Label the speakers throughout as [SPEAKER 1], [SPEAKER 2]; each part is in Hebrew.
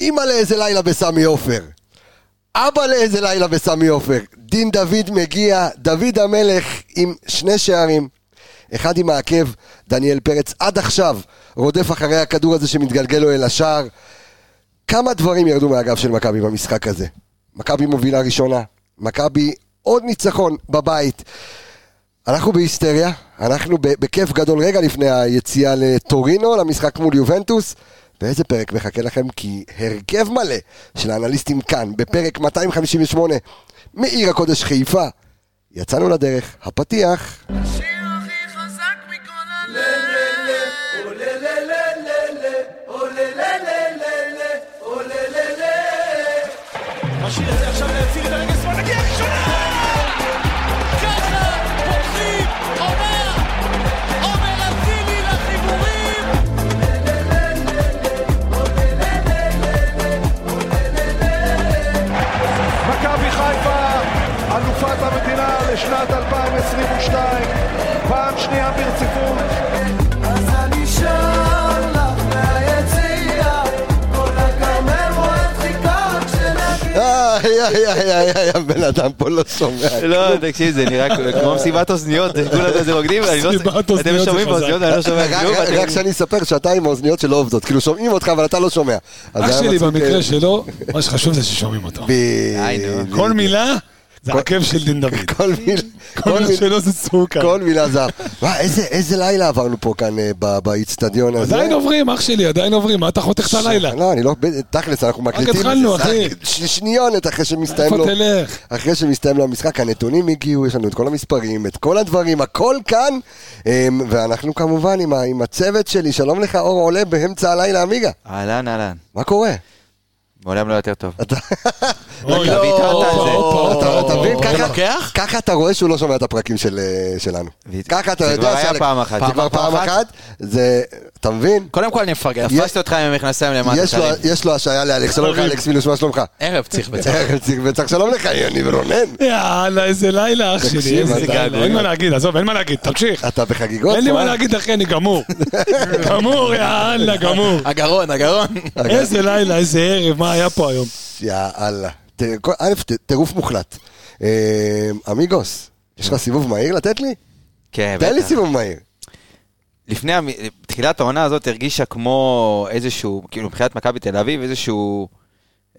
[SPEAKER 1] אימא לאיזה לילה בסמי עופר. אבא לאיזה לילה בסמי עופר. דין דוד מגיע, דוד המלך עם שני שערים. אחד עם העקב, דניאל פרץ, עד עכשיו רודף אחרי הכדור הזה שמתגלגל לו אל השער. כמה דברים ירדו מהגב של מכבי במשחק הזה. מכבי מובילה ראשונה, מכבי עוד ניצחון בבית. אנחנו בהיסטריה, אנחנו ב- בכיף גדול רגע לפני היציאה לטורינו, למשחק מול יובנטוס. ואיזה פרק מחכה לכם, כי הרכב מלא של האנליסטים כאן, בפרק 258 מעיר הקודש חיפה. יצאנו לדרך, הפתיח.
[SPEAKER 2] השיר הכי חזק מכל הלב.
[SPEAKER 3] משאיר את זה עכשיו להציל את הרגל שמאל, נגיע ראשונה! ככה פותחים עונה! עומר אצילי לחיבורים!
[SPEAKER 4] מכבי חיפה, אלופת המדינה לשנת 2022, פעם שנייה ברציפות.
[SPEAKER 2] אז אני שר לך מהיציע, כל הקרמל רואה דחיקות שלך.
[SPEAKER 1] איי, איי, איי, איי, איי, הבן אדם פה לא שומע.
[SPEAKER 5] לא, תקשיב, זה נראה כמו מסיבת אוזניות, זה כולם כזה רוקדים, אני לא...
[SPEAKER 6] מסיבת
[SPEAKER 5] אתם
[SPEAKER 6] אוזניות
[SPEAKER 5] שומעים
[SPEAKER 6] זה חזק.
[SPEAKER 5] באוזניות, אני לא שומע
[SPEAKER 1] רק-
[SPEAKER 5] כלום.
[SPEAKER 1] רק-
[SPEAKER 5] אתם-
[SPEAKER 1] רק שאני אספר שאתה עם האוזניות שלא עובדות, כאילו שומעים אותך אבל אתה לא שומע. אז
[SPEAKER 6] אח
[SPEAKER 1] היה
[SPEAKER 6] שלי
[SPEAKER 1] מצחיק, אה,
[SPEAKER 6] במקרה שלו, מה שחשוב זה ששומעים אותו.
[SPEAKER 1] ב-
[SPEAKER 6] כל מילה זה עקב של דין דוד.
[SPEAKER 1] כל מילה,
[SPEAKER 6] כל מילה שלו זה סוכר.
[SPEAKER 1] כל מילה זר. וואי, איזה- איזה לילה עברנו פה כאן אה, ב- באיצטדיון הזה.
[SPEAKER 6] עדיין עוברים, אח שלי, עדיין עוברים, מה אתה חותך את הלילה?
[SPEAKER 1] לא, אני לא, ב- תכלס, אנחנו מקליטים.
[SPEAKER 6] התחלנו, אחי.
[SPEAKER 1] ש- שניונת אחרי שמסתיים
[SPEAKER 6] איפה
[SPEAKER 1] לו.
[SPEAKER 6] תלך?
[SPEAKER 1] אחרי שמסתיים לו המשחק, הנתונים הגיעו, יש לנו את כל המספרים, את כל הדברים, הכל כאן. אמ, ואנחנו כמובן עם ה- עם הצוות שלי, שלום לך אור עולה באמצע הלילה, עמיגה.
[SPEAKER 5] אהלן, אהלן.
[SPEAKER 1] מה קורה?
[SPEAKER 5] מעולם לא יותר טוב.
[SPEAKER 1] אתה
[SPEAKER 6] אוי,
[SPEAKER 5] לא, ויתרת על זה.
[SPEAKER 6] הופה,
[SPEAKER 1] אתה- אתה מבין?
[SPEAKER 6] הופה.
[SPEAKER 1] ככה-
[SPEAKER 3] לוקח?
[SPEAKER 1] ככה אתה רואה שהוא לא שומע את הפרקים של, אה, שלנו.
[SPEAKER 5] ו-
[SPEAKER 1] ככה אתה
[SPEAKER 5] זה
[SPEAKER 1] יודע...
[SPEAKER 5] כבר היה
[SPEAKER 1] שאלה-
[SPEAKER 5] פעם אחת.
[SPEAKER 1] זה כבר פעם אחת? זה... אתה מטבין?
[SPEAKER 3] קודם כל אני מפרגן.
[SPEAKER 5] תפסתי אותך עם המכנסיים למטה,
[SPEAKER 1] יש לו-
[SPEAKER 5] חליף.
[SPEAKER 1] יש לו השעיה לאלכס. שלום לך אלכס מינוס, מה שלומך?
[SPEAKER 3] ערב צריך בצד.
[SPEAKER 1] ערב ציר וצח, שלום לך יוני ורונן.
[SPEAKER 6] יאללה, איזה לילה, אח
[SPEAKER 1] תקשיב,
[SPEAKER 6] שלי, איזה
[SPEAKER 1] אתה-
[SPEAKER 6] לילה. אין מה להגיד, עזוב, אין מה להגיד, תמשיך.
[SPEAKER 1] אתה בחגיגות?
[SPEAKER 6] אין לי מה
[SPEAKER 1] אה?
[SPEAKER 6] להגיד, אחי, אני גמור. גמור, יאללה, גמור.
[SPEAKER 3] הגרון, הגרון.
[SPEAKER 6] איזה לילה, איזה ערב, מה היה פה היום?
[SPEAKER 1] יאללה. ת- כל- א', ת- טירוף מוחלט. אה, עמיגוס, יש לך סיבוב מהיר לתת לי?
[SPEAKER 5] כן,
[SPEAKER 1] תן לי
[SPEAKER 5] בטח.
[SPEAKER 1] סיבוב מהיר.
[SPEAKER 5] לפני, המ- תחילת העונה הזאת הרגישה כמו איזשהו, כאילו מבחינת מכבי תל אביב, איזשהו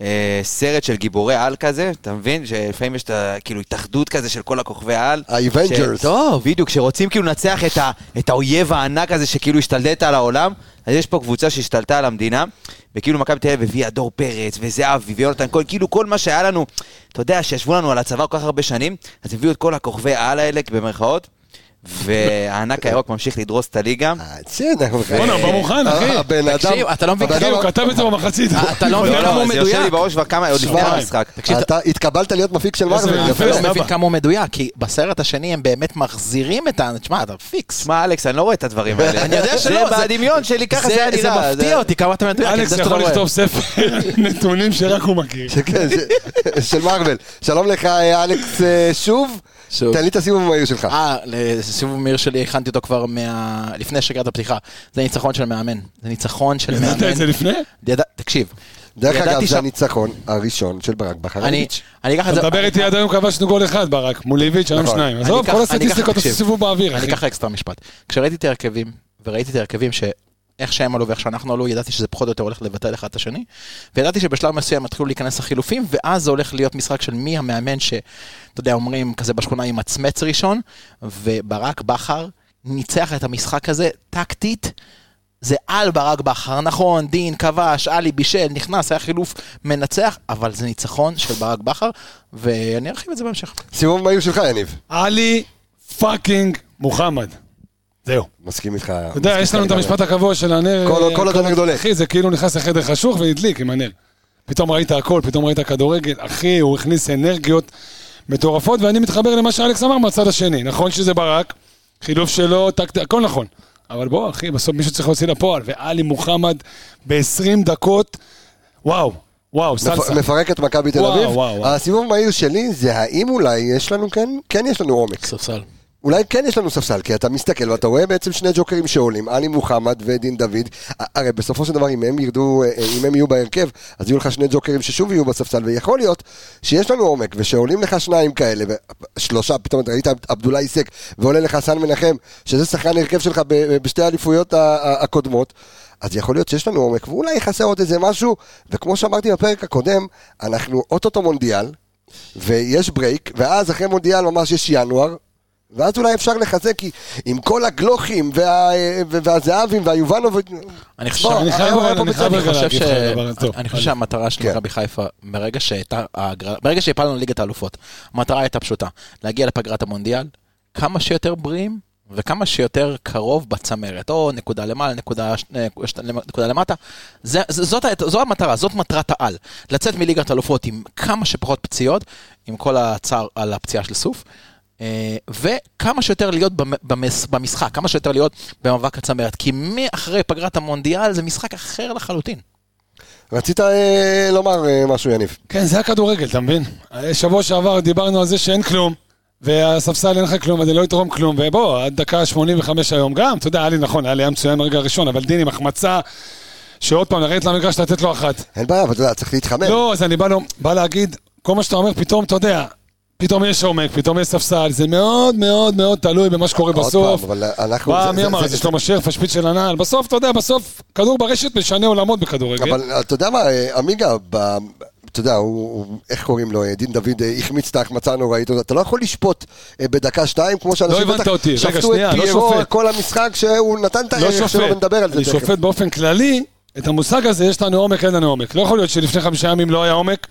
[SPEAKER 5] אה, סרט של גיבורי על כזה, אתה מבין? שלפעמים יש את ה... כאילו התאחדות כזה של כל הכוכבי העל.
[SPEAKER 1] ה-Avengers.
[SPEAKER 5] ש- טוב, בדיוק, כשרוצים כאילו לנצח את, ה, את האויב הענק הזה שכאילו השתלט על העולם, אז יש פה קבוצה שהשתלטה על המדינה, וכאילו מכבי תל אביב הביאה דור פרץ, וזהבי, ויונתן כהן, כאילו כל מה שהיה לנו, אתה יודע, שישבו לנו על הצבא כל כך הרבה שנים, אז הביאו את כל הכוכבי העל האלה, במרכאות, והענק הירוק ממשיך לדרוס את הליגה. לא,
[SPEAKER 1] אה, בסדר. אה,
[SPEAKER 6] בואנה, הוא מוכן, אחי.
[SPEAKER 1] הבן אדם...
[SPEAKER 3] תקשיב, אתה לא מבין
[SPEAKER 1] הבן
[SPEAKER 6] אחי,
[SPEAKER 1] אדם-
[SPEAKER 6] הוא כתב את זה במחצית.
[SPEAKER 3] אתה לא מבין
[SPEAKER 5] לא,
[SPEAKER 3] כמה הוא
[SPEAKER 5] לא, זה יושב לי
[SPEAKER 3] מדויק.
[SPEAKER 5] בראש כבר כמה, עוד לפני
[SPEAKER 1] שבועיים.
[SPEAKER 5] המשחק.
[SPEAKER 3] תקשיב,
[SPEAKER 1] אתה התקבלת להיות מפיק של
[SPEAKER 6] איזה
[SPEAKER 1] מרוויל.
[SPEAKER 6] יפה.
[SPEAKER 1] יפה.
[SPEAKER 3] אתה לא מבין
[SPEAKER 6] סבבה.
[SPEAKER 3] כמה הוא מדויק, כי בסרט השני הם באמת מחזירים את ה... תשמע, אתה פיקס.
[SPEAKER 5] שמע, אלכס, אני לא רואה את הדברים האלה.
[SPEAKER 3] אני יודע שלא,
[SPEAKER 5] זה
[SPEAKER 3] זה-
[SPEAKER 5] בדמיון שלי, ככה זה היה
[SPEAKER 3] זה
[SPEAKER 5] נראה.
[SPEAKER 3] מפתיע אותי כמה אתה מדויק. אני
[SPEAKER 6] אלכס
[SPEAKER 3] יודע שאתה
[SPEAKER 6] יכול
[SPEAKER 3] לא
[SPEAKER 6] לכתוב ספר נתונים שרק הוא מכיר.
[SPEAKER 1] כן, ש- של מרוויל. שלום לך, אה, אלכס, אה, שוב.
[SPEAKER 3] שוב.
[SPEAKER 1] תן לי את הסיבוב המהיר שלך.
[SPEAKER 3] אה, לסיבוב מהיר שלי הכנתי אותו כבר מה... לפני שהגעת הפתיחה. זה ניצחון של מאמן. זה ניצחון של מאמן.
[SPEAKER 6] ידעת את זה לפני?
[SPEAKER 3] ידע... תקשיב.
[SPEAKER 1] דרך
[SPEAKER 3] ידעתי
[SPEAKER 1] אגב, זה
[SPEAKER 3] שם-
[SPEAKER 1] הניצחון הראשון של ברק
[SPEAKER 3] אני
[SPEAKER 1] בחרנוביץ'.
[SPEAKER 3] אני אקח את
[SPEAKER 6] אתה
[SPEAKER 3] זה...
[SPEAKER 6] מדבר איתי עד היום כבשנו גול אחד ברק, מול איביץ' היום
[SPEAKER 1] נכון.
[SPEAKER 6] שניים.
[SPEAKER 3] אני
[SPEAKER 6] עזוב,
[SPEAKER 3] אקח-
[SPEAKER 6] כל
[SPEAKER 3] אני
[SPEAKER 6] הסטטיסטיקות
[SPEAKER 3] אקח-
[SPEAKER 6] עשו
[SPEAKER 3] תקשיב.
[SPEAKER 6] סיבוב באוויר,
[SPEAKER 3] אני
[SPEAKER 6] אחי.
[SPEAKER 3] אקח אקסטרה משפט. כשראיתי את ההרכבים, וראיתי את ההרכבים ש... איך שהם עלו ואיך שאנחנו עלו, ידעתי שזה פחות או יותר הולך לבטל אחד את השני. וידעתי שבשלב מסוים יתחילו להיכנס החילופים, ואז זה הולך להיות משחק של מי המאמן ש... אתה יודע, אומרים כזה בשכונה עם מצמץ ראשון, וברק בכר ניצח את המשחק הזה טקטית. זה על ברק בכר, נכון, דין, כבש, עלי, בישל, נכנס, היה חילוף מנצח, אבל זה ניצחון של ברק בכר, ואני ארחיב את זה בהמשך.
[SPEAKER 1] סיבוב מהיר שלך, יניב.
[SPEAKER 6] עלי פאקינג מוחמד. זהו.
[SPEAKER 1] מסכים איתך.
[SPEAKER 6] אתה יודע, יש לנו את המשפט הקבוע של הנר.
[SPEAKER 1] כל-
[SPEAKER 6] אה,
[SPEAKER 1] כל עוד הנר דולק.
[SPEAKER 6] אחי, זה כאילו נכנס לחדר חשוך והדליק עם הנר. פתאום ראית הכל, פתאום ראית כדורגל. אחי, הוא הכניס אנרגיות מטורפות, ואני מתחבר למה שאלכס אמר מהצד השני. נכון שזה ברק, חילוף שלו, טקט, הכל נכון. אבל בוא, אחי, בסוף מישהו צריך להוציא לפועל. ואלי מוחמד ב-20 דקות, וואו, וואו,
[SPEAKER 1] מפ-
[SPEAKER 6] סלסה.
[SPEAKER 1] מפרק את מכבי תל
[SPEAKER 6] וואו,
[SPEAKER 1] אביב.
[SPEAKER 6] וואו, וואו.
[SPEAKER 1] הסיבוב המהיר שלי זה האם אולי יש לנו, כן, כן יש לנו עומק.
[SPEAKER 3] ספסל.
[SPEAKER 1] אולי כן יש לנו ספסל, כי אתה מסתכל ואתה רואה בעצם שני ג'וקרים שעולים, עלי מוחמד ודין דוד. ה- הרי בסופו של דבר, אם הם ירדו, אה, אה, אם הם יהיו בהרכב, אז יהיו לך שני ג'וקרים ששוב יהיו בספסל, ויכול להיות שיש לנו עומק, ושעולים לך שניים כאלה, ו- שלושה, פתאום אתה ראית עבדולאי היסק, ועולה לך סן מנחם, שזה שחקן הרכב שלך ב- בשתי האליפויות ה- ה- הקודמות. אז יכול להיות שיש לנו עומק, ואולי חסר עוד איזה משהו, וכמו שאמרתי בפרק הקודם, אנחנו אוטוטו מונדיאל, ויש ברייק, ואז אחרי מונדיאל ממש יש ינואר, ואז אולי אפשר לחזק, כי עם כל הגלוכים וה, וה, והזהבים והיובנוב...
[SPEAKER 3] אני חושב
[SPEAKER 1] בוא,
[SPEAKER 3] אני
[SPEAKER 6] חייב
[SPEAKER 3] אני רואה
[SPEAKER 6] אבל-
[SPEAKER 3] פה
[SPEAKER 6] אני
[SPEAKER 3] בצד,
[SPEAKER 6] חייב
[SPEAKER 3] אני
[SPEAKER 6] רגע
[SPEAKER 3] חושב
[SPEAKER 6] להגיב
[SPEAKER 3] ש-
[SPEAKER 6] לך על הדבר הזה. טוב,
[SPEAKER 3] אני
[SPEAKER 6] אל-
[SPEAKER 3] חושב שהמטרה של
[SPEAKER 1] כן.
[SPEAKER 3] מכבי חיפה, מרגע שהייתה ההגרלה- ברגע שהפלנו ליגת האלופות, המטרה הייתה פשוטה, להגיע לפגרת המונדיאל, כמה שיותר בריאים. וכמה שיותר קרוב בצמרת, או נקודה למעלה, נקודה, ש- ש- נקודה למטה, זה, זה, זאת, ה- זו המטרה, זאת מטרת העל. לצאת מליגת אלופות עם כמה שפחות פציעות, עם כל הצער על הפציעה של סוף, אה, וכמה שיותר להיות במ- במס- במשחק, כמה שיותר להיות במאבק הצמרת, כי מאחרי פגרת המונדיאל זה משחק אחר לחלוטין.
[SPEAKER 1] רצית אה, לומר אה, משהו, יניב.
[SPEAKER 6] כן, זה הכדורגל, אתה מבין? שבוע שעבר דיברנו על זה שאין כלום, והספסל אין לך כלום, וזה לא יתרום כלום, ובוא, עד דקה 85 היום גם, אתה יודע, היה לי נכון, היה לי היה מצוין ברגע הראשון, אבל דין עם החמצה, שעוד פעם, לרדת למגרש לתת לו אחת.
[SPEAKER 1] אין בעיה, אבל אתה יודע, צריך להתחמם.
[SPEAKER 6] לא, אז אני בא, לו, בא להגיד, כל מה שאתה אומר, פתאום, אתה יודע, פתאום יש עומק, פתאום יש ספסל, זה מאוד מאוד מאוד תלוי במה שקורה
[SPEAKER 1] עוד
[SPEAKER 6] בסוף.
[SPEAKER 1] פעם, אבל אנחנו...
[SPEAKER 6] מה,
[SPEAKER 1] זה-
[SPEAKER 6] מי
[SPEAKER 1] זה-
[SPEAKER 6] אמר
[SPEAKER 1] זה-
[SPEAKER 6] את זה?
[SPEAKER 1] זה-
[SPEAKER 6] שלמה שרף, השפיץ של הנעל. בסוף, אתה יודע, בסוף, כדור ברשת משנה עולמות בכדורגל.
[SPEAKER 1] אבל אתה יודע מה, אה, עמיגה, ב- אתה יודע, הוא, הוא- איך קוראים לו, אה, דין דוד אה, החמיץ את ההחמצה הנוראית הזאת, אתה לא יכול לשפוט אה, בדקה שתיים, כמו שאנשים
[SPEAKER 6] לא הבנת אותי. רגע,
[SPEAKER 1] שפטו את
[SPEAKER 6] שנייה, לא
[SPEAKER 1] פיירו
[SPEAKER 6] שופט.
[SPEAKER 1] כל המשחק, שהוא נתן את
[SPEAKER 6] לא
[SPEAKER 1] הערך שלו,
[SPEAKER 6] שופט.
[SPEAKER 1] ונדבר על זה
[SPEAKER 6] אני
[SPEAKER 1] תכף.
[SPEAKER 6] שופט באופן כללי, את המושג הזה, יש לנו עומק, אין לנו עומק. לא יכול להיות שלפני חמישה ימים לא היה עומק,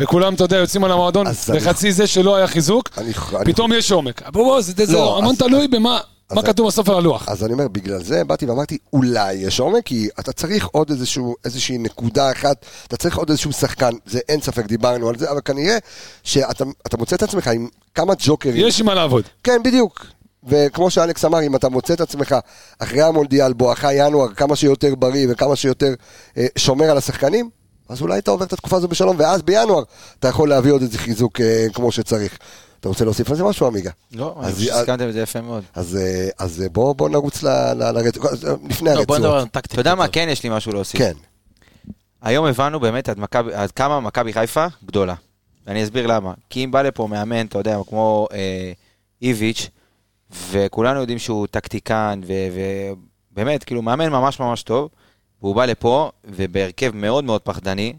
[SPEAKER 6] וכולם, אתה יודע, יוצאים על המועדון,
[SPEAKER 1] אז אני-
[SPEAKER 6] וחצי זה שלא היה חיזוק,
[SPEAKER 1] אני- אני-
[SPEAKER 6] פתאום יש עומק. אבל בוא, זה- זה
[SPEAKER 1] לא,
[SPEAKER 6] המון
[SPEAKER 1] אז-
[SPEAKER 6] תלוי במה מה
[SPEAKER 1] אז-
[SPEAKER 6] כתוב בסוף על הלוח.
[SPEAKER 1] אז אני אומר, בגלל זה באתי ואמרתי, אולי יש עומק, כי אתה צריך עוד איזשהו, איזושהי נקודה אחת, אתה צריך עוד איזשהו שחקן, זה אין ספק, דיברנו על זה, אבל כנראה שאתה אתה מוצא את עצמך עם כמה ג'וקרים.
[SPEAKER 6] יש עם מה לעבוד.
[SPEAKER 1] כן, בדיוק. וכמו שאלכס אמר, אם אתה מוצא את עצמך אחרי המונדיאל, בואכה ינואר, כמה שיותר בריא וכמה שיותר אה, שומר על השחקנים, אז אולי אתה עובר את התקופה הזו בשלום, ואז בינואר אתה יכול להביא עוד איזה חיזוק אה, כמו שצריך. אתה רוצה להוסיף על זה משהו, עמיגה?
[SPEAKER 5] לא,
[SPEAKER 1] אז- אה,
[SPEAKER 5] אני חושב
[SPEAKER 1] אז-
[SPEAKER 5] שהסכמתם את זה יפה מאוד.
[SPEAKER 1] אז, אה, אז אה, בוא, בוא נרוץ ל- ל- לרצועות, אז, אה, לפני
[SPEAKER 3] לא, בוא נדבר על
[SPEAKER 1] הרצועות.
[SPEAKER 3] טקטיקה.
[SPEAKER 5] אתה יודע מה, כן יש לי משהו להוסיף.
[SPEAKER 1] כן,
[SPEAKER 5] היום הבנו באמת עד, מכבי, עד כמה מכבי חיפה גדולה. ואני אסביר למה. כי אם בא לפה מאמן, אתה יודע, כמו אה, איביץ', וכולנו יודעים שהוא טקטיקן, ובאמת, כאילו, מאמן ממש ממש טוב, והוא בא לפה, ובהרכב מאוד מאוד פחדני,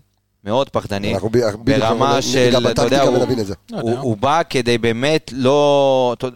[SPEAKER 5] מאוד פחדני,
[SPEAKER 1] אנחנו ב- בדיוק
[SPEAKER 5] ברמה
[SPEAKER 1] אנחנו ניגע
[SPEAKER 5] של, אתה יודע,
[SPEAKER 1] בטקטיקה
[SPEAKER 5] הוא,
[SPEAKER 1] ונבין את זה.
[SPEAKER 3] לא
[SPEAKER 5] הוא,
[SPEAKER 3] יודע.
[SPEAKER 5] הוא בא כדי באמת לא... אתה-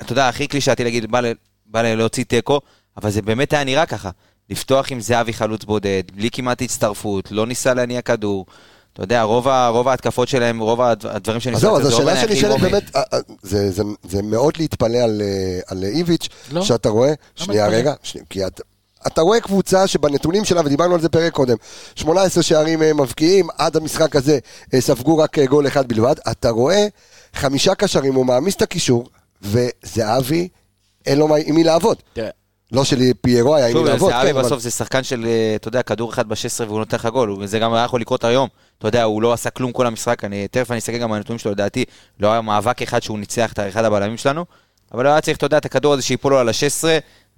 [SPEAKER 5] אתה יודע, הכי קלישאתי להגיד, בא, ל, בא ל, להוציא תיקו, אבל זה באמת היה נראה ככה. לפתוח עם זהבי חלוץ בודד, בלי כמעט הצטרפות, לא ניסה להניע כדור. אתה יודע, רוב, ה, רוב ההתקפות שלהם, רוב הד- הדברים שניסו...
[SPEAKER 1] אז זהו, אז
[SPEAKER 5] לעשות, זה
[SPEAKER 1] השאלה
[SPEAKER 5] אורן היחיד,
[SPEAKER 1] שנשאלת
[SPEAKER 5] אורן.
[SPEAKER 1] באמת, אה, אה, זה- זה- זה מאוד להתפלא על, אה, על איביץ',
[SPEAKER 3] לא.
[SPEAKER 1] שאתה רואה, שנייה
[SPEAKER 3] להתפלא?
[SPEAKER 1] רגע, שנייה, כי אתה... אתה רואה קבוצה שבנתונים שלה, ודיברנו על זה פרק קודם, 18 שערים אה, מבקיעים, עד המשחק הזה אה, ספגו רק אה, גול אחד בלבד. אתה רואה חמישה קשרים, הוא מעמיס את הקישור, וזהבי, אין לו מה- עם מי לעבוד.
[SPEAKER 3] תראה,
[SPEAKER 1] לא שפיירו היה עם מי
[SPEAKER 5] שוב,
[SPEAKER 1] לעבוד.
[SPEAKER 5] זהבי
[SPEAKER 1] כן, אבל-
[SPEAKER 5] בסוף זה שחקן של, אה, אתה יודע, כדור אחד ב-16 והוא נותן לך גול, הוא- זה גם היה יכול לקרות היום. אתה יודע, הוא לא עשה כלום כל המשחק, אני תכף אני אסתכל גם על הנתונים שלו, לדעתי, לא היה מאבק אחד שהוא ניצח את אחד הבלמים שלנו, אבל היה צריך, אתה יודע, את הכדור הזה שיפול לו על ה-16,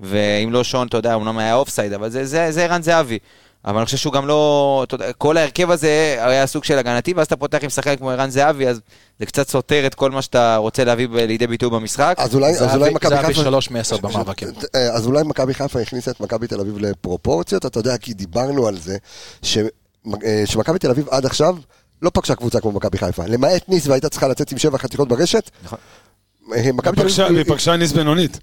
[SPEAKER 5] ואם לא שון, אתה יודע, אמנם היה אופסייד, אבל זה- זה זה ערן זהבי. אבל אני חושב שהוא גם לא, אתה יודע, כל ההרכב הזה היה סוג של הגנתי, ואז אתה פותח עם שחקן כמו ערן זהבי, אז זה קצת סותר את כל מה שאתה רוצה להביא ב- לידי ביטוי במשחק.
[SPEAKER 1] אז אולי- אז אולי
[SPEAKER 3] זהבי-
[SPEAKER 1] מכבי
[SPEAKER 3] זהבי
[SPEAKER 1] חיפה...
[SPEAKER 3] שלוש מעשר במאבקים.
[SPEAKER 1] אה, אז אולי מכבי חיפה הכניסה את מכבי תל אביב לפרופורציות, אתה יודע, כי דיברנו על זה, ש- אה, שמכבי תל אביב עד עכשיו לא פגשה קבוצה כמו מכבי חיפה. למעט ניס והייתה צריכה לצאת עם שבע חתיכות ברשת.
[SPEAKER 5] נכון.
[SPEAKER 1] אה, מכבי תל
[SPEAKER 6] פגשה-
[SPEAKER 1] אביב...
[SPEAKER 6] ופגשה ניס בינונית.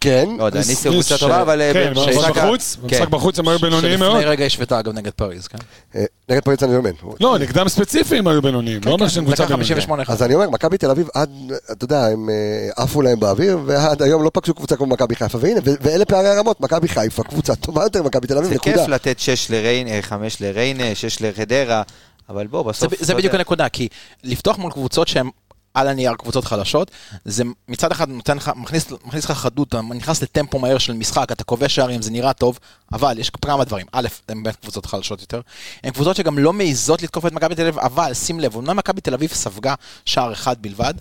[SPEAKER 1] כן.
[SPEAKER 5] לא יודע,
[SPEAKER 6] ניס-
[SPEAKER 5] ניסי הוא
[SPEAKER 6] ניס
[SPEAKER 5] קבוצה
[SPEAKER 6] ש-
[SPEAKER 5] טובה, אבל... אה,
[SPEAKER 6] כן, אבל
[SPEAKER 5] במשחק ה-
[SPEAKER 6] בחוץ, במשחק
[SPEAKER 5] כן.
[SPEAKER 6] בחוץ הם היו בינוניים מאוד.
[SPEAKER 3] שלפני רגע השוותה אגב נגד פריז, כן?
[SPEAKER 1] אה, נגד פריץ אני לא מבין.
[SPEAKER 6] לא, נגדם ספציפי הם היו בינוניים,
[SPEAKER 5] כן,
[SPEAKER 6] לא אומר שהם קבוצה
[SPEAKER 3] דקה
[SPEAKER 6] בינונית.
[SPEAKER 3] 58
[SPEAKER 5] נכון.
[SPEAKER 3] אחד.
[SPEAKER 1] אז אני אומר, מכבי תל אביב עד, אתה יודע, הם אה, עפו להם באוויר, ועד היום לא פגשו קבוצה כמו מכבי חיפה, והנה, ו- ואלה פערי הרמות, מכבי חיפה, קבוצה טובה יותר ממכבי תל אביב,
[SPEAKER 5] זה
[SPEAKER 1] נקודה.
[SPEAKER 5] כיף לתת 6 לריינה, 5 לריינה, 6 לחדרה, אבל בוא,
[SPEAKER 3] זה,
[SPEAKER 5] בסוף...
[SPEAKER 3] זה
[SPEAKER 5] אתה
[SPEAKER 3] בדיוק
[SPEAKER 5] יודע,
[SPEAKER 3] הנקודה, כי לפתוח מול קבוצות שהן על הנייר קבוצות חלשות, זה מצד אחד נותן לך, מכניס, מכניס לך חדות, אתה נכנס לטמפו מהר של משחק, אתה כובש שערים, זה נראה טוב, אבל יש כמה דברים. א', הן באמת קבוצות חלשות יותר, הן קבוצות שגם לא מעיזות לתקוף את מכבי תל אביב, אבל שים לב, אומנם מכבי תל אביב ספגה שער אחד בלבד,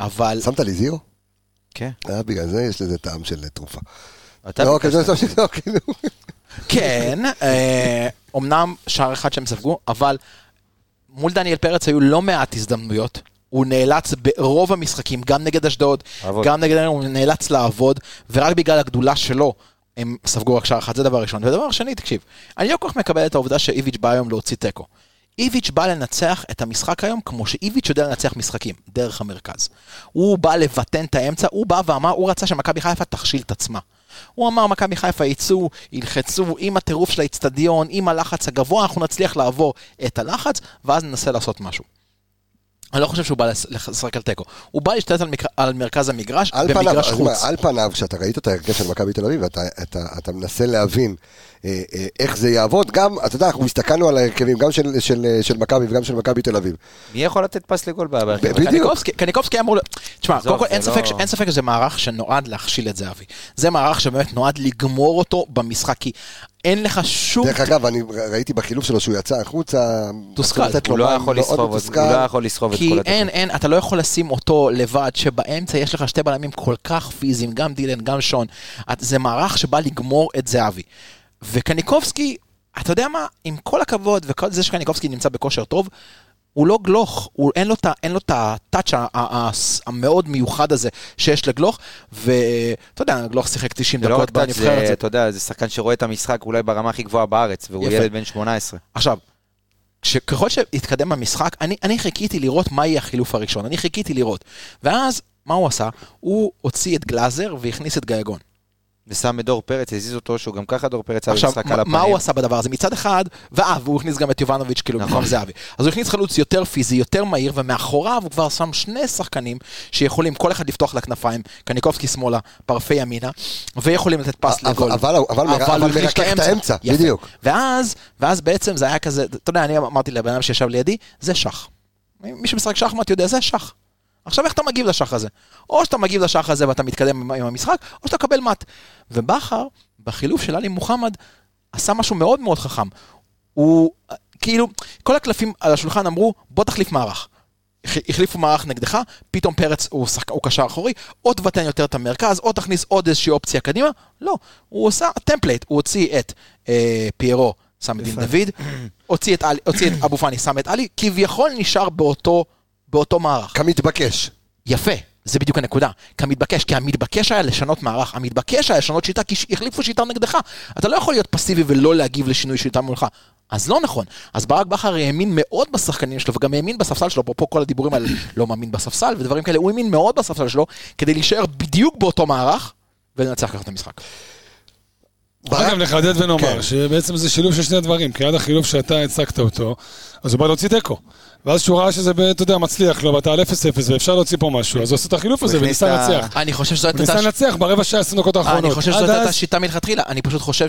[SPEAKER 3] אבל
[SPEAKER 1] שמת לי זירו?
[SPEAKER 5] כן.
[SPEAKER 1] אה, בגלל זה יש לזה טעם של תרופה.
[SPEAKER 5] אתה
[SPEAKER 1] לא,
[SPEAKER 5] ביקשת.
[SPEAKER 1] כזה סתם שזה לא, כאילו.
[SPEAKER 3] כן, אה, אומנם שער אחד שהם ספגו, אבל מול דניאל פרץ היו לא מעט הזדמנויות. הוא נאלץ ברוב המשחקים, גם נגד אשדוד,
[SPEAKER 5] לעבוד.
[SPEAKER 3] גם נגד... הוא נאלץ לעבוד, ורק בגלל הגדולה שלו הם ספגו רק שער אחד, זה דבר ראשון. ודבר שני, תקשיב, אני לא כל כך מקבל את העובדה שאיביץ' בא היום להוציא תיקו. איביץ' בא לנצח את המשחק היום כמו שאיביץ' יודע לנצח משחקים, דרך המרכז. הוא בא לבטן את האמצע, הוא בא ואמר, הוא רצה שמכבי חיפה תכשיל את עצמה. הוא אמר, מכבי חיפה יצאו, ילחצו עם הטירוף של האיצטדיון, עם הלחץ הגבוה, אנחנו נצליח לעבור את הלחץ, ואז ננסה לעשות משהו. אני לא חושב שהוא בא לש- לשחק על תיקו. הוא בא להשתלט על, מקר... על מרכז המגרש,
[SPEAKER 1] על פניו,
[SPEAKER 3] במגרש
[SPEAKER 1] אז
[SPEAKER 3] חוץ.
[SPEAKER 1] מה, על פניו, כשאתה ראית את ההרכב של מכבי תל אביב, אתה, אתה, אתה מנסה להבין אה, אה, איך זה יעבוד. גם, אתה יודע, אנחנו הסתכלנו על ההרכבים, גם של, של, אה, של מכבי וגם של מכבי תל אביב.
[SPEAKER 5] מי יכול לתת פס לגול בהרכב?
[SPEAKER 1] ב- בדיוק.
[SPEAKER 3] קניקובסקי- קניקובסקי אמור... ל- תשמע,
[SPEAKER 5] עזוב,
[SPEAKER 3] קודם כל
[SPEAKER 5] זה
[SPEAKER 3] אין
[SPEAKER 5] לא-
[SPEAKER 3] ספק ש- אין ספק שזה מערך שנועד להכשיל את זהבי. זה מערך שבאמת נועד לגמור אותו במשחק, כי אין לך שום...
[SPEAKER 1] דרך אגב, אני ר- ראיתי בחילוף שלו שהוא יצא החוצה.
[SPEAKER 3] תוסכל.
[SPEAKER 1] רצו לתת לו
[SPEAKER 5] הוא לא
[SPEAKER 1] מים,
[SPEAKER 5] יכול
[SPEAKER 1] מאוד
[SPEAKER 5] לסחוב את-
[SPEAKER 1] מתוסכל.
[SPEAKER 5] הוא לא יכול לסחוב את
[SPEAKER 3] כי
[SPEAKER 5] כל
[SPEAKER 3] אין,
[SPEAKER 5] הדקות.
[SPEAKER 3] אין, אתה לא יכול לשים אותו לבד, שבאמצע יש לך שתי בלמים כל כך פיזיים, גם דילן, גם שון. את- זה מערך שבא לגמור את זהבי. וקניקובסקי, אתה יודע מה, עם כל הכבוד וכל זה שקניקובסקי נמצא בכושר טוב, הוא לא גלוך, הוא, אין לו את ה- אין לו את הטאץ' ה- ה- ה- המאוד מיוחד הזה שיש לגלוך, ואתה יודע, גלוך שיחק 90
[SPEAKER 5] זה לא רק
[SPEAKER 3] דקות
[SPEAKER 5] טאץ',
[SPEAKER 3] בנבחרת.
[SPEAKER 5] זה,
[SPEAKER 3] זה-
[SPEAKER 5] אתה יודע, זה שחקן שרואה את המשחק אולי ברמה הכי גבוהה בארץ, והוא
[SPEAKER 3] יפה.
[SPEAKER 5] ילד בן 18.
[SPEAKER 3] עכשיו, כש- ככל שהתקדם המשחק, אני, אני חיכיתי לראות מה יהיה החילוף הראשון, אני חיכיתי לראות. ואז, מה הוא עשה? הוא הוציא את גלאזר והכניס את גייגון.
[SPEAKER 5] ושם את דור פרץ, הזיז אותו, שהוא גם ככה דור פרץ היה
[SPEAKER 3] עכשיו,
[SPEAKER 5] במשחק על
[SPEAKER 3] מה,
[SPEAKER 5] הפנים. נכון.
[SPEAKER 3] מה הוא עשה בדבר הזה? מצד אחד, ואה, והוא הכניס גם את יובנוביץ' כאילו במקום זהבי. אז הוא הכניס חלוץ יותר פיזי, יותר מהיר, ומאחוריו הוא כבר שם שני שחקנים שיכולים כל אחד לפתוח לכנפיים, קניקובסקי שמאלה, פרפה ימינה, ויכולים לתת פס
[SPEAKER 1] אבל-
[SPEAKER 3] לגול.
[SPEAKER 1] אבל- אבל מר- אבל
[SPEAKER 3] הוא החליש
[SPEAKER 1] מרכך את האמצע,
[SPEAKER 3] יפה.
[SPEAKER 1] בדיוק.
[SPEAKER 3] ואז, ואז בעצם זה היה כזה, אתה יודע, אני אמרתי לבן אדם שישב לידי, זה שח. מי שמשחק שחמט יודע, זה שח. עכשיו איך אתה מגיב לשח הזה? או שאתה מגיב לשח הזה ואתה מתקדם עם- עם המשחק, או שאתה מקבל מט. ובכר, בחילוף של עלי מוחמד, עשה משהו מאוד מאוד חכם. הוא, אה, כאילו, כל הקלפים על השולחן אמרו, בוא תחליף מערך. הח- החליפו מערך נגדך, פתאום פרץ הוא, שחק... הוא קשר אחורי, או תבטן יותר את המרכז, או תכניס עוד איזושהי אופציה קדימה. לא, הוא עשה טמפלייט, הוא הוציא את אה, פיירו, שם את דין דוד, הוציא את, עלי- הוציא את אבו פאני, שם את עלי, כביכול נשאר באותו, באותו מערך.
[SPEAKER 1] כמתבקש.
[SPEAKER 3] יפה, זה בדיוק הנקודה. כמתבקש, כי המתבקש היה לשנות מערך, המתבקש היה לשנות שיטה, כי ש- החליפו שיטה נגדך. אתה לא יכול להיות פסיבי ולא להגיב לשינוי שיטה מולך. אז לא נכון. אז ברק בכר האמין מאוד בשחקנים שלו, וגם האמין בספסל שלו, אפרופו כל הדיבורים על לא מאמין בספסל ודברים כאלה, הוא האמין מאוד בספסל שלו, כדי להישאר בדיוק באותו מערך, ולנצח ככה את המשחק.
[SPEAKER 1] ברק-
[SPEAKER 6] אגב,
[SPEAKER 5] נכון.
[SPEAKER 6] נחדד
[SPEAKER 1] כן.
[SPEAKER 6] ונאמר שבעצם זה שילוב של שני הדברים, כי עד החילוף שאתה הצגת אותו, אז הוא בא להוציא תיקו. ואז שהוא ראה שזה, אתה יודע, מצליח לו, ואתה על 0-0 ואפשר להוציא פה משהו, אז הוא עושה את החילוף הזה
[SPEAKER 5] הכניס
[SPEAKER 6] וניסה
[SPEAKER 5] את ה- אה,
[SPEAKER 6] לנצח.
[SPEAKER 3] אני חושב שזו
[SPEAKER 6] הוא ניסה
[SPEAKER 3] הייתה...
[SPEAKER 6] לנצח ברבע שעה, 20 דקות האחרונות.
[SPEAKER 3] אני חושב
[SPEAKER 6] עד
[SPEAKER 3] שזאת הייתה
[SPEAKER 6] אז-
[SPEAKER 3] שיטה מלכתחילה, אני פשוט חושב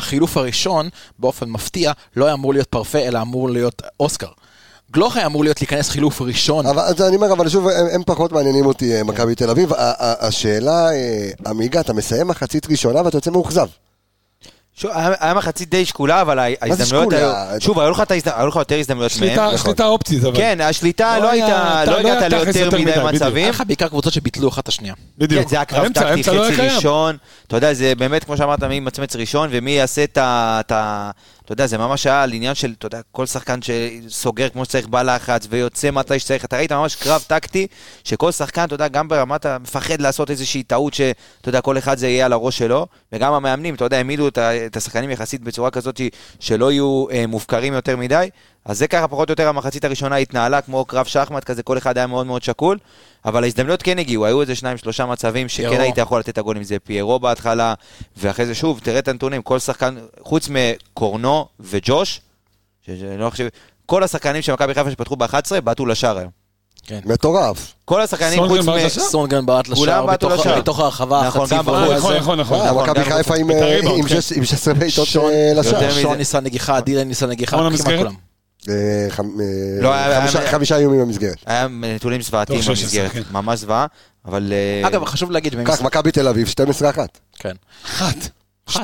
[SPEAKER 3] שהחילוף הראשון, באופן מפתיע, לא היה אמור להיות פרפה, אלא אמור להיות אוסקר. גלוך היה אמור להיות להיכנס חילוף ראשון.
[SPEAKER 1] אבל אז אני אומר, אבל שוב, הם, הם פחות מעניינים אותי, אה, מכבי תל אביב. ה- ה- השאלה, אה, עמיגה, אתה מסיים מחצית ראשונה ואתה יוצא מאוכזב.
[SPEAKER 5] שוב, היה היה מחצית די שקולה, אבל ההי-
[SPEAKER 1] מה זה
[SPEAKER 5] ההזדמנויות
[SPEAKER 1] שקולה?
[SPEAKER 5] היו... שוב, היו לך את ההזד- היו לך יותר הזדמנויות
[SPEAKER 6] שליטה-
[SPEAKER 5] מהם. נכון.
[SPEAKER 6] שליטה אופטית, אבל.
[SPEAKER 5] כן, השליטה
[SPEAKER 6] לא
[SPEAKER 5] לא
[SPEAKER 6] היה-
[SPEAKER 5] הייתה,
[SPEAKER 6] אתה-
[SPEAKER 5] לא
[SPEAKER 6] לא היה
[SPEAKER 5] הגעת
[SPEAKER 6] תכלס
[SPEAKER 5] ליותר
[SPEAKER 6] יותר
[SPEAKER 5] מדי
[SPEAKER 6] מדי, בדיוק.
[SPEAKER 3] היה
[SPEAKER 5] מצבים.
[SPEAKER 3] לך בעיקר קבוצות שביטלו אחת את השנייה.
[SPEAKER 6] בדיוק.
[SPEAKER 5] כן, זה היה קרב
[SPEAKER 6] האמצע-
[SPEAKER 5] טקטי,
[SPEAKER 6] האמצע לא היה
[SPEAKER 5] חצי
[SPEAKER 6] קיים.
[SPEAKER 5] ראשון. אתה יודע, זה באמת, כמו שאמרת, מי ימצמץ ראשון ומי יעשה את ה... את ה- אתה יודע, זה ממש היה על עניין של, אתה יודע, כל שחקן שסוגר כמו שצריך בלחץ ויוצא מתי שצריך. אתה ראית ממש קרב טקטי, שכל שחקן, אתה יודע, גם ברמת ה... מפחד לעשות איזושהי טעות שאתה יודע, כל אחד זה יהיה על הראש שלו, וגם המאמנים, אתה יודע, העמידו את ה- את השחקנים יחסית בצורה כזאת ש- שלא יהיו אה, מופקרים יותר מדי. אז זה ככה פחות או יותר המחצית הראשונה התנהלה כמו קרב שחמט כזה, כל אחד היה מאוד מאוד שקול, אבל ההזדמנויות כן הגיעו, היו איזה שניים שלושה מצבים שכן
[SPEAKER 3] פיירו.
[SPEAKER 5] היית יכול לתת את הגול עם זה, פיירו בהתחלה, ואחרי זה שוב, תראה את הנתונים, כל שחקן, חוץ מקורנו וג'וש, שאני לא חושב, כל השחקנים של מכבי חיפה שפתחו ב-11 בעטו לשער היום.
[SPEAKER 1] מטורף.
[SPEAKER 5] כל השחקנים
[SPEAKER 6] סונגרן
[SPEAKER 5] חוץ מ...
[SPEAKER 6] בעט לשער?
[SPEAKER 3] סונגרן בעט לשער
[SPEAKER 5] כולם בעטו
[SPEAKER 3] מתוך-
[SPEAKER 5] לשער.
[SPEAKER 3] מתוך הרחבה,
[SPEAKER 5] נכון,
[SPEAKER 3] חצי
[SPEAKER 5] גם
[SPEAKER 3] פרוע.
[SPEAKER 6] נכון,
[SPEAKER 5] בחוץ.
[SPEAKER 6] נכון, נכון, נכון.
[SPEAKER 5] נכון,
[SPEAKER 1] מכבי
[SPEAKER 5] גם
[SPEAKER 1] חיפה עם,
[SPEAKER 6] את
[SPEAKER 1] אה,
[SPEAKER 6] הריבאונד,
[SPEAKER 1] עם
[SPEAKER 6] כן.
[SPEAKER 1] שש- עם 16 בעיטות
[SPEAKER 3] שון-
[SPEAKER 1] אה,
[SPEAKER 5] יותר
[SPEAKER 1] לשער.
[SPEAKER 5] מזה.
[SPEAKER 3] שון ניסה נגיחה, דילן ניסה נגיחה,
[SPEAKER 6] כמה
[SPEAKER 3] כמעט
[SPEAKER 6] למסגרת?
[SPEAKER 3] כולם.
[SPEAKER 1] אה, חמ- אה,
[SPEAKER 5] לא, היה-
[SPEAKER 1] חמישה-
[SPEAKER 5] היה-
[SPEAKER 1] חמישה איומים במסגרת.
[SPEAKER 5] היה נתונים זוועתיים
[SPEAKER 6] טוב, 16,
[SPEAKER 5] במסגרת, ממש זוועה, אבל... אה,
[SPEAKER 3] אגב, חשוב להגיד,
[SPEAKER 1] כך,
[SPEAKER 3] במשחק-
[SPEAKER 1] מכבי תל אביב, 12-1.
[SPEAKER 3] כן.
[SPEAKER 6] אחת.
[SPEAKER 1] 12-1,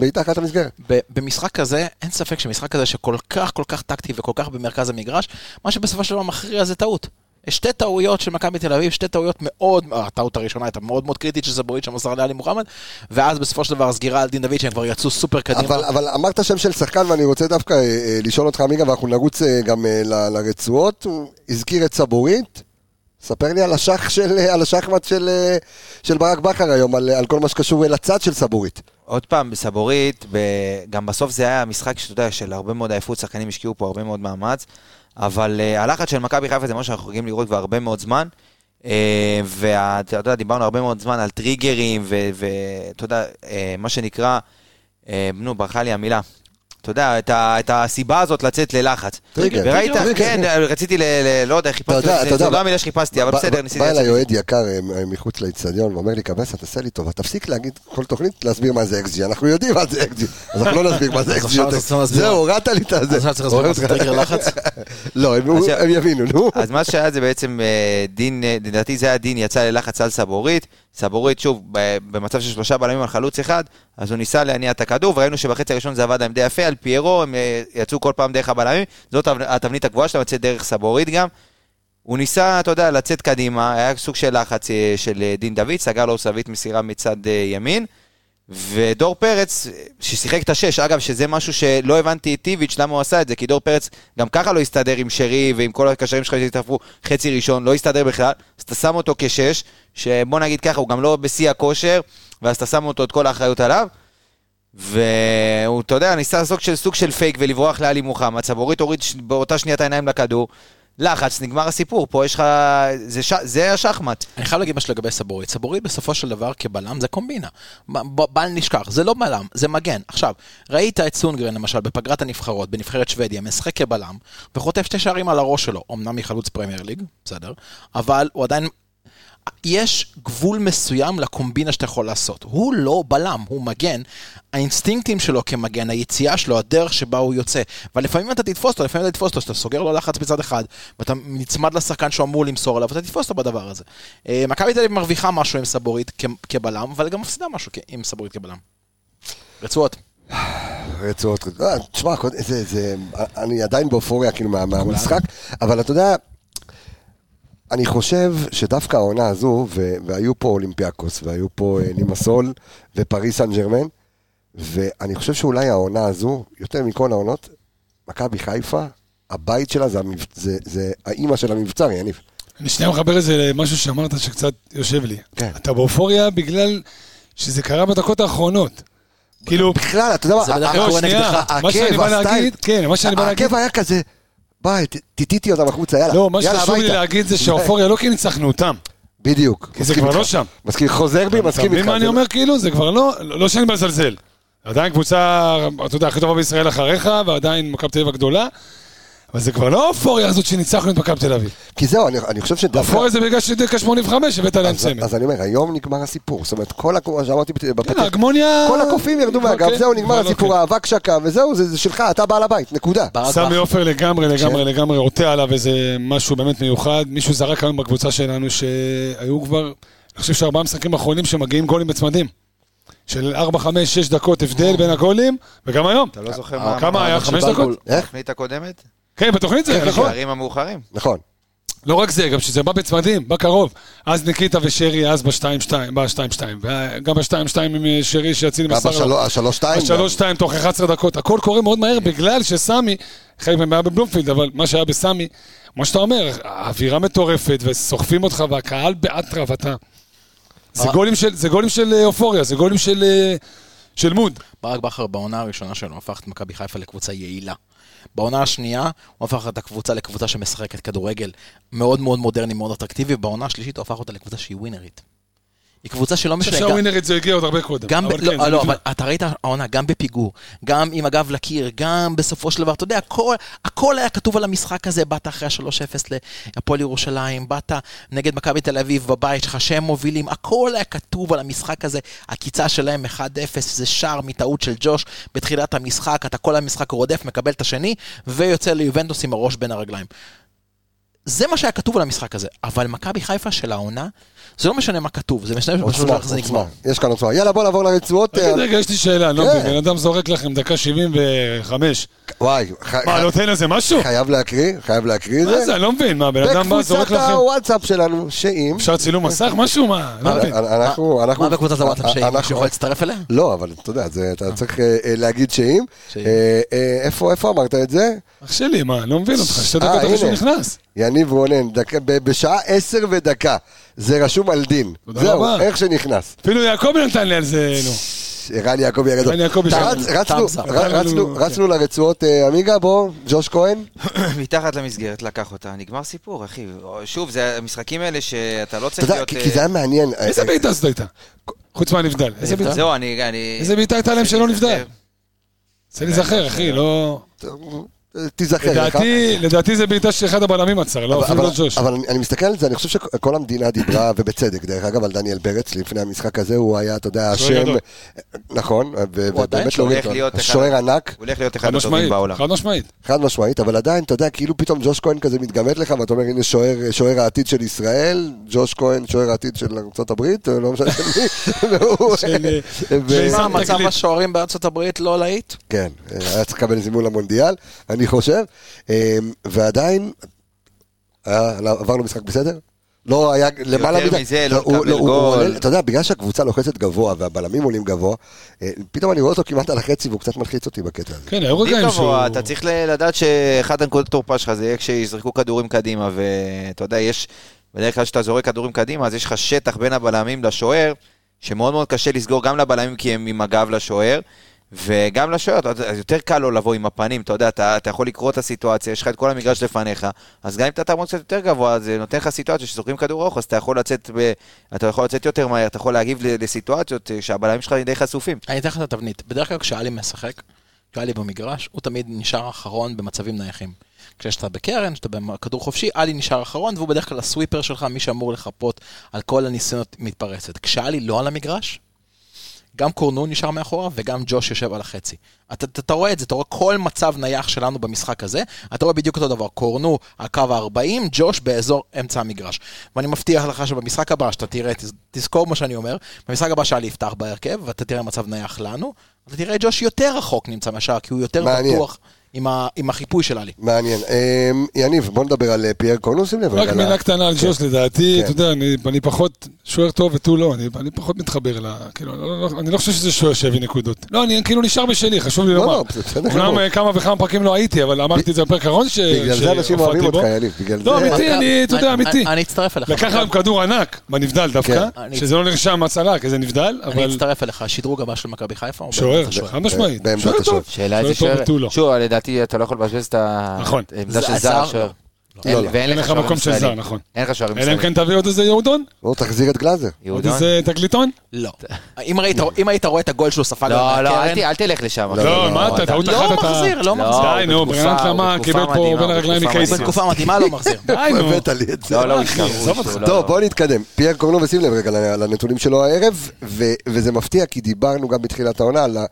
[SPEAKER 1] בעיטה אחת למסגרת.
[SPEAKER 3] ב- במשחק כזה, אין ספק שמשחק כזה שכל כך כל כך טקטי וכל כך במרכז המגרש, מה שבסופו של דבר מכריע זה טעות. שתי טעויות של מכבי תל אביב, שתי טעויות מאוד, אה, הטעות הראשונה הייתה מאוד מאוד קריטית של זבורית שמסר לעלי מוחמד, ואז בסופו של דבר הסגירה על דין דוד שהם כבר יצאו סופר קדימה.
[SPEAKER 1] אבל, אבל אמרת שם של שחקן ואני רוצה דווקא אה, אה, לשאול אותך עמיגה ואנחנו נרוץ אה, גם אה, ל- לרצועות, הוא הזכיר את סבורית, ספר לי על השח של, אה, על השחמט של, אה, של ברק בכר היום, על, על כל מה שקשור אל הצד של סבורית.
[SPEAKER 5] עוד פעם, בסבורית, ב- גם בסוף זה היה משחק שאתה יודע, של הרבה מאוד עייפות, שחקנים השקיעו פה הרבה מאוד מאמץ, אבל uh, הלחץ של מכבי חיפה זה מה שאנחנו רגילים לראות כבר הרבה מאוד זמן, uh, ואתה יודע, דיברנו הרבה מאוד זמן על טריגרים, ואתה יודע, uh, מה שנקרא, uh, נו, ברחה לי המילה. אתה יודע, את, ה, את הסיבה הזאת לצאת ללחץ.
[SPEAKER 1] טריגר,
[SPEAKER 5] וראית,
[SPEAKER 1] טריגר,
[SPEAKER 5] כן,
[SPEAKER 1] טריגר.
[SPEAKER 5] רציתי ל... ל- לא יודע, חיפשתי,
[SPEAKER 1] אתה יודע,
[SPEAKER 5] זה-
[SPEAKER 1] אתה יודע,
[SPEAKER 5] זו לא המילה שחיפשתי, אבל
[SPEAKER 1] ב-
[SPEAKER 5] בסדר,
[SPEAKER 1] ב-
[SPEAKER 5] ניסיתי
[SPEAKER 1] בא
[SPEAKER 5] לצאת
[SPEAKER 1] אליי
[SPEAKER 5] מזה.
[SPEAKER 1] אוהד יקר אה, מחוץ לאיצטדיון ואומר לי, קבסה, תעשה לי טובה, תפסיק להגיד כל תוכנית, להסביר מה זה XG, אנחנו יודעים מה זה XG, אז אנחנו לא נסביר מה זה
[SPEAKER 3] אז
[SPEAKER 1] XG
[SPEAKER 3] עכשיו
[SPEAKER 1] יותר.
[SPEAKER 3] צריך להסביר.
[SPEAKER 1] זהו, הורדת לי את הזה.
[SPEAKER 3] אז עכשיו צריך להסביר מה זה טריגר לחץ?
[SPEAKER 1] לא, הם
[SPEAKER 5] אז- אה,
[SPEAKER 1] הם יבינו, נו.
[SPEAKER 5] אז מה שהיה זה בעצם אה, דין, אה, לדעתי זה היה דין, יצא ללחץ על סבורית. סבורית, שוב, ב- במצב של שלושה בלמים על חלוץ אחד, אז הוא ניסה להניע את הכדור, וראינו שבחצי הראשון זה עבד להם די יפה, על פיירו, הם אה, יצאו כל פעם דרך הבלמים, זאת התב- התבנית הגבוהה שלהם, יוצאת דרך סבורית גם. הוא ניסה, אתה יודע, לצאת קדימה, היה סוג של לחץ אה, של אה, דין דוד, סגר לו זווית מסירה מצד אה, ימין. ודור פרץ, ששיחק את השש, אגב, שזה משהו שלא הבנתי את טיביץ' למה הוא עשה את זה, כי דור פרץ גם ככה לא הסתדר עם שרי ועם כל הקשרים שלך שהתערפו חצי ראשון, לא הסתדר בכלל, אז אתה שם אותו כשש, שבוא נגיד ככה, הוא גם לא בשיא הכושר, ואז אתה שם אותו את כל האחריות עליו, והוא, אתה יודע, ניסה לעשות של סוג של פייק ולברוח לעלי מוחמד, סבורית הוריד ש- באותה שנייה את העיניים לכדור, לחץ, נגמר הסיפור, פה יש לך... זה, ש... זה השחמט.
[SPEAKER 3] אני חייב להגיד משהו לגבי סבורית. סבורית בסופו של דבר כבלם זה קומבינה. ב- ב- בל נשכח, זה לא בלם, זה מגן. עכשיו, ראית את סונגרן למשל בפגרת הנבחרות, בנבחרת שוודיה, משחק כבלם, וחוטף שתי שערים על הראש שלו, אמנם מחלוץ פרמייר ליג, בסדר, אבל הוא עדיין... יש גבול מסוים לקומבינה שאתה יכול לעשות. הוא לא בלם, הוא מגן. האינסטינקטים שלו כמגן, היציאה שלו, הדרך שבה הוא יוצא. ולפעמים אתה תתפוס אותו, לפעמים אתה תתפוס אותו, שאתה סוגר לו לחץ מצד אחד, ואתה נצמד לשחקן שהוא אמור למסור עליו, ואתה תתפוס אותו בדבר הזה. אה, מכבי תל אביב מרוויחה משהו עם סבורית כ- כבלם, אבל גם מפסידה משהו כ- עם סבורית כבלם. רצועות.
[SPEAKER 1] רצועות, אה, תשמע, קוד- זה, זה, אני עדיין באופוריה כאילו מה- מהמשחק, אבל אתה יודע, אני חושב שדווקא העונה הזו, ו- והיו פה אולימפיאקוס, והיו פה אה, לימסול, ופריס סן ג'רמן, ואני חושב שאולי העונה הזו, יותר מכל העונות, מכבי חיפה, הבית שלה זה, המבצ... זה, זה האימא של המבצר, יניב.
[SPEAKER 6] אני שנייה מחבר את זה למשהו שאמרת שקצת יושב לי.
[SPEAKER 1] כן.
[SPEAKER 6] אתה באופוריה בגלל שזה קרה בדקות האחרונות. כאילו,
[SPEAKER 1] בכלל, אתה יודע מה,
[SPEAKER 3] זה בדרך כלל
[SPEAKER 1] ה-
[SPEAKER 6] לא,
[SPEAKER 3] קורה
[SPEAKER 6] שנייה,
[SPEAKER 3] נגדך.
[SPEAKER 6] מה שאני
[SPEAKER 1] העקב,
[SPEAKER 6] בא
[SPEAKER 1] הסטייל.
[SPEAKER 6] להגיד, כן, מה שאני בא להגיד,
[SPEAKER 1] העקב היה כזה, ביי, ת- טיטיתי אותם החוצה, יאללה,
[SPEAKER 6] לא, מה
[SPEAKER 1] יאללה,
[SPEAKER 6] שחשוב לי
[SPEAKER 1] הביתה.
[SPEAKER 6] להגיד זה שהאופוריה לא כי ניצחנו אותם.
[SPEAKER 1] בדיוק.
[SPEAKER 6] כי זה
[SPEAKER 1] מסכים
[SPEAKER 6] כבר
[SPEAKER 1] איתך.
[SPEAKER 6] לא שם.
[SPEAKER 1] מסכים, חוזר בי,
[SPEAKER 6] אתה
[SPEAKER 1] מסכים
[SPEAKER 6] מבין
[SPEAKER 1] איתך.
[SPEAKER 6] מה אני
[SPEAKER 1] זה-
[SPEAKER 6] אומר? כאילו, זה כבר לא, לא שאני מזלזל. עדיין קבוצה, אתה יודע, הכי טובה בישראל אחריך, ועדיין מכבי תל אביב הגדולה, אבל זה כבר לא האופוריה הזאת שניצחנו את מכבי תל אביב.
[SPEAKER 1] כי זהו, אני, אני חושב שדווקא...
[SPEAKER 6] האופוריה זה בגלל שדקה 85 הבאת עליהם
[SPEAKER 1] לא. אז,
[SPEAKER 6] צמד.
[SPEAKER 1] אז אני אומר, היום נגמר הסיפור. זאת אומרת, כל, הכ- כמו שאמרתי בפתק,
[SPEAKER 6] כן, ההגמוניה...
[SPEAKER 1] כל הקופים ירדו מהגב,
[SPEAKER 6] אוקיי,
[SPEAKER 1] זהו, נגמר
[SPEAKER 6] אבל
[SPEAKER 1] הסיפור,
[SPEAKER 6] אוקיי.
[SPEAKER 1] האבק שקע, וזהו, זה, זה שלך, אתה בעל הבית, נקודה.
[SPEAKER 3] ברק
[SPEAKER 6] סמי
[SPEAKER 3] בכר.
[SPEAKER 6] עופר
[SPEAKER 1] כן.
[SPEAKER 6] לגמרי, לגמרי, לגמרי, עוטה עליו איזה משהו באמת מיוחד. מישהו זרק היום בקבוצה שלנו שהיו כבר, אני חושב שארבעה משחקים אחרונים שמגיעים גולים בצמדים. של 4, 5, 6 דקות הבדל בין הגולים, וגם היום.
[SPEAKER 5] אתה לא זוכר
[SPEAKER 3] אה,
[SPEAKER 6] מה- אה, כמה היה? חמש
[SPEAKER 3] בלבול.
[SPEAKER 6] דקות?
[SPEAKER 1] איך?
[SPEAKER 5] התוכנית הקודמת?
[SPEAKER 6] כן, בתוכנית זה, נכון.
[SPEAKER 5] השערים המאוחרים.
[SPEAKER 1] נכון.
[SPEAKER 3] כן.
[SPEAKER 6] לא רק זה, גם שזה בא בצמדים, בא קרוב. אז ניקיטה ושרי, אז ב-2-2, ב-2-2. גם ב-2-2 עם אה, שרי שיציל
[SPEAKER 1] גם
[SPEAKER 6] מסר. לו.
[SPEAKER 1] בשלוש- השלוש-שתיים.
[SPEAKER 6] השלוש-שתיים תוך 11 דקות, הכל קורה מאוד מהר
[SPEAKER 3] כן.
[SPEAKER 6] בגלל שסמי, חלק מהם היה בבלומפילד, אבל מה שהיה בסמי, מה שאתה אומר, האווירה מטורפת וסוחפים אותך והקהל באטרף, אתה... זה
[SPEAKER 3] אה.
[SPEAKER 6] גולים של- זה גולים של אה, אופוריה, זה גולים של, אה, של מוד.
[SPEAKER 3] ברק בכר בעונה הראשונה שלו הפך את מכבי חיפה לקבוצה יעילה. בעונה השנייה הוא הפך את הקבוצה לקבוצה שמשחקת כדורגל מאוד מאוד מודרני, מאוד אטרקטיבי, ובעונה השלישית הוא הפך אותה לקבוצה שהיא ווינרית. היא קבוצה שלא
[SPEAKER 6] אני
[SPEAKER 3] משנה...
[SPEAKER 6] חושב
[SPEAKER 3] גם-
[SPEAKER 6] שהווינרית זה הגיע עוד הרבה קודם.
[SPEAKER 3] גם, ב...
[SPEAKER 6] אבל
[SPEAKER 3] לא,
[SPEAKER 6] כן,
[SPEAKER 3] לא,
[SPEAKER 6] זה נפלא.
[SPEAKER 3] אבל אתה ראית העונה, גם בפיגור, גם עם הגב לקיר, גם בסופו של דבר, אתה יודע, הכל, הכל היה כתוב על המשחק הזה, באת אחרי ה-3-0 להפועל ירושלים, באת נגד מכבי תל אביב בבית שלך, שהם מובילים, הכל היה כתוב על המשחק הזה, הקיצה שלהם 1-0, זה שער מטעות של ג'וש בתחילת המשחק, אתה כל המשחק רודף, מקבל את השני, ויוצא ליובנטוס עם הראש בין הרגליים. זה מה שהיה כתוב על המשחק הזה, אבל מכבי חיפה של העונה, זה לא משנה מה כתוב, זה משנה לא פשוט
[SPEAKER 1] עוצמה,
[SPEAKER 3] איך זה נגמר.
[SPEAKER 1] עוצמה. יש
[SPEAKER 6] אוקיי,
[SPEAKER 1] כאן עוצמה. יאללה, בוא נעבור לרצועות.
[SPEAKER 6] תגיד,
[SPEAKER 1] אה,
[SPEAKER 6] רגע, יש לי שאלה, אני לא
[SPEAKER 1] כן.
[SPEAKER 6] מבין, בן אדם זורק לכם דקה 75,
[SPEAKER 1] וואי, ח-
[SPEAKER 6] מה,
[SPEAKER 1] ח-
[SPEAKER 6] לא תן לזה משהו?
[SPEAKER 1] חייב להקריא, חייב להקריא את זה.
[SPEAKER 6] מה זה, אני לא מבין, מה, בן אדם בא, זורק
[SPEAKER 1] אה, בקבוצת כן.
[SPEAKER 6] לכם?
[SPEAKER 1] הוואטסאפ שלנו, שאם...
[SPEAKER 6] אפשר צילום מסך, משהו?
[SPEAKER 1] אה,
[SPEAKER 6] מה? לא מבין.
[SPEAKER 1] אנ- אנחנו, אנחנו... אה,
[SPEAKER 3] מה בקבוצת הוואטסאפ שהיא?
[SPEAKER 1] אנחנו-
[SPEAKER 3] מישהו יכול להצטרף אליה?
[SPEAKER 1] לא, אבל אתה יודע, זה- אתה צריך
[SPEAKER 6] אוקיי.
[SPEAKER 1] אה, אה, להגיד שאם.
[SPEAKER 3] שאם.
[SPEAKER 1] אה, אה, איפה איפה אמרת את זה?
[SPEAKER 6] אח שלי, מה, אני לא מבין אותך, שתי
[SPEAKER 1] אה,
[SPEAKER 6] דקות
[SPEAKER 1] הנה.
[SPEAKER 6] אחרי שהוא נכנס.
[SPEAKER 1] יניב רונן, דק- ב- בשעה עשר ודקה. זה רשום על דין.
[SPEAKER 6] תודה
[SPEAKER 1] זהו,
[SPEAKER 6] רבה.
[SPEAKER 1] איך שנכנס.
[SPEAKER 6] אפילו יעקבי נתן לי על זה, נו.
[SPEAKER 1] ערן יעקבי ירד.
[SPEAKER 6] ערן יעקבי
[SPEAKER 1] אתה
[SPEAKER 6] שם.
[SPEAKER 1] רץ- רצנו-
[SPEAKER 3] תאמס אפ.
[SPEAKER 1] ר- רצנו-
[SPEAKER 6] כן.
[SPEAKER 1] רצנו לרצועות אה, עמיגה, בוא, ג'וש כהן.
[SPEAKER 5] מתחת למסגרת לקח אותה, נגמר סיפור, אחי. שוב, זה המשחקים האלה שאתה לא
[SPEAKER 1] אתה
[SPEAKER 5] צריך
[SPEAKER 1] יודע,
[SPEAKER 5] להיות...
[SPEAKER 1] כי כי זה היה מעניין. אה,
[SPEAKER 6] איזה בעיטה זאת הייתה? חוץ מהנבדל. איזה בעיטה?
[SPEAKER 5] אה, זהו, אה, אני... אני-
[SPEAKER 6] איזה בעיטה הייתה להם שלא נבדל? צריך להיזכר, אחי, לא...
[SPEAKER 1] אה, תיזכר לך.
[SPEAKER 6] לדעתי, לדעתי זה בעיטה שאחד הבלמים עצר, לא, אפילו
[SPEAKER 1] אבל,
[SPEAKER 6] לא ג'וש.
[SPEAKER 1] אבל אני, אני מסתכל על זה, אני חושב שכל המדינה דיברה, ובצדק, דרך אגב, על דניאל פרץ, לפני המשחק הזה, הוא היה, אתה יודע,
[SPEAKER 6] שוער
[SPEAKER 1] השם...
[SPEAKER 6] גדול.
[SPEAKER 1] נכון, ו-
[SPEAKER 3] עדיין
[SPEAKER 1] ובאמת לא
[SPEAKER 3] שוער,
[SPEAKER 1] ראיתי
[SPEAKER 5] הולך
[SPEAKER 1] אותו.
[SPEAKER 5] להיות אחד-
[SPEAKER 1] שוער ענק,
[SPEAKER 5] הוא הולך להיות
[SPEAKER 6] חד
[SPEAKER 5] אחד הטובים
[SPEAKER 6] משמעית,
[SPEAKER 5] בעולם.
[SPEAKER 6] חד משמעית.
[SPEAKER 1] חד משמעית, אבל עדיין, אתה יודע, כאילו פתאום ג'וש כהן כזה מתגמד לך, ואתה אומר, הנה שוער- שוער העתיד של ישראל, ג'וש כהן, שוער העתיד של ארה"ב, לא משנה של מי, והוא...
[SPEAKER 6] של, אה,
[SPEAKER 1] ו-
[SPEAKER 6] של
[SPEAKER 3] מה,
[SPEAKER 6] שם
[SPEAKER 3] מצב
[SPEAKER 6] תקליט.
[SPEAKER 3] השוערים בארצות הברית לא להיט?
[SPEAKER 1] כן, היה צריך לקבל זימון למונדיאל, אני חושב. אמ, ועדיין, היה- עברנו משחק בסדר? לא היה למעלה מדי.
[SPEAKER 5] מזה, לא
[SPEAKER 1] הוא-
[SPEAKER 5] לקבל
[SPEAKER 1] הוא
[SPEAKER 5] גול.
[SPEAKER 1] עולה- אתה יודע, בגלל שהקבוצה לוחצת גבוה והבלמים עולים גבוה, אה, פתאום אני רואה אותו כמעט על החצי והוא קצת מלחיץ אותי בקטע הזה.
[SPEAKER 6] כן, היו
[SPEAKER 5] עדיף
[SPEAKER 6] רגעים שהוא...
[SPEAKER 5] גבוה, אתה צריך ל- לדעת שאחד הנקודות תורפה שלך זה יהיה כשיזרקו כדורים קדימה, ואתה יודע, יש, בדרך כלל כשאתה זורק כדורים קדימה, אז יש לך שטח בין הבלמים לשוער, שמאוד מאוד קשה לסגור גם לבלמים כי הם עם הגב לשוער, וגם לשוער, אתה- אז יותר קל לו לבוא עם הפנים, אתה יודע, אתה, אתה יכול לקרוא את הסיטואציה, יש לך את כל המגרש לפניך, אז גם אם אתה תעמוד קצת יותר גבוה, זה נותן לך סיטואציה שזורקים כדור ארוך, אז אתה יכול לצאת, ב, אתה יכול לצאת יותר מהר, אתה יכול להגיב ל- לסיטואציות אה, שהבלמים שלך די חשופים.
[SPEAKER 3] אני אתן לך את התבנית. בדרך כלל כשאלי משחק, כשאלי במגרש, הוא תמיד נשאר אחרון במצבים נייחים. כשאתה בקרן, כשאתה בכדור חופשי, אלי נשאר אחרון, והוא בדרך כלל הסוויפר שלך, מי שאמור לחפות על כל הניסיונות מתפרצת. כשאלי לא על המגרש, גם קורנו נשאר מאחורה, וגם ג'וש יושב על החצי. אתה, אתה, אתה רואה את זה, אתה רואה כל מצב נייח שלנו במשחק הזה, אתה רואה בדיוק אותו דבר, קורנו, הקו ה-40, ג'וש באזור אמצע המגרש. ואני מבטיח לך שבמשחק הבא, שאתה תראה, תז- תזכור מה שאני אומר, במשחק הבא שאלי יפתח בהרכב, ואתה תראה מצב נייח לנו, אתה תראה את ג'וש יותר רחוק נמצא מהשאר, כי הוא יותר
[SPEAKER 1] מעניין.
[SPEAKER 3] בטוח עם, ה, עם החיפוי של אלי.
[SPEAKER 1] מעניין. אמ, יניב, בוא נדבר על אה, פייר קורנו, שים לב. לא
[SPEAKER 6] רק
[SPEAKER 1] על
[SPEAKER 6] מילה
[SPEAKER 1] ה-
[SPEAKER 6] קטנה על ג'וש, לדעתי,
[SPEAKER 1] כן.
[SPEAKER 6] אתה יודע, אני- אני פחות שוער טוב ותו לא, אני אני פחות מתחבר ל... כאילו, לא- לא- לא- אני לא חושב שזה שוער שיביא נקודות. לא, אני כאילו נשאר בשלי, חשוב לי
[SPEAKER 1] לא,
[SPEAKER 6] לומר.
[SPEAKER 1] לא, בסדר
[SPEAKER 6] אומנם
[SPEAKER 1] גמור.
[SPEAKER 6] אה, כמה וכמה פרקים לא הייתי, אבל אמרתי את זה בפרק האחרון ש-
[SPEAKER 1] בגלל זה אנשים
[SPEAKER 6] שהופעתי
[SPEAKER 1] אוהבים
[SPEAKER 6] בו.
[SPEAKER 1] אותך, יניב. בגלל
[SPEAKER 6] לא,
[SPEAKER 1] זה...
[SPEAKER 6] אמיתי, אני, אתה יודע, אמיתי.
[SPEAKER 3] אני, אני אצטרף אליך.
[SPEAKER 6] לקח להם כדור ענק, בנבדל דווקא,
[SPEAKER 1] כן.
[SPEAKER 3] אני-
[SPEAKER 6] שזה לא נרשם הצלה, כי זה נבדל,
[SPEAKER 3] אני
[SPEAKER 6] אבל
[SPEAKER 3] אצטרף אליך, השדרוג הבא של מכבי חיפה. הוא בעמדת
[SPEAKER 6] שוער,
[SPEAKER 3] השוער.
[SPEAKER 6] חד משמעית.
[SPEAKER 1] בעמדת
[SPEAKER 6] שוער
[SPEAKER 1] השוער.
[SPEAKER 6] טוב.
[SPEAKER 7] שאלה איזה
[SPEAKER 6] שוער טוב
[SPEAKER 7] שוער,
[SPEAKER 6] ותו לא.
[SPEAKER 7] שוב, לדעתי אתה לא יכול לבזבז את
[SPEAKER 6] נכון.
[SPEAKER 7] העמדה
[SPEAKER 3] זה-
[SPEAKER 7] של
[SPEAKER 3] הזר
[SPEAKER 7] זר,
[SPEAKER 3] לא.
[SPEAKER 7] שוער.
[SPEAKER 1] לא,
[SPEAKER 7] אין-
[SPEAKER 1] לא.
[SPEAKER 7] ואין
[SPEAKER 6] אין לך
[SPEAKER 7] לך שוערים
[SPEAKER 6] מקום של זר,
[SPEAKER 7] ישראלים.
[SPEAKER 6] נכון.
[SPEAKER 7] אין לך שוערים
[SPEAKER 6] אלא אם
[SPEAKER 7] ישראלים.
[SPEAKER 6] כן תביא עוד איזה יהודון,
[SPEAKER 1] לא, תחזיר את גלאזר.
[SPEAKER 6] עוד
[SPEAKER 7] יהודון?
[SPEAKER 6] איזה תקליטון.
[SPEAKER 3] לא. אם היית- אם היית רואה את הגול שהוא ספג על
[SPEAKER 7] לא,
[SPEAKER 5] כן.
[SPEAKER 7] לא, אל
[SPEAKER 3] הקרן,
[SPEAKER 7] ת- אל תלך לשם. אחי.
[SPEAKER 6] לא, מה אתה, טעות אחת אתה...
[SPEAKER 3] לא מחזיר, לא
[SPEAKER 7] לא,
[SPEAKER 3] מחזיר.
[SPEAKER 6] די, נו,
[SPEAKER 7] בתקופה-
[SPEAKER 6] ברנט למה
[SPEAKER 7] בתקופה
[SPEAKER 6] קיבל פה
[SPEAKER 7] מדהימה,
[SPEAKER 6] בין הרגליים
[SPEAKER 7] בתקופה
[SPEAKER 6] מקייסים.
[SPEAKER 7] מדהימה.
[SPEAKER 3] בתקופה מתאימה לא מחזיר.
[SPEAKER 6] די, נו.
[SPEAKER 1] הבאת לי את זה.
[SPEAKER 7] לא, לא, הוא
[SPEAKER 6] אחי,
[SPEAKER 7] התקרב,
[SPEAKER 6] עזוב
[SPEAKER 7] הוא
[SPEAKER 6] אותך.
[SPEAKER 7] לא-
[SPEAKER 1] טוב, בואו נתקדם. פייר קורנו, ושים לב רגע ל- לנתונים שלו הערב, ו- וזה מפתיע, כי דיברנו גם בתחילת העונה על, ה-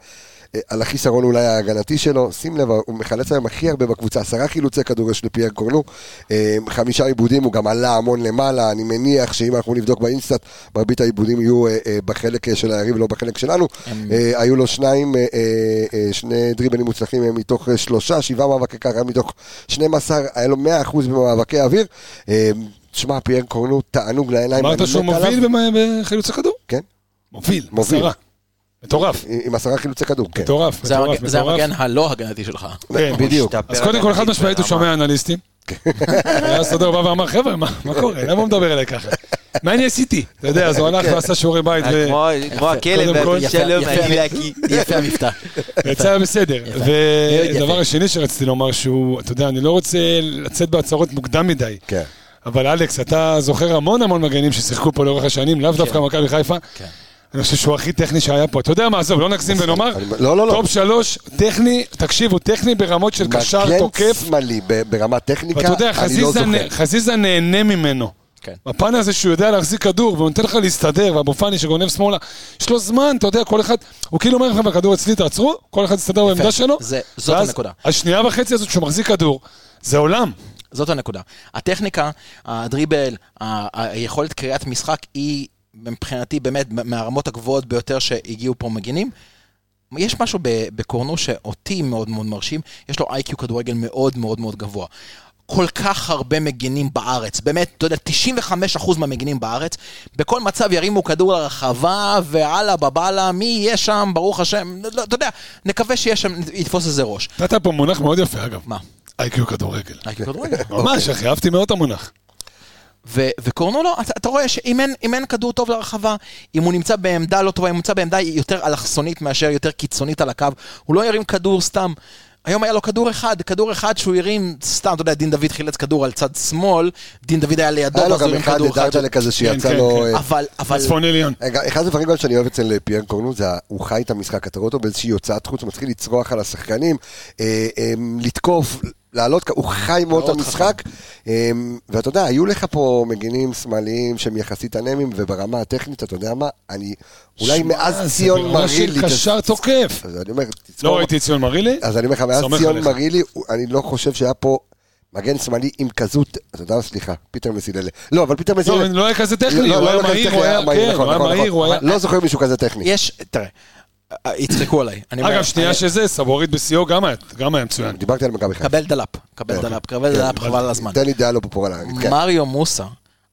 [SPEAKER 1] אה, על החיסרון אולי ההגנתי שלו. שים לב, הוא מחלץ היום הכי הרבה בקבוצה, עשרה חילוצי כדור יש לפייר קורנו, אה, חמישה עיבודים, הוא גם עלה המון למעלה, אני מניח שאם אנחנו נבדוק באינסטאט, מרבית העיבודים יהיו אה, אה, בחלק אה, של היריב, לא בחלק שלנו. אה, היו לו שניים, אה, אה, אה, שני דריבלים מוצלחים אה, מתוך אה, שלושה, שבעה מאבקי קרקע מתוך 12, היה לו 100% במאבקי אוויר. אה, תשמע, פייר קורנו תענוג לעיניים.
[SPEAKER 6] אמרת
[SPEAKER 1] אני
[SPEAKER 6] שהוא
[SPEAKER 1] מת
[SPEAKER 6] מוביל
[SPEAKER 1] עליו.
[SPEAKER 6] במ- בחילוץ הכדור?
[SPEAKER 1] כן,
[SPEAKER 6] מוביל,
[SPEAKER 1] מוביל. אה,
[SPEAKER 6] עשרה. מטורף,
[SPEAKER 1] עם עם עשרה חילוצי כדור, כן.
[SPEAKER 6] מטורף,
[SPEAKER 3] זה
[SPEAKER 6] מטורף,
[SPEAKER 3] המג- זה
[SPEAKER 6] מטורף.
[SPEAKER 3] המגן הלא הגנתי שלך.
[SPEAKER 6] כן.
[SPEAKER 1] בדיוק.
[SPEAKER 5] השתפר
[SPEAKER 6] אז קודם כל, חד
[SPEAKER 5] הגנתית
[SPEAKER 6] משמעית הוא
[SPEAKER 5] ברמה.
[SPEAKER 6] שומע אנליסטים.
[SPEAKER 1] כן.
[SPEAKER 6] היה סדר בא ואמר, חבר'ה, מה מה קורה? למה הוא מדבר אליי ככה? מה אני עשיתי? אתה יודע, אז הוא הלך
[SPEAKER 1] כן.
[SPEAKER 6] ועשה שיעורי בית ו-
[SPEAKER 5] אה, כמו- כמו
[SPEAKER 6] קודם
[SPEAKER 5] הכלב,
[SPEAKER 6] כל-
[SPEAKER 5] והבן שלו,
[SPEAKER 3] יפה,
[SPEAKER 5] ואני
[SPEAKER 3] יפה,
[SPEAKER 5] להקיא.
[SPEAKER 3] יפה המבטא.
[SPEAKER 6] יצא בסדר. והדבר השני שרציתי לומר שהוא, אתה יודע, אני לא רוצה לצאת בהצהרות מוקדם מדי.
[SPEAKER 1] כן.
[SPEAKER 6] אבל אלכס, אתה זוכר המון המון מגנים ששיחקו פה לאורך השנים, לאו דווקא מכבי חיפה.
[SPEAKER 3] כן.
[SPEAKER 6] אני חושב שהוא הכי טכני שהיה פה. אתה יודע מה, עזוב, לא נגזים ונאמר,
[SPEAKER 1] אני- לא, לא, לא.
[SPEAKER 6] טופ שלוש, טכני, תקשיב, הוא טכני ברמות של קשר
[SPEAKER 1] מגן
[SPEAKER 6] תוקף.
[SPEAKER 1] שמאלי ב- ברמת טכניקה,
[SPEAKER 6] ואתה יודע,
[SPEAKER 1] אני לא
[SPEAKER 6] חזיזה
[SPEAKER 1] זוכר.
[SPEAKER 6] נה- חזיזה נהנה ממנו.
[SPEAKER 3] כן.
[SPEAKER 6] בפן הזה שהוא יודע להחזיק כדור ונותן לך להסתדר, ואבו פאני שגונב שמאלה, יש לו זמן, אתה יודע, כל אחד, הוא כאילו אומר לכם, הכדור אצלי, תעצרו, כל אחד יסתדר בעמדה שלו.
[SPEAKER 3] זה- זאת
[SPEAKER 6] ואז
[SPEAKER 3] הנקודה.
[SPEAKER 6] השנייה וחצי הזאת שהוא מחזיק כדור, זה עולם.
[SPEAKER 3] זאת הנקודה. הטכניקה, הדריבל, ה- היכולת קריאת משחק היא מבחינתי באמת מהרמות הגבוהות ביותר שהגיעו פה מגינים. יש משהו ב- בקורנו שאותי מאוד מאוד מרשים, יש לו איי-קיו כדורגל מאוד מאוד מאוד גבוה. כל כך הרבה מגינים בארץ, באמת, אתה יודע, 95% מהמגינים בארץ, בכל מצב ירימו כדור לרחבה, ואללה בבאללה, מי יהיה שם, ברוך השם, לא, אתה יודע, נקווה שיהיה שם, יתפוס איזה ראש.
[SPEAKER 6] נתת פה מונח מאוד יפה, אגב.
[SPEAKER 3] מה?
[SPEAKER 6] איי-קיו כדורגל.
[SPEAKER 3] איי-קיו כדורגל.
[SPEAKER 1] אוקיי.
[SPEAKER 6] ממש, אחי, אהבתי מאוד את המונח.
[SPEAKER 3] ו- וקורנו לו, "לא, אתה, אתה רואה שאם אין, אם אין כדור טוב לרחבה, אם הוא נמצא בעמדה לא טובה, אם הוא נמצא בעמדה יותר אלכסונית מאשר יותר קיצונית על הקו, הוא לא ירים כדור סתם. היום היה לו כדור אחד, כדור אחד שהוא הרים סתם, אתה יודע, דין דוד חילץ כדור על צד שמאל, דין דוד היה לידו,
[SPEAKER 1] היה לו
[SPEAKER 3] ואז הוא
[SPEAKER 1] גם
[SPEAKER 3] הרים
[SPEAKER 1] אחד
[SPEAKER 3] כדור אחד.
[SPEAKER 1] לדאג'לה כזה שיצא
[SPEAKER 6] כן,
[SPEAKER 1] לו...
[SPEAKER 6] כן.
[SPEAKER 1] אה,
[SPEAKER 3] אבל, אבל,
[SPEAKER 6] הצפון עליון.
[SPEAKER 1] רגע, אחד הדברים גם שאני אוהב אצל פיאר קורנו זה ה- הוא חי את המשחק, אתה רואה אותו באיזושהי הוצאת חוץ, הוא מתחיל לצרוח על השחקנים, אה, אה, לתקוף, לעלות, כ- הוא חי מאוד את
[SPEAKER 3] מאוד
[SPEAKER 1] המשחק. אה, ואתה יודע, היו לך פה מגינים שמאליים שהם יחסית אנמיים, וברמה הטכנית, אתה יודע מה, אני אולי
[SPEAKER 6] שמע, אה, זה
[SPEAKER 1] מאז ציון
[SPEAKER 6] ברמה
[SPEAKER 1] מרילי...
[SPEAKER 6] של קשר תוקף.
[SPEAKER 1] אז אני אומר,
[SPEAKER 6] לא
[SPEAKER 1] תזכור,
[SPEAKER 6] ראיתי את ציון מרילי?
[SPEAKER 1] אז אני אומר לך, מאז
[SPEAKER 6] סומך
[SPEAKER 1] ציון
[SPEAKER 6] עליך.
[SPEAKER 1] מרילי, הוא- אני לא חושב שהיה פה... מגן שמאלי עם כזו, אתה יודע, מה, סליחה, פיטר מסיללה. לא, אבל פיטר
[SPEAKER 6] לא,
[SPEAKER 1] מסיללה...
[SPEAKER 6] אבל לא היה כזה טכני,
[SPEAKER 1] לא,
[SPEAKER 6] הוא
[SPEAKER 1] לא
[SPEAKER 6] היה
[SPEAKER 1] היה כזה
[SPEAKER 6] מהיר,
[SPEAKER 1] טכני,
[SPEAKER 6] הוא היה כן,
[SPEAKER 1] נכון,
[SPEAKER 6] הוא היה
[SPEAKER 1] נכון,
[SPEAKER 6] מהיר, הוא
[SPEAKER 1] נכון.
[SPEAKER 6] היה...
[SPEAKER 1] לא זוכר מישהו כזה טכני.
[SPEAKER 3] יש, תראה, אה, אה, יצחקו עליי. אני אומר,
[SPEAKER 6] אגב, שנייה
[SPEAKER 1] אה,
[SPEAKER 3] אני-
[SPEAKER 6] שזה, סבורית בשיאו גם היה- גם היה מצוין.
[SPEAKER 1] דיברתי על מכבי חיפה.
[SPEAKER 3] קבל דלאפ, קבל
[SPEAKER 1] אוקיי.
[SPEAKER 3] דלאפ,
[SPEAKER 1] כן,
[SPEAKER 3] קבל דלאפ, חבל על הזמן.
[SPEAKER 1] תן לי דעה לא פופולרית. כן.
[SPEAKER 3] מריו מוסה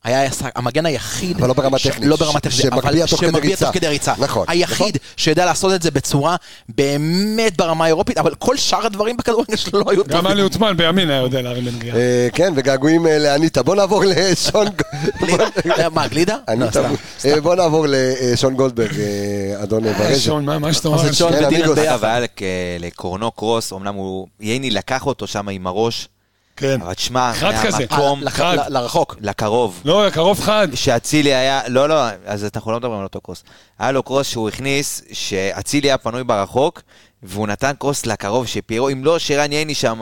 [SPEAKER 3] היה השחק- המגן היחיד,
[SPEAKER 1] אבל לא ברמה
[SPEAKER 3] ש-
[SPEAKER 1] טכנית.
[SPEAKER 3] לא ברמה
[SPEAKER 1] ש-
[SPEAKER 3] טכנית,
[SPEAKER 1] שמגביה
[SPEAKER 3] אבל
[SPEAKER 1] תוך כדי
[SPEAKER 3] שמגביה
[SPEAKER 1] ריצה.
[SPEAKER 3] תוך כדי ריצה,
[SPEAKER 1] נכון, נכון.
[SPEAKER 3] היחיד שידע לעשות את זה בצורה באמת ברמה האירופית, אבל כל שאר הדברים בכדורגל שלו לא היו
[SPEAKER 6] גם
[SPEAKER 3] טובים.
[SPEAKER 6] עלי עותמן בימין היה יודע להרים בנגיעה.
[SPEAKER 1] אה, כן, וגעגועים אה, לאניטה. בוא נעבור לשון...
[SPEAKER 3] גלידה? מה, גלידה? לא,
[SPEAKER 1] אניטה.
[SPEAKER 3] אה, סתם.
[SPEAKER 1] אה, בוא נעבור לשון גולדברג, אה, אדון
[SPEAKER 6] אה,
[SPEAKER 1] ברז'ה.
[SPEAKER 6] שון, מה- מה שאתה אומר?
[SPEAKER 3] אז את שון
[SPEAKER 1] כן,
[SPEAKER 3] ודינן
[SPEAKER 1] אמיגוס.
[SPEAKER 5] אגב,
[SPEAKER 3] ביחד.
[SPEAKER 5] היה לק- אה, לקורנו קרוס, אמנם הוא... ייני לקח אותו שם עם הראש,
[SPEAKER 6] כן.
[SPEAKER 5] אבל תשמע,
[SPEAKER 6] חד כזה.
[SPEAKER 5] מהמקום
[SPEAKER 3] אה, לח-
[SPEAKER 6] חד.
[SPEAKER 3] ל- לרחוק.
[SPEAKER 5] לקרוב.
[SPEAKER 6] לא, קרוב חד.
[SPEAKER 1] אה,
[SPEAKER 5] שאצילי היה, לא, לא, אז אנחנו לא מדברים על אותו קרוס. היה לו קרוס שהוא הכניס, שאצילי היה פנוי ברחוק, והוא נתן קרוס לקרוב, שפיירו, אם לא, שרן ייני שם,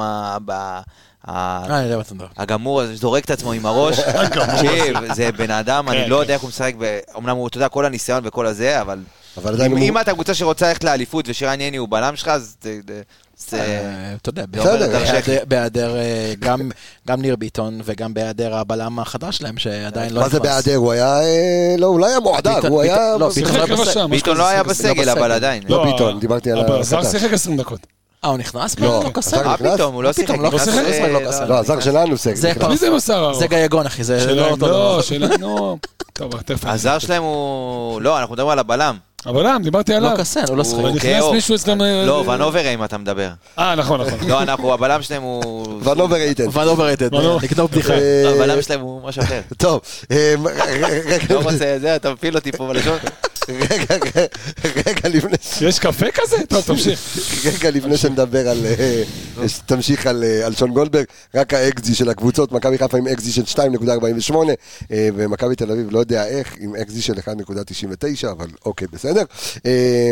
[SPEAKER 5] ב- ה-
[SPEAKER 3] אה, אני יודע מה אתה מדבר.
[SPEAKER 5] הגמור הזה זורק את עצמו עם הראש. תקשיב, זה בן אדם, אני
[SPEAKER 6] כן,
[SPEAKER 5] לא
[SPEAKER 6] כן.
[SPEAKER 5] יודע איך הוא משחק, ב- אמנם הוא, אתה יודע, כל הניסיון וכל הזה, אבל...
[SPEAKER 1] אבל עדיין
[SPEAKER 5] אם-
[SPEAKER 1] הוא-
[SPEAKER 5] אם אתה קבוצה שרוצה ללכת לאליפות ושרן ייני הוא בלם שלך, אז... ת- ת- זה-
[SPEAKER 3] אה, אתה יודע,
[SPEAKER 1] בסדר,
[SPEAKER 3] בהיעדר- בהיעדר אה, גם- גם ניר ביטון וגם בהיעדר הבלם החדש שלהם שעדיין לא
[SPEAKER 1] מה זה בהיעדר? הוא היה... אה, לא, הוא לא היה מועדר,
[SPEAKER 3] ביטון-
[SPEAKER 1] הוא
[SPEAKER 3] ביטון-
[SPEAKER 1] היה...
[SPEAKER 3] לא, ביטון
[SPEAKER 6] שיחק
[SPEAKER 3] לא
[SPEAKER 6] רבע
[SPEAKER 3] בסגל.
[SPEAKER 6] שעה, משהו
[SPEAKER 5] ביטון
[SPEAKER 6] כזה.
[SPEAKER 5] לא היה
[SPEAKER 3] בסגל,
[SPEAKER 5] בסגל,
[SPEAKER 3] לא
[SPEAKER 5] אבל
[SPEAKER 3] בסגל.
[SPEAKER 5] עדיין.
[SPEAKER 1] לא, ביטון, דיברתי על
[SPEAKER 6] אבל
[SPEAKER 1] החדש.
[SPEAKER 6] זר שיחק 20 דקות.
[SPEAKER 3] אה, הוא נכנס?
[SPEAKER 1] לא,
[SPEAKER 3] לא
[SPEAKER 1] עזר
[SPEAKER 3] קסם.
[SPEAKER 5] אה,
[SPEAKER 1] נכנס?
[SPEAKER 5] פתאום, הוא לא שיחק.
[SPEAKER 3] פתאום, לא
[SPEAKER 5] נכנס,
[SPEAKER 3] שיחק,
[SPEAKER 5] אה,
[SPEAKER 3] לא קסם.
[SPEAKER 1] לא, הזר שלנו
[SPEAKER 3] זה
[SPEAKER 1] סגל.
[SPEAKER 3] פרס.
[SPEAKER 6] מי זה מסר הרוב?
[SPEAKER 3] זה גיא יגון, אחי, זה אה, לא אותו דבר.
[SPEAKER 6] לא, שלהם לא. טוב, תכף.
[SPEAKER 5] הזר שלהם הוא... לא, אנחנו מדברים על הבלם.
[SPEAKER 6] אבל למה? דיברתי
[SPEAKER 3] לא
[SPEAKER 6] עליו.
[SPEAKER 3] קסם, הוא לא
[SPEAKER 5] הוא-
[SPEAKER 3] שחק.
[SPEAKER 6] נכנס
[SPEAKER 5] גאו.
[SPEAKER 6] מישהו אצלם, אה,
[SPEAKER 5] לא,
[SPEAKER 6] אה,
[SPEAKER 5] ון אוברה אם אתה מדבר.
[SPEAKER 6] אה, נכון, נכון.
[SPEAKER 5] לא, אנחנו, הבלם שלהם הוא...
[SPEAKER 1] כבר לא ברייטד.
[SPEAKER 3] אבל אובררייטד,
[SPEAKER 6] אבל לא.
[SPEAKER 3] נקנות בדיחה.
[SPEAKER 5] אוקיי.
[SPEAKER 1] אה,
[SPEAKER 5] הבלם שלהם הוא משהו אחר.
[SPEAKER 1] טוב, אה, רגע-
[SPEAKER 5] לא רוצה, זה, אתה מפיל אותי פה בלשון.
[SPEAKER 1] רגע- רגע לפני ש...
[SPEAKER 6] יש קפה כזה?
[SPEAKER 5] לא,
[SPEAKER 6] טוב, תמשיך.
[SPEAKER 1] רגע לפני שנדבר על... אה, תמשיך על אה, על שון גולדברג, רק האקזי של הקבוצות, מכבי חיפה עם אקזי של 2.48 אה, ומכבי תל אביב, לא יודע איך, עם אקזי של 1.99, אבל אוקיי, בסדר. אה,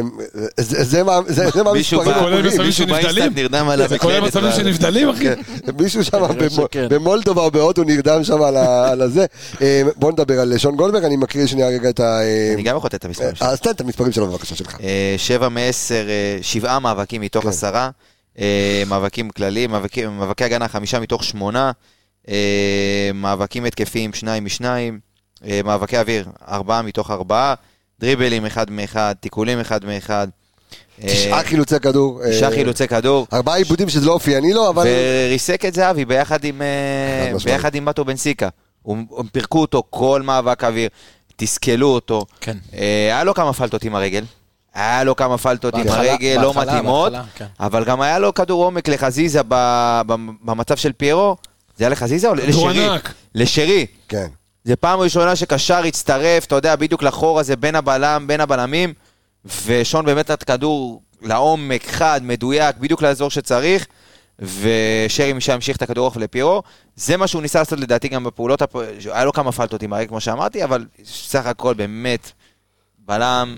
[SPEAKER 1] זה זה מה זה- זה מה
[SPEAKER 5] מישהו
[SPEAKER 1] המספרים
[SPEAKER 5] בא-
[SPEAKER 6] כולל
[SPEAKER 1] הגבולים.
[SPEAKER 6] מצבים
[SPEAKER 5] מישהו
[SPEAKER 6] שנבדלים?
[SPEAKER 5] באינסטנט נרדם על
[SPEAKER 6] זה כולל
[SPEAKER 5] המקלדת
[SPEAKER 6] מצבים
[SPEAKER 5] ועל-
[SPEAKER 6] שנבדלים, אחי?
[SPEAKER 1] כן, מישהו שם
[SPEAKER 3] נראה
[SPEAKER 1] במו-
[SPEAKER 3] שכן.
[SPEAKER 1] במולדובה או בהודו נרדם שם על ה- על הזה. אה, בוא נדבר על שון גולדברג, אני מקריא שנייה רגע את ה... אה,
[SPEAKER 5] אני גם יכול לתת את המספרים שלו.
[SPEAKER 1] אז תן את המספרים שלו בבקשה שלך.
[SPEAKER 5] אה, שבע מעשר, אה, שבעה מאבקים
[SPEAKER 1] כן.
[SPEAKER 5] מתוך עשרה, אה, מאבקים כלליים, מאבקים- מאבקי הגנה חמישה מתוך שמונה, אה, מאבקים התקפיים שניים משניים, אה, מאבקי אוויר ארבעה מתוך ארבעה, דריבלים אחד מאחד, תיקולים אחד מאחד, אה,
[SPEAKER 1] תשעה חילוצי כדור. אה,
[SPEAKER 5] תשעה חילוצי כדור,
[SPEAKER 1] ארבעה עיבודים שזה לא אופייני לו, אבל...
[SPEAKER 5] וריסק את זהבי ביחד עם, אה,
[SPEAKER 1] חד משמעית.
[SPEAKER 5] ביחד עם מטו בן סיקה. הוא- הם פירקו אותו כל מאבק אוויר, תסכלו אותו.
[SPEAKER 3] כן.
[SPEAKER 5] אה, היה לו כמה פלטות עם הרגל. היה לו כמה פלטות עם
[SPEAKER 3] בהתחלה-
[SPEAKER 5] הרגל, לא
[SPEAKER 3] בהתחלה,
[SPEAKER 5] מתאימות.
[SPEAKER 3] בהתחלה, כן.
[SPEAKER 5] אבל גם היה לו כדור עומק לחזיזה ב- ב- במצב של פיירו. זה היה לחזיזה או לשרי?
[SPEAKER 6] ענק.
[SPEAKER 5] לשרי.
[SPEAKER 1] כן.
[SPEAKER 5] זה פעם ראשונה שקשר הצטרף, אתה יודע, בדיוק לחור הזה בין הבלם, בין הבלמים, ושון באמת נתן כדור לעומק, חד, מדויק, בדיוק לאזור שצריך, ושרי משם המשיך את הכדור אוף לפירו. זה מה שהוא ניסה לעשות לדעתי גם בפעולות, הפ... היה לו כמה פלטות עם הרי, כמו שאמרתי, אבל סך הכל באמת, בלם,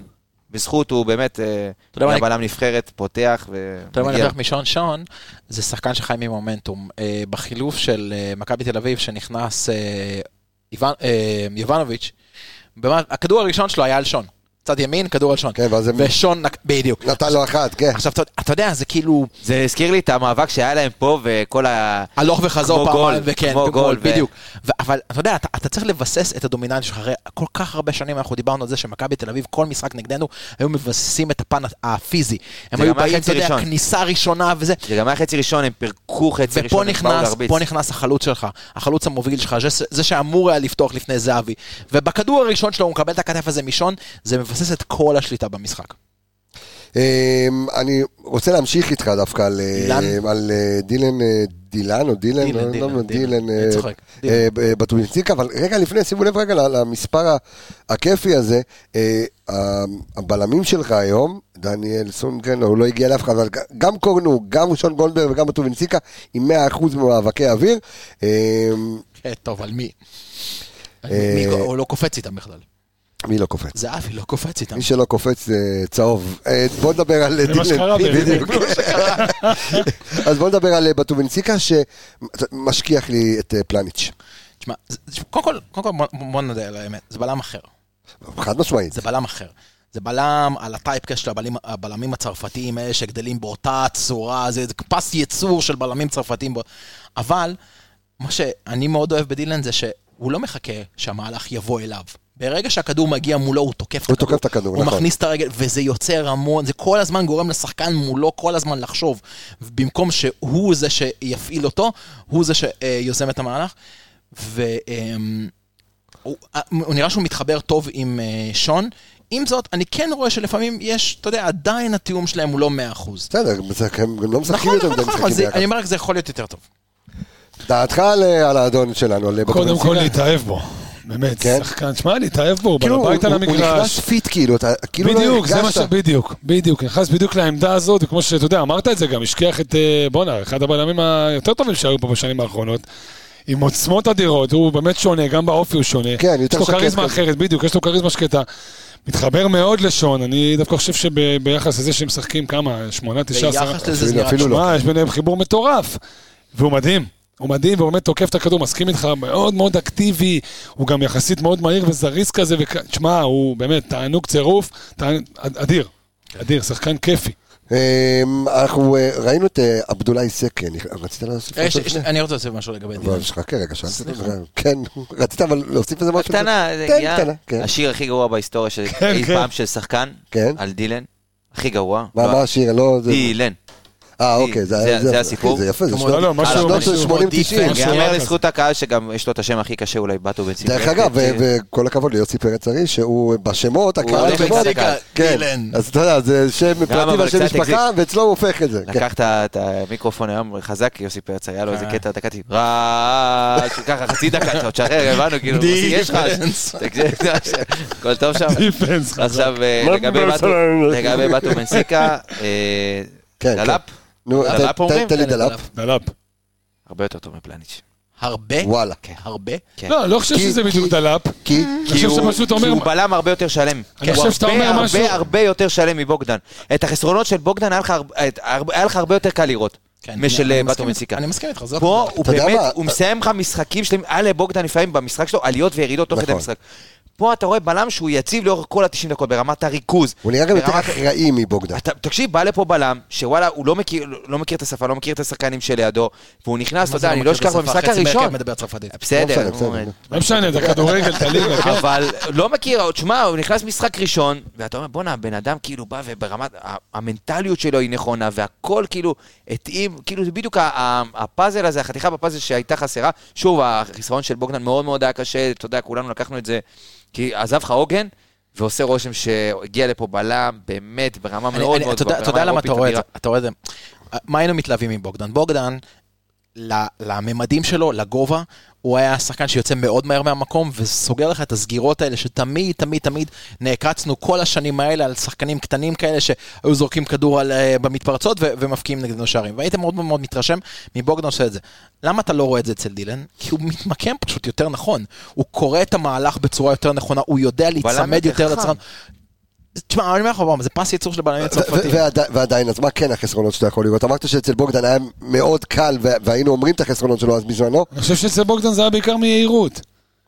[SPEAKER 5] בזכות הוא באמת, אה,
[SPEAKER 3] אתה יודע מה,
[SPEAKER 5] היה בלם נבחרת, פותח
[SPEAKER 3] אתה יודע מה אני
[SPEAKER 5] ומגיע.
[SPEAKER 3] לוקח משון שון, זה שחקן שחי ממומנטום. אה, בחילוף של אה, מכבי תל אביב שנכנס אה, איוון- אה, יובנוביץ', במה- הכדור הראשון שלו היה על שון. צד ימין, כדור על שון.
[SPEAKER 1] כן, ואז הם-
[SPEAKER 3] ושון, נק- בדיוק.
[SPEAKER 5] לא-
[SPEAKER 1] נתן לו אחת, כן.
[SPEAKER 3] עכשיו, אתה- אתה יודע, זה כאילו...
[SPEAKER 5] זה הזכיר לי את המאבק שהיה להם פה וכל ה...
[SPEAKER 3] הלוך וחזור
[SPEAKER 5] כמו גול,
[SPEAKER 3] פעמיים, וכן,
[SPEAKER 5] כמו
[SPEAKER 3] גול,
[SPEAKER 5] גול, כן. ו-
[SPEAKER 3] בדיוק. ו- אבל אתה יודע, אתה, אתה צריך לבסס את הדומיננטיות שלך, הרי כל כך הרבה שנים אנחנו דיברנו על זה שמכבי תל אביב, כל משחק נגדנו, היו מבססים את הפן הפיזי. הם
[SPEAKER 5] זה
[SPEAKER 3] היו
[SPEAKER 5] גם היה
[SPEAKER 3] באים, אתה
[SPEAKER 5] חצי
[SPEAKER 3] יודע,
[SPEAKER 5] ראשון.
[SPEAKER 3] כניסה ראשונה וזה.
[SPEAKER 5] זה גם היה חצי ראשון, הם פירקו חצי
[SPEAKER 3] ופה
[SPEAKER 5] ראשון, הם באו
[SPEAKER 3] נכנס,
[SPEAKER 5] להרביץ.
[SPEAKER 3] פה נכנס החלוץ שלך, החלוץ המוביל שלך, זה, זה שאמור היה לפתוח לפני זהבי. ובכדור הראשון שלו הוא מקבל את הכתף הזה משון, זה מבסס את כל השליטה במשחק.
[SPEAKER 1] אמ, אני רוצה להמשיך איתך דווקא על, אה,
[SPEAKER 3] דילן?
[SPEAKER 1] על אה, דילן, אה, דילן או דילן,
[SPEAKER 3] דילן,
[SPEAKER 1] לא-
[SPEAKER 3] דילן,
[SPEAKER 1] לא,
[SPEAKER 3] דילן.
[SPEAKER 1] דילן,
[SPEAKER 3] אני
[SPEAKER 1] אה,
[SPEAKER 3] צוחק,
[SPEAKER 1] אה,
[SPEAKER 3] דילן.
[SPEAKER 1] ב- בטווינציק, אבל רגע לפני, שימו לב רגע ל- למספר ה- הכיפי הזה, אה, ה- הבלמים שלך היום, דניאל סונגרן, הוא לא הגיע לאף אחד, אבל ג- גם קורנו, גם שון גולדברג וגם בטווינציקה, עם 100% במאבקי אוויר. אמ,
[SPEAKER 3] כן, טוב, על מי? על
[SPEAKER 1] אה,
[SPEAKER 3] מי? הוא לא קופץ איתם בכלל.
[SPEAKER 1] מי לא קופץ?
[SPEAKER 3] זהבי לא קופץ איתם.
[SPEAKER 1] מי שלא קופץ זה צהוב. אה, בוא נדבר על
[SPEAKER 6] זה מה שקרה בעצם.
[SPEAKER 1] בדיוק. אז בוא נדבר על אה, בטובינציקה שמשכיח לי את אה, פלניץ'.
[SPEAKER 3] תשמע, זה- זה- קודם כל, קודם כל בוא, בוא נודה על האמת, זה בלם אחר.
[SPEAKER 1] חד משמעית.
[SPEAKER 3] זה בלם אחר. זה בלם על הטייפקס של הבלמים, הבלמים הצרפתיים האלה שגדלים באותה צורה, זה, זה פס ייצור של בלמים צרפתיים. בו- אבל מה שאני מאוד אוהב בדילן זה שהוא לא מחכה שהמהלך יבוא אליו. ברגע שהכדור מגיע מולו, הוא תוקף את
[SPEAKER 1] הוא
[SPEAKER 3] הכדור.
[SPEAKER 1] תוקף את הכדור,
[SPEAKER 3] הוא
[SPEAKER 1] נכון.
[SPEAKER 3] מכניס את הרגל, וזה יוצר המון, זה כל הזמן גורם לשחקן מולו כל הזמן לחשוב. במקום שהוא זה שיפעיל אותו, הוא זה שיוזם את המהלך. ו... אמ, הוא הוא נראה שהוא מתחבר טוב עם אה, שון. עם זאת, אני כן רואה שלפעמים יש, אתה יודע, עדיין התיאום שלהם הוא לא 100%.
[SPEAKER 1] בסדר, זה- הם גם לא משחקים
[SPEAKER 3] נכון,
[SPEAKER 1] יותר
[SPEAKER 3] נכון,
[SPEAKER 1] מדי
[SPEAKER 3] נכון, אבל
[SPEAKER 1] משחקים
[SPEAKER 3] זה- אני
[SPEAKER 1] ביחד.
[SPEAKER 3] אומר רק זה יכול להיות יותר טוב.
[SPEAKER 1] דעתך על, אה, על האדון שלנו, על
[SPEAKER 6] קודם
[SPEAKER 1] בטובינציקה?
[SPEAKER 6] כל להתאהב בו. באמת,
[SPEAKER 1] כן.
[SPEAKER 6] שחקן, שמע, להתאהב בו, הוא בעל
[SPEAKER 1] כאילו, הוא
[SPEAKER 6] הבית על
[SPEAKER 1] הוא- הוא נכנס
[SPEAKER 6] המגרש.
[SPEAKER 1] פיט, כאילו, אתה כאילו לא
[SPEAKER 6] בדיוק, זה מה ש...
[SPEAKER 1] הרגשת.
[SPEAKER 6] בדיוק, בדיוק, נכנס בדיוק לעמדה הזאת, וכמו שאתה יודע, אמרת את זה גם, השכיח את, אה, בואנה, אחד הבלמים היותר טובים שהיו פה בשנים האחרונות, עם עוצמות אדירות, הוא באמת שונה, גם באופי הוא שונה.
[SPEAKER 1] כן, יותר
[SPEAKER 6] יש
[SPEAKER 1] שקט
[SPEAKER 6] לו כריזמה
[SPEAKER 1] כזה.
[SPEAKER 6] אחרת, בדיוק, יש לו כריזמה שקטה. מתחבר מאוד לשון, אני דווקא חושב שביחס לזה שהם משחקים כמה, שמונה, תשעה, עשרה...
[SPEAKER 3] ביחס לזה זה נראה...
[SPEAKER 1] אפילו לא.
[SPEAKER 6] שמע, יש ביניהם חיבור מטורף. והוא מדהים. הוא מדהים, והוא באמת תוקף את הכדור, מסכים איתך, מאוד מאוד אקטיבי, הוא גם יחסית מאוד מהיר וזריז כזה, וכ... תשמע, הוא באמת תענוג צירוף, תענ... אד- אדיר, אדיר, שחקן כיפי.
[SPEAKER 1] אמ, אנחנו אה, ראינו את אה, עבדולאי סקה, אני- רצית להוסיף
[SPEAKER 5] אה,
[SPEAKER 3] יש-
[SPEAKER 1] משהו
[SPEAKER 3] יש-
[SPEAKER 1] לפני?
[SPEAKER 3] אני רוצה להוסיף משהו לגבי דילן.
[SPEAKER 1] אבל חכה רגע, שאלתי אותך. כן, רצית אבל להוסיף איזה משהו?
[SPEAKER 5] קטנה, זה
[SPEAKER 1] כן,
[SPEAKER 5] הגיע.
[SPEAKER 1] קטנה, כן.
[SPEAKER 5] השיר הכי גרוע בהיסטוריה של
[SPEAKER 6] כן,
[SPEAKER 5] אי
[SPEAKER 6] כן.
[SPEAKER 5] פעם של שחקן,
[SPEAKER 1] כן.
[SPEAKER 5] על דילן. הכי גרוע.
[SPEAKER 1] מה
[SPEAKER 5] לא,
[SPEAKER 1] מה השיר? לא... זה-
[SPEAKER 5] דילן.
[SPEAKER 1] אה, אוקיי, זה
[SPEAKER 5] זה-
[SPEAKER 1] היה-
[SPEAKER 5] זה
[SPEAKER 1] אחי,
[SPEAKER 5] הסיפור.
[SPEAKER 1] זה יפה, זה
[SPEAKER 6] לא, לא, משהו-
[SPEAKER 1] שנות
[SPEAKER 6] משהו-
[SPEAKER 1] 80-90.
[SPEAKER 6] משהו-
[SPEAKER 5] ייאמר
[SPEAKER 6] כזה.
[SPEAKER 5] לזכות הקהל שגם יש לו את השם הכי קשה אולי בטו בן ציפי.
[SPEAKER 1] דרך אגב, ו- וכל הכבוד ליוסי פרץ ארי, שהוא בשמות, הקהל
[SPEAKER 5] אוהב את
[SPEAKER 1] השמות,
[SPEAKER 5] צדקה,
[SPEAKER 1] כן.
[SPEAKER 3] דילן.
[SPEAKER 1] אז אתה יודע, זה שם פרטי
[SPEAKER 5] לא אבל
[SPEAKER 1] והשם
[SPEAKER 5] קצת
[SPEAKER 1] משפחה,
[SPEAKER 5] הגזים.
[SPEAKER 1] ואצלו הוא הופך את זה. כן.
[SPEAKER 5] לקח את ה- את המיקרופון היום חזק, יוסי פרץ, היה לו
[SPEAKER 1] אה.
[SPEAKER 5] איזה קטע דקתי, רעש, ככה חצי דקה, אתה תשחרר, הבנו, כאילו, יוסי, יש רעש. הכל טוב שם?
[SPEAKER 6] דיפנס, חזק.
[SPEAKER 5] עכשיו, אה,
[SPEAKER 1] מה
[SPEAKER 5] לגבי
[SPEAKER 1] אתה
[SPEAKER 5] בטו-
[SPEAKER 1] עושה?
[SPEAKER 5] לגבי בטו בנסיקה, אה,
[SPEAKER 1] כן, כן.
[SPEAKER 5] דלאפ,
[SPEAKER 1] נו,
[SPEAKER 5] דלאפ
[SPEAKER 1] תן- תן-
[SPEAKER 5] אומרים?
[SPEAKER 1] תן לי דלאפ.
[SPEAKER 6] דלאפ.
[SPEAKER 5] הרבה יותר טוב מפלניץ'.
[SPEAKER 3] הרבה,
[SPEAKER 1] וואלה.
[SPEAKER 3] הרבה.
[SPEAKER 5] כן.
[SPEAKER 6] לא, לא חושב
[SPEAKER 1] כי-
[SPEAKER 6] שזה בדיוק
[SPEAKER 1] כי-
[SPEAKER 6] דלאפ.
[SPEAKER 1] כי
[SPEAKER 6] אני חושב
[SPEAKER 5] הוא-
[SPEAKER 6] שפשוט אומר...
[SPEAKER 5] הוא בלם הרבה יותר שלם.
[SPEAKER 6] אני
[SPEAKER 5] הוא
[SPEAKER 6] חושב שאתה
[SPEAKER 5] הרבה,
[SPEAKER 6] אומר
[SPEAKER 5] הרבה,
[SPEAKER 6] משהו-
[SPEAKER 5] הרבה יותר שלם מבוגדן. את החסרונות של בוגדן היה לך הרבה- את- הרבה- היה לך הרבה יותר קל לראות.
[SPEAKER 3] כן, אני-
[SPEAKER 5] משל
[SPEAKER 3] אני
[SPEAKER 5] אה,
[SPEAKER 3] מסכים
[SPEAKER 5] בטו
[SPEAKER 3] איתך,
[SPEAKER 5] מציקה.
[SPEAKER 3] אני מסכים איתך, זאת
[SPEAKER 5] פה הוא
[SPEAKER 1] אתה יודע
[SPEAKER 5] באמת,
[SPEAKER 1] מה?
[SPEAKER 5] הוא מסיים לך משחקים שלמים, אלה בוגדן לפעמים במשחק שלו, עליות וירידות תוך כדי
[SPEAKER 1] נכון.
[SPEAKER 5] משחק. פה אתה רואה בלם שהוא יציב לאורך כל ה-90 דקות, ברמת הריכוז.
[SPEAKER 1] הוא נראה גם יותר
[SPEAKER 5] ברמת-
[SPEAKER 1] אחראי מבוגדן.
[SPEAKER 5] אתה, תקשיב, בא לפה בלם, שוואלה, הוא לא מכיר, לא מכיר את השפה, לא מכיר את השחקנים שלידו, והוא נכנס, אתה יודע, אני לא אשכח במשחק הראשון.
[SPEAKER 3] מדבר צרפתית.
[SPEAKER 1] לא
[SPEAKER 5] בסדר,
[SPEAKER 1] משנה, בסדר.
[SPEAKER 5] הוא-
[SPEAKER 6] לא משנה, את הכדורגל, את הליגה, כן.
[SPEAKER 5] אבל לא מכיר, עוד שמע, הוא נכנס משחק ראשון, ואתה אומר, בואנה, הבן אדם כאילו בא וברמת, ה- המנטליות שלו היא נכונה, והכל כאילו התאים, כאילו זה בדיוק ה- ה- הפאזל הזה, החתיכה בפאזל שהייתה חסרה. שוב, החיסרון של בוגדן מאוד מאוד היה קשה, אתה יודע, כולנו לקחנו את זה, כי עזב לך עוגן. ועושה רושם שהגיע לפה בלם, באמת, ברמה
[SPEAKER 3] אני-
[SPEAKER 5] מאוד
[SPEAKER 3] אני-
[SPEAKER 5] מאוד
[SPEAKER 3] אתה יודע-
[SPEAKER 5] גבוהה,
[SPEAKER 3] אתה
[SPEAKER 5] ברמה
[SPEAKER 3] יודע למה אתה
[SPEAKER 5] אירופית
[SPEAKER 3] רואה את זה?
[SPEAKER 5] אדירה.
[SPEAKER 3] אתה רואה את זה. מה היינו מתלהבים מבוגדן? בוגדן, ל- לממדים שלו, לגובה, הוא היה שחקן שיוצא מאוד מהר מהמקום וסוגר לך את הסגירות האלה שתמיד, תמיד, תמיד נעקצנו כל השנים האלה על שחקנים קטנים כאלה שהיו זורקים כדור על, אה, במתפרצות ו- ומבקיעים נגדנו שערים. והיית מאוד מאוד מתרשם מבוגדן עושה את זה. למה אתה לא רואה את זה אצל דילן? כי הוא מתמקם פשוט יותר נכון. הוא קורא את המהלך בצורה יותר נכונה, הוא יודע
[SPEAKER 5] בלם
[SPEAKER 3] להיצמד
[SPEAKER 5] יותר
[SPEAKER 3] יותר
[SPEAKER 5] חכם.
[SPEAKER 3] לצרכן. תשמע, אני אומר לך, בוא, זה פס ייצור של בלמים צרפתיים.
[SPEAKER 1] ו- ועדי- ועדיין, אז מה כן החסרונות שאתה יכול לראות? אמרת שאצל בוגדן היה מאוד קל, ו- והיינו אומרים את החסרונות שלו אז בזמנו.
[SPEAKER 6] אני חושב שאצל בוגדן זה היה בעיקר מיהירות.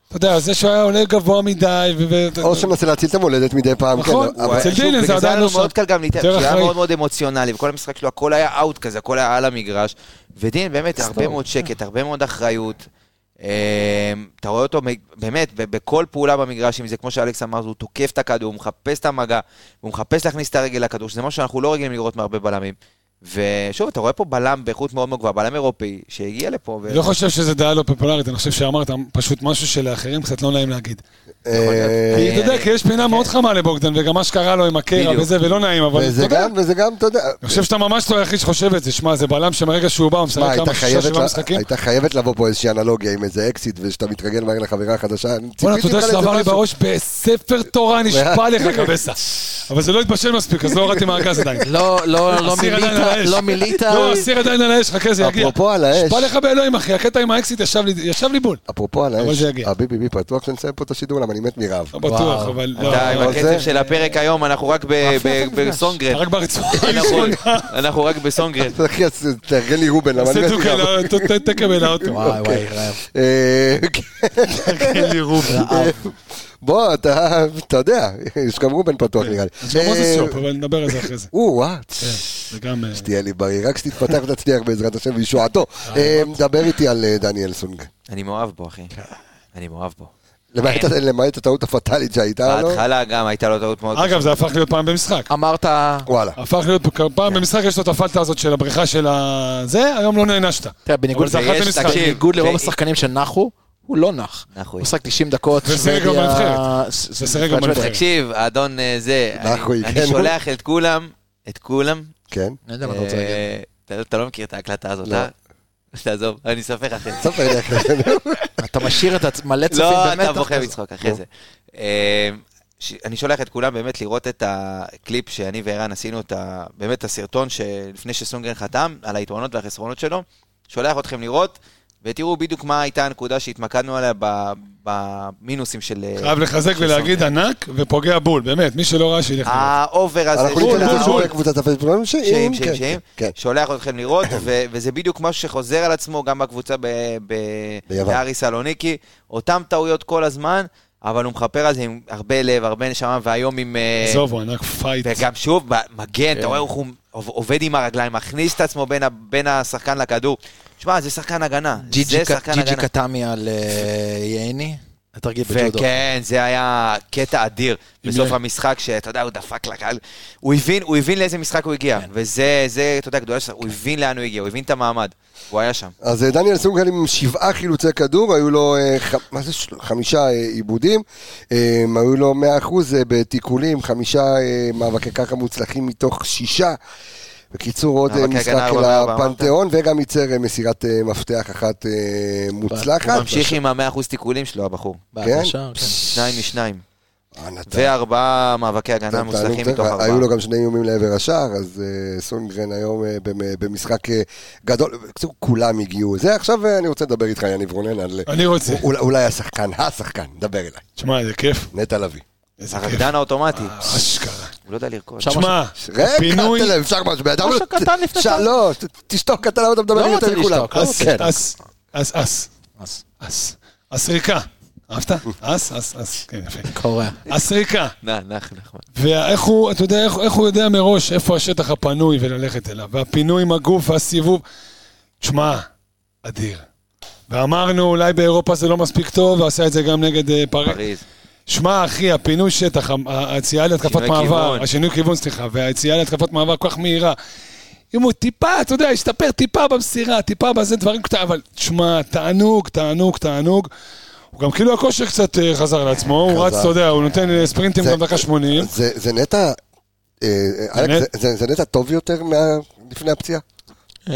[SPEAKER 6] אתה יודע, זה שהוא היה עולה גבוה מדי, ו... ו-
[SPEAKER 1] או שמנסה להציל את המולדת מדי פעם, כן.
[SPEAKER 6] נכון.
[SPEAKER 1] אבל-
[SPEAKER 6] אצל
[SPEAKER 5] שוב,
[SPEAKER 6] דילן זה
[SPEAKER 5] בגלל
[SPEAKER 6] עדיין
[SPEAKER 5] היה
[SPEAKER 6] לא
[SPEAKER 5] לו
[SPEAKER 6] שם.
[SPEAKER 5] מאוד קל גם להתאר,
[SPEAKER 6] יותר
[SPEAKER 5] כי היה
[SPEAKER 6] אחראי.
[SPEAKER 5] מאוד מאוד אמוציונלי, וכל המשחק שלו, הכל היה אאוט כזה, הכל היה על המגרש. ודין, באמת, הרבה מאוד שקט, הרבה מאוד אחריות. אמ, אתה רואה אותו מ- באמת ב- בכל פעולה במגרש, אם זה כמו שאלכס אמר, הוא תוקף את הכדור, הוא מחפש את המגע, הוא מחפש להכניס את הרגל לכדור, שזה משהו שאנחנו לא רגילים לראות מהרבה בלמים. ושוב, אתה רואה פה בלם באיכות מאוד מאוד גבוהה, בלם אירופי, שהגיע לפה. ו-
[SPEAKER 6] אני לא חושב שזה דעה לא פופולרית, אני חושב שאמרת פשוט משהו שלאחרים קצת לא נעים להגיד.
[SPEAKER 1] אה,
[SPEAKER 6] כי אתה
[SPEAKER 5] אני-
[SPEAKER 6] יודע, כי יש פינה מאוד חמה לבוגדן, וגם מה שקרה לו עם הקרע
[SPEAKER 5] בדיוק.
[SPEAKER 6] וזה, ולא נעים, אבל אתה
[SPEAKER 1] וזה
[SPEAKER 6] יודע,
[SPEAKER 1] גם, וזה גם, אתה יודע,
[SPEAKER 6] אני חושב שאתה ממש לא היחיד שחושב את זה. שמע, זה בלם שמרגע שהוא בא, הוא משחק
[SPEAKER 1] מה, הייתה
[SPEAKER 6] כמה שישה,
[SPEAKER 1] חייבת
[SPEAKER 6] שבעה
[SPEAKER 1] לה-
[SPEAKER 6] משחקים.
[SPEAKER 1] הייתה חייבת לבוא פה איזושהי אנלוגיה עם איזה אקזיט, ושאתה מתרגל מהר לחברה החדשה, אני
[SPEAKER 6] בוא'נה, אתה
[SPEAKER 1] ציפיתי
[SPEAKER 6] יודע
[SPEAKER 1] ממך
[SPEAKER 6] שזה
[SPEAKER 1] לאיזה
[SPEAKER 6] עבר לי
[SPEAKER 1] משהו.
[SPEAKER 6] בראש בספר תורה, נשבע לך קבסה. אבל זה לא התבשל מספיק, אז לא הורדתי מהגז עדיין.
[SPEAKER 3] לא, לא, לא
[SPEAKER 6] הסיר עדיין
[SPEAKER 3] מילית,
[SPEAKER 6] על האש.
[SPEAKER 3] לא מילית.
[SPEAKER 6] לא, הסיר עדיין על האש, חכה, זה יגיע.
[SPEAKER 1] אפרופו על האש,
[SPEAKER 6] נשבע לך באלוהים, אחי, הקטע עם האקסיט ישב לי- ישב לי בול.
[SPEAKER 1] אפרופו על
[SPEAKER 6] אבל
[SPEAKER 1] האש,
[SPEAKER 6] זה יגיע.
[SPEAKER 1] הביבי פתוח שנסיים פה את השידור, למה אני מת מרעב.
[SPEAKER 6] לא בטוח, אבל... לא,
[SPEAKER 5] אתה, עם
[SPEAKER 1] אבל
[SPEAKER 5] הקצב
[SPEAKER 1] זה-
[SPEAKER 5] של הפרק היום, אנחנו רק ב- ב- בסונגרן.
[SPEAKER 6] אתה רק ברצועה.
[SPEAKER 5] אנחנו- אנחנו רק בסונגרן.
[SPEAKER 1] אחי, אז תארגן לי רובן, למה אני
[SPEAKER 6] עושה
[SPEAKER 1] מת
[SPEAKER 6] דוקא,
[SPEAKER 1] מרעב. כן.
[SPEAKER 6] לא, ת- ת- תקבל כן. האוטו.
[SPEAKER 3] וואי וואי, רעב.
[SPEAKER 1] אה, בוא, אתה אתה יודע, יש גם רובן פתוח נראה לי.
[SPEAKER 6] כן. אז גם מוזס
[SPEAKER 1] אה,
[SPEAKER 6] שופ, אבל נדבר על זה אחרי זה.
[SPEAKER 1] או, וואט.
[SPEAKER 6] זה גם... אה,
[SPEAKER 1] תהיה לי בריא, רק שתתפתח ותצליח בעזרת השם וישועתו. אה, דבר איתי על אה, דניאל סונג.
[SPEAKER 5] אני מאוהב בו, אחי.
[SPEAKER 3] כן.
[SPEAKER 5] אני מאוהב בו.
[SPEAKER 1] למעט- למעט הטעות הפטאלית שהייתה לו.
[SPEAKER 5] בהתחלה גם הייתה לו טעות
[SPEAKER 3] אה,
[SPEAKER 5] מאוד
[SPEAKER 6] אגב, זה הפך להיות פעם במשחק.
[SPEAKER 5] אה.
[SPEAKER 3] אמרת,
[SPEAKER 1] וואלה.
[SPEAKER 6] הפך להיות
[SPEAKER 5] כן.
[SPEAKER 6] פעם במשחק, יש לו את הפלטה הזאת של הבריכה של ה... זה, היום לא נענשת.
[SPEAKER 5] אה.
[SPEAKER 3] תראה, בניגוד
[SPEAKER 6] אבל זה
[SPEAKER 5] ויש-
[SPEAKER 6] אחת למשחק.
[SPEAKER 5] תקשיב,
[SPEAKER 3] בניגוד לרוב
[SPEAKER 5] ו-
[SPEAKER 3] השחקנים שנחו, הוא לא נח.
[SPEAKER 5] נחו.
[SPEAKER 3] הוא משחק 90 דקות.
[SPEAKER 6] ושיחק גם
[SPEAKER 3] שוודיה-
[SPEAKER 6] בנבחרת.
[SPEAKER 3] ס- לא ס-
[SPEAKER 6] ושיחק גם
[SPEAKER 3] שוודיה.
[SPEAKER 6] בנבחרת.
[SPEAKER 5] תקשיב, האדון אה, זה,
[SPEAKER 1] אנחנו
[SPEAKER 5] אני-
[SPEAKER 1] הגענו.
[SPEAKER 5] אני שולח את כולם, את כולם.
[SPEAKER 1] כן.
[SPEAKER 3] אני לא יודע מה אתה רוצה להגיד.
[SPEAKER 5] אה, אתה- אתה לא מכיר את ההקלטה הזאת,
[SPEAKER 1] לא.
[SPEAKER 5] אה? תעזוב, אני אספר אחרי זה.
[SPEAKER 1] ספר לי איך זה.
[SPEAKER 3] אתה משאיר את עצ- מלא צופים
[SPEAKER 5] לא,
[SPEAKER 3] במתח.
[SPEAKER 5] אתה בוכה
[SPEAKER 3] כזה.
[SPEAKER 5] מצחוק אחרי זה. אה, ש- אני שולח את כולם באמת לראות את הקליפ שאני וערן עשינו, את ה- באמת את הסרטון שלפני שסונגרן חתם, על היתרונות והחסרונות שלו. שולח אתכם לראות, ותראו בדיוק מה הייתה הנקודה שהתמקדנו עליה ב- במינוסים של... אה, אה,
[SPEAKER 6] חייב לחזק
[SPEAKER 5] של
[SPEAKER 6] ולהגיד
[SPEAKER 5] סונגרן.
[SPEAKER 6] ענק ופוגע בול, באמת, מי שלא ראה שילך לראות.
[SPEAKER 5] האובר הזה...
[SPEAKER 1] אנחנו
[SPEAKER 5] של
[SPEAKER 1] ניתן
[SPEAKER 5] האובר-
[SPEAKER 1] לזה שוב לקבוצת הפייסבוקים.
[SPEAKER 5] שאים,
[SPEAKER 1] שאם,
[SPEAKER 5] שאים,
[SPEAKER 1] כן,
[SPEAKER 5] שאים,
[SPEAKER 1] כן.
[SPEAKER 5] שולח אתכם לראות, ו- וזה בדיוק משהו שחוזר על עצמו גם בקבוצה ב- ב-
[SPEAKER 1] ביוון.
[SPEAKER 5] בארי סלוניקי, אותם טעויות כל הזמן, אבל הוא מכפר על זה עם הרבה לב, הרבה נשמה, והיום עם... אה,
[SPEAKER 6] עזוב, הוא ענק פייט.
[SPEAKER 5] וגם שוב, ב- מגן, אתה רואה איך הוא עוב- עובד עם הרגליים, מכניס את עצמו בין ה- בין השחקן לכדור. שמע, זה שחקן הגנה.
[SPEAKER 3] ג'יג'י
[SPEAKER 5] זה
[SPEAKER 3] ק-
[SPEAKER 5] שחקן
[SPEAKER 3] ג'יג'י
[SPEAKER 5] הגנה.
[SPEAKER 3] קטמי על אה, ייני, התרגיל בג'ודו.
[SPEAKER 5] וכן, זה היה קטע אדיר בסוף
[SPEAKER 6] ל-
[SPEAKER 5] המשחק, שאתה יודע, הוא דפק לקהל. הוא הבין, הוא הבין לאיזה משחק הוא הגיע,
[SPEAKER 1] כן.
[SPEAKER 5] וזה, זה, אתה יודע, גדולה שלו, הוא הבין לאן הוא הגיע, הוא הבין את המעמד. הוא היה שם.
[SPEAKER 1] אז אה, דניאל סונגרן עם שבעה חילוצי כדור, היו לו אה, ח- מה זה, של- חמישה אה, עיבודים, אה, היו לו מאה אחוז אה, בתיקולים, חמישה אה, מאבקי קרקע מוצלחים מתוך שישה. בקיצור, עוד אה,
[SPEAKER 5] מאבקי
[SPEAKER 1] משחק
[SPEAKER 5] הגנה, לא
[SPEAKER 1] אל
[SPEAKER 5] ארבע, ארבע,
[SPEAKER 1] הפנתיאון, וגם ייצר אה, מסירת אה, מפתח אחת אה,
[SPEAKER 5] הוא
[SPEAKER 1] מוצלחת.
[SPEAKER 5] ממשיך עם המאה אחוז תיקולים שלו, הבחור.
[SPEAKER 3] בהגשה, כן.
[SPEAKER 5] שניים משניים.
[SPEAKER 1] אה, נתן-
[SPEAKER 5] וארבעה מאבקי הגנה
[SPEAKER 1] טוב,
[SPEAKER 5] מוצלחים
[SPEAKER 1] תענוג,
[SPEAKER 5] מתוך
[SPEAKER 1] צריך.
[SPEAKER 5] ארבעה.
[SPEAKER 1] היו לו גם שני איומים לעבר השער, אז אה, סונגרן היום אה, במ- במשחק אה, גדול, בקיצור, כולם הגיעו. זה עכשיו אה, אני רוצה לדבר איתך, יניב רונן, על...
[SPEAKER 6] אני רוצה.
[SPEAKER 1] אולי- אולי השחקן, השחקן, דבר אליי,
[SPEAKER 6] תשמע, זה כיף.
[SPEAKER 1] נטע לביא.
[SPEAKER 6] איזה כיף.
[SPEAKER 5] הרקדן האוטומטי,
[SPEAKER 1] אה.
[SPEAKER 6] אשכרה.
[SPEAKER 5] הוא לא יודע לרקוד.
[SPEAKER 3] שם
[SPEAKER 6] תשמע,
[SPEAKER 1] רגע,
[SPEAKER 6] הפינוי...
[SPEAKER 1] תן להם, אפשר משהו, בן אדם...
[SPEAKER 3] משהו קטן לפני
[SPEAKER 1] שאל-
[SPEAKER 3] שאתה-
[SPEAKER 1] לא, ת- תשתוק, אתה למה אתה מדבר
[SPEAKER 3] לא
[SPEAKER 1] יותר
[SPEAKER 3] רוצה
[SPEAKER 1] מכולם?
[SPEAKER 3] לשתוק, לא רוצה.
[SPEAKER 1] כן.
[SPEAKER 6] אס, אס, אס,
[SPEAKER 3] אז
[SPEAKER 6] אס. הסריקה. אהבת? אס, אס, אס. כן, יפה.
[SPEAKER 3] קורה.
[SPEAKER 6] הסריקה.
[SPEAKER 5] נח, נח, נחמן.
[SPEAKER 6] ואיך הוא, אתה יודע, איך, איך הוא יודע מראש איפה השטח הפנוי וללכת אליו, והפינוי עם הגוף והסיבוב. תשמע, אדיר. ואמרנו, אולי באירופה זה לא מספיק טוב, ועשה את זה גם נגד אה, פריז.
[SPEAKER 5] פריז.
[SPEAKER 6] שמע, אחי, הפינוי שטח, ה- ה- היציאה להתקפת
[SPEAKER 5] שינוי
[SPEAKER 6] מעבר,
[SPEAKER 5] כיוון.
[SPEAKER 6] השינוי כיוון, סליחה, והיציאה להתקפת מעבר כל כך מהירה. אם הוא טיפה, אתה יודע, השתפר טיפה במסירה, טיפה בזה, דברים קטנים, אבל תשמע, תענוג, תענוג, תענוג. הוא גם כאילו הכושר קצת אה, חזר לעצמו, הוא רץ,
[SPEAKER 1] חזר.
[SPEAKER 6] אתה יודע, הוא נותן אה, ספרינטים
[SPEAKER 1] זה-
[SPEAKER 6] גם דקה 80.
[SPEAKER 1] זה זה נטע... אה, אה, אלכס,
[SPEAKER 6] באמת?
[SPEAKER 1] זה- זה- זה נטע טוב יותר מה- לפני הפציעה?
[SPEAKER 3] אה,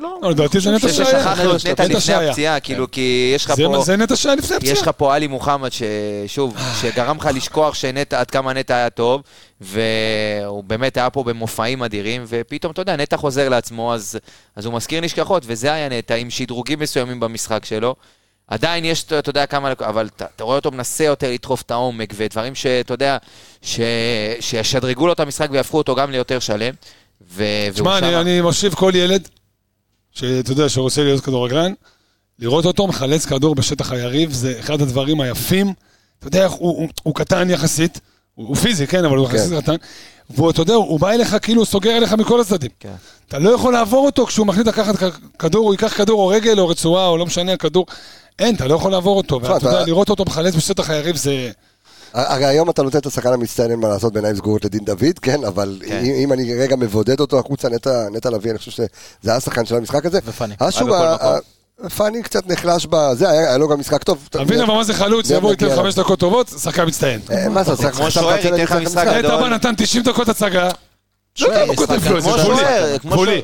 [SPEAKER 3] לא.
[SPEAKER 6] לא, לדעתי זה נטע
[SPEAKER 5] זה
[SPEAKER 6] שהיה.
[SPEAKER 5] ששכחנו את נטע
[SPEAKER 6] נטע
[SPEAKER 5] לפני
[SPEAKER 6] שהיה.
[SPEAKER 5] הפציעה,
[SPEAKER 1] כן.
[SPEAKER 5] כאילו, כי יש לך
[SPEAKER 6] זה,
[SPEAKER 5] פה...
[SPEAKER 6] זה נטע שהיה לפני הפציעה.
[SPEAKER 5] יש לך פה עלי מוחמד, ששוב, שגרם לך לשכוח שנטע, עד כמה נטע היה טוב, והוא באמת היה פה במופעים אדירים, ופתאום, אתה יודע, נטע חוזר לעצמו, אז, אז הוא מזכיר נשכחות, וזה היה נטע, עם שדרוגים מסוימים במשחק שלו. עדיין יש, אתה אתה יודע כמה, אבל אתה, אתה רואה אותו מנסה יותר לדחוף את העומק, ודברים שאתה יודע, ש, שישדרגו לו את המשחק ויהפכו אותו גם ליותר שלם. ו, והוא
[SPEAKER 6] תשמע,
[SPEAKER 5] שם.
[SPEAKER 6] אני, אני מושיב כל ילד, שאתה יודע, שרוצה להיות כדורגלן, לראות אותו מחלץ כדור בשטח היריב, זה אחד הדברים היפים. אתה יודע, איך הוא, הוא, הוא קטן יחסית, הוא, הוא פיזי, כן, אבל הוא
[SPEAKER 1] כן.
[SPEAKER 6] יחסית קטן. ואתה יודע, הוא בא אליך כאילו הוא סוגר אליך מכל הצדדים.
[SPEAKER 5] כן.
[SPEAKER 6] אתה לא יכול לעבור אותו כשהוא מחליט לקחת כ- כדור, הוא ייקח כדור או רגל או רצועה או לא משנה, כדור. אין, אתה לא יכול לעבור אותו. ואתה
[SPEAKER 1] אתה-
[SPEAKER 6] יודע, לראות אותו מחלץ בשטח היריב זה...
[SPEAKER 1] הרי היום אתה נותן את השחקן המצטיין, אין מה לעשות בעיניים סגורות לדין דוד, כן, אבל
[SPEAKER 5] כן.
[SPEAKER 1] אם אם אני רגע מבודד אותו החוצה, נטע- נטע לביא, אני חושב שזה היה השחקן של המשחק הזה.
[SPEAKER 3] ופאני.
[SPEAKER 1] השוב,
[SPEAKER 3] היה בכל
[SPEAKER 1] ה- ה- פאני קצת נחלש בזה, היה היה לו גם משחק טוב.
[SPEAKER 6] אתה מבין אבל מה זה חלוץ,
[SPEAKER 1] מיד
[SPEAKER 6] יבוא,
[SPEAKER 1] נגיע
[SPEAKER 6] ייתן
[SPEAKER 1] אליו.
[SPEAKER 6] חמש דקות טובות, שחקן מצטיין.
[SPEAKER 1] אה, מה זה,
[SPEAKER 5] זה
[SPEAKER 1] שחק-
[SPEAKER 5] כמו
[SPEAKER 1] שחקן
[SPEAKER 5] שוער,
[SPEAKER 1] מצטיין
[SPEAKER 5] ייתן לך
[SPEAKER 1] לשחק
[SPEAKER 5] משחק.
[SPEAKER 1] משחק.
[SPEAKER 6] נטע בא נתן 90 דקות הצגה. לא יודע, הוא כותב לו את זה,
[SPEAKER 5] כמו
[SPEAKER 6] גבולי.
[SPEAKER 5] שוער, כמו
[SPEAKER 6] גבולי.
[SPEAKER 5] שוער.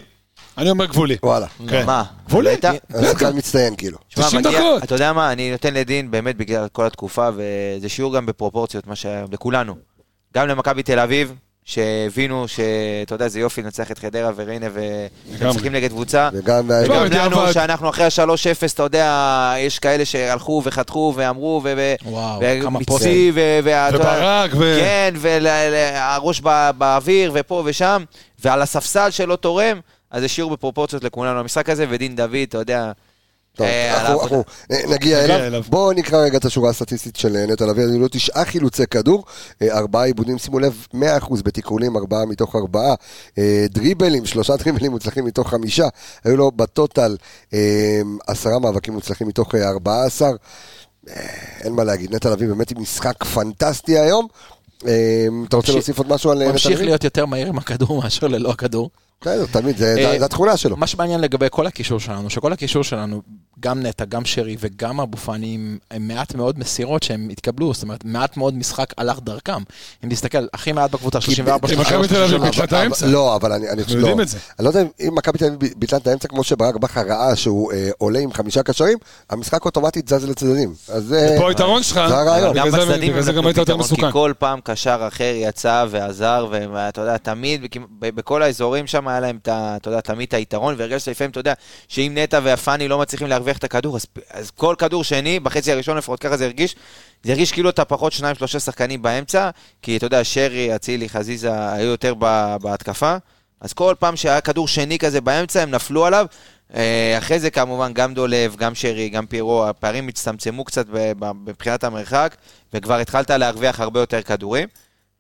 [SPEAKER 6] אני אומר גבולי.
[SPEAKER 1] וואלה,
[SPEAKER 6] כן.
[SPEAKER 5] מה?
[SPEAKER 6] גבולי.
[SPEAKER 5] נטע?
[SPEAKER 1] אז שחקן מצטיין כאילו.
[SPEAKER 5] תשמע,
[SPEAKER 6] 90
[SPEAKER 5] מגיע-
[SPEAKER 6] דקות.
[SPEAKER 5] אתה יודע מה, אני נותן לדין באמת בגלל כל התקופה, וזה שיעור גם בפרופורציות, מה שהיה לכולנו. גם למכבי תל אביב, שהבינו שאתה יודע, זה יופי לנצח את חדרה וריינה,
[SPEAKER 6] לגמרי. לא,
[SPEAKER 5] ומצליחים נגד קבוצה.
[SPEAKER 1] וגם, אה,
[SPEAKER 6] תשמע,
[SPEAKER 5] וגם
[SPEAKER 6] בדיעבד.
[SPEAKER 5] לנו, שאנחנו אחרי ה-3-0, אתה יודע, יש כאלה שהלכו וחתכו ואמרו, ו... ו-
[SPEAKER 3] וואו, כמה
[SPEAKER 5] ומיצי, ו- וה- אתה יודע-
[SPEAKER 6] וברק, ו...
[SPEAKER 5] כן, והראש באוויר, ופה ושם, ועל הספסל שלא תורם, אז זה שיעור בפרופורציות לכולנו. המשחק הזה, ודין דוד, אתה יודע...
[SPEAKER 1] טוב,
[SPEAKER 5] אה, על
[SPEAKER 1] אנחנו-
[SPEAKER 5] העבודה.
[SPEAKER 1] אנחנו אה, נגיע אליו.
[SPEAKER 6] אליו.
[SPEAKER 1] בואו נקרא רגע את השורה הסטטיסטית של אה, נטע לביא, היו לו תשעה חילוצי כדור, אה, ארבעה עיבודים, שימו לב, 100% בתיקולים, ארבעה מתוך ארבעה, אה, דריבלים, שלושה דריבלים מוצלחים מתוך חמישה, היו לו בטוטל אה, עשרה מאבקים מוצלחים מתוך אה, 14, אה, אין מה להגיד, נטע לביא באמת עם משחק פנטסטי היום. אה, אתה רוצה
[SPEAKER 3] ממשיך-
[SPEAKER 1] להוסיף עוד משהו על אה,
[SPEAKER 3] הוא
[SPEAKER 1] נטע
[SPEAKER 3] ממשיך
[SPEAKER 1] לביא?
[SPEAKER 3] להיות יותר מהיר עם הכדור מאשר ללא הכדור.
[SPEAKER 1] כן, תמיד, זה-
[SPEAKER 3] אה,
[SPEAKER 1] זה התכונה שלו.
[SPEAKER 3] מה שמעניין לגבי כל הקישור שלנו, שכל הקישור שלנו, גם נטע, גם שרי וגם אבו פאני, הם- הם מעט מאוד מסירות שהם התקבלו, זאת אומרת, מעט מאוד משחק הלך דרכם. אם תסתכל, הכי מעט בקבוצה, 34,
[SPEAKER 6] כי מכבי
[SPEAKER 3] 33,
[SPEAKER 6] תל אביב
[SPEAKER 3] 34.
[SPEAKER 6] ביטלה את האמצע.
[SPEAKER 1] לא, אבל אני... אנחנו
[SPEAKER 6] יודעים את זה.
[SPEAKER 1] אני לא יודע אם- אם מכבי תל אביב ביטלה את האמצע כמו שברק בכר ראה שהוא אה, עולה עם חמישה קשרים, המשחק אוטומטית זז לצדדים. אז זה...
[SPEAKER 6] פה היתרון שלך.
[SPEAKER 1] זה הרעיון.
[SPEAKER 6] בגלל
[SPEAKER 5] גם
[SPEAKER 6] זה-
[SPEAKER 5] בצדדים
[SPEAKER 6] בגלל זה
[SPEAKER 5] הם
[SPEAKER 6] גם
[SPEAKER 5] נתנו
[SPEAKER 6] היית יותר
[SPEAKER 5] פתרון, כי
[SPEAKER 6] מסוכן.
[SPEAKER 5] כל פעם קשר אחר יצא ועזר, ואתה יודע, תמיד, בכמ- ב- בכל האזורים שם היה להם, את ה- אתה יודע, תמיד את היתרון, והרגשת לפעמים, אתה יודע, שאם נטע והפאני לא מצליחים להרוויח את הכדור, אז- אז כל כדור שני, בחצי הראשון לפחות ככה זה הרגיש, זה הרגיש כאילו אתה פחות שניים, שלושה שחקנים באמצע, כי אתה יודע, שרי, אצילי, חזיזה, היו יותר ב- בהתקפה. אז כל פעם שהיה כדור שני כזה באמצע, הם נפלו עליו. אה, אחרי זה כמובן גם דולב, גם שרי, גם פירו, הפערים הצטמצמו קצת ב- ב- מבחינת המרחק, וכבר התחלת להרוויח הרבה יותר כדורים.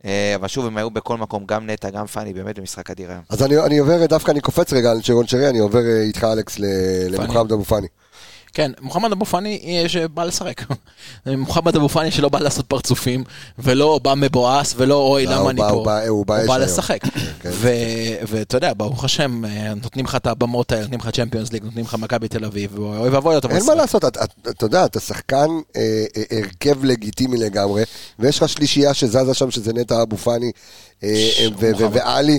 [SPEAKER 5] אה, אבל שוב, הם היו בכל מקום, גם נטע, גם פאני, באמת במשחק אדיר היום.
[SPEAKER 1] אז אני, אני עובר, דווקא אני קופץ רגע על שרון שרי, אני עובר אה, איתך אלכס ל- למוחמד אבו פאני.
[SPEAKER 3] כן, מוחמד אבו פאני אה, שבא לשחק. מוחמד אבו פאני שלא בא לעשות פרצופים, ולא בא מבואס, ולא אוי,
[SPEAKER 1] לא,
[SPEAKER 3] למה
[SPEAKER 1] הוא
[SPEAKER 3] אני
[SPEAKER 1] בא-
[SPEAKER 3] פה.
[SPEAKER 1] הוא בא- הוא בא אש היום. כן,
[SPEAKER 3] לשחק. ו- ואתה יודע, ברוך השם, אה, נותנים לך את הבמות האלה, נותנים לך צ'מפיונס ליג, נותנים לך מכבי תל אביב, ואוי ואבוי, אתה
[SPEAKER 1] אין מה לעשות, את- את- אתה יודע, אתה שחקן אה, אה, הרכב לגיטימי לגמרי, ויש לך שלישייה שזזה שם, שזה נטע אבו פאני אה, אה, ו- ו- ועלי,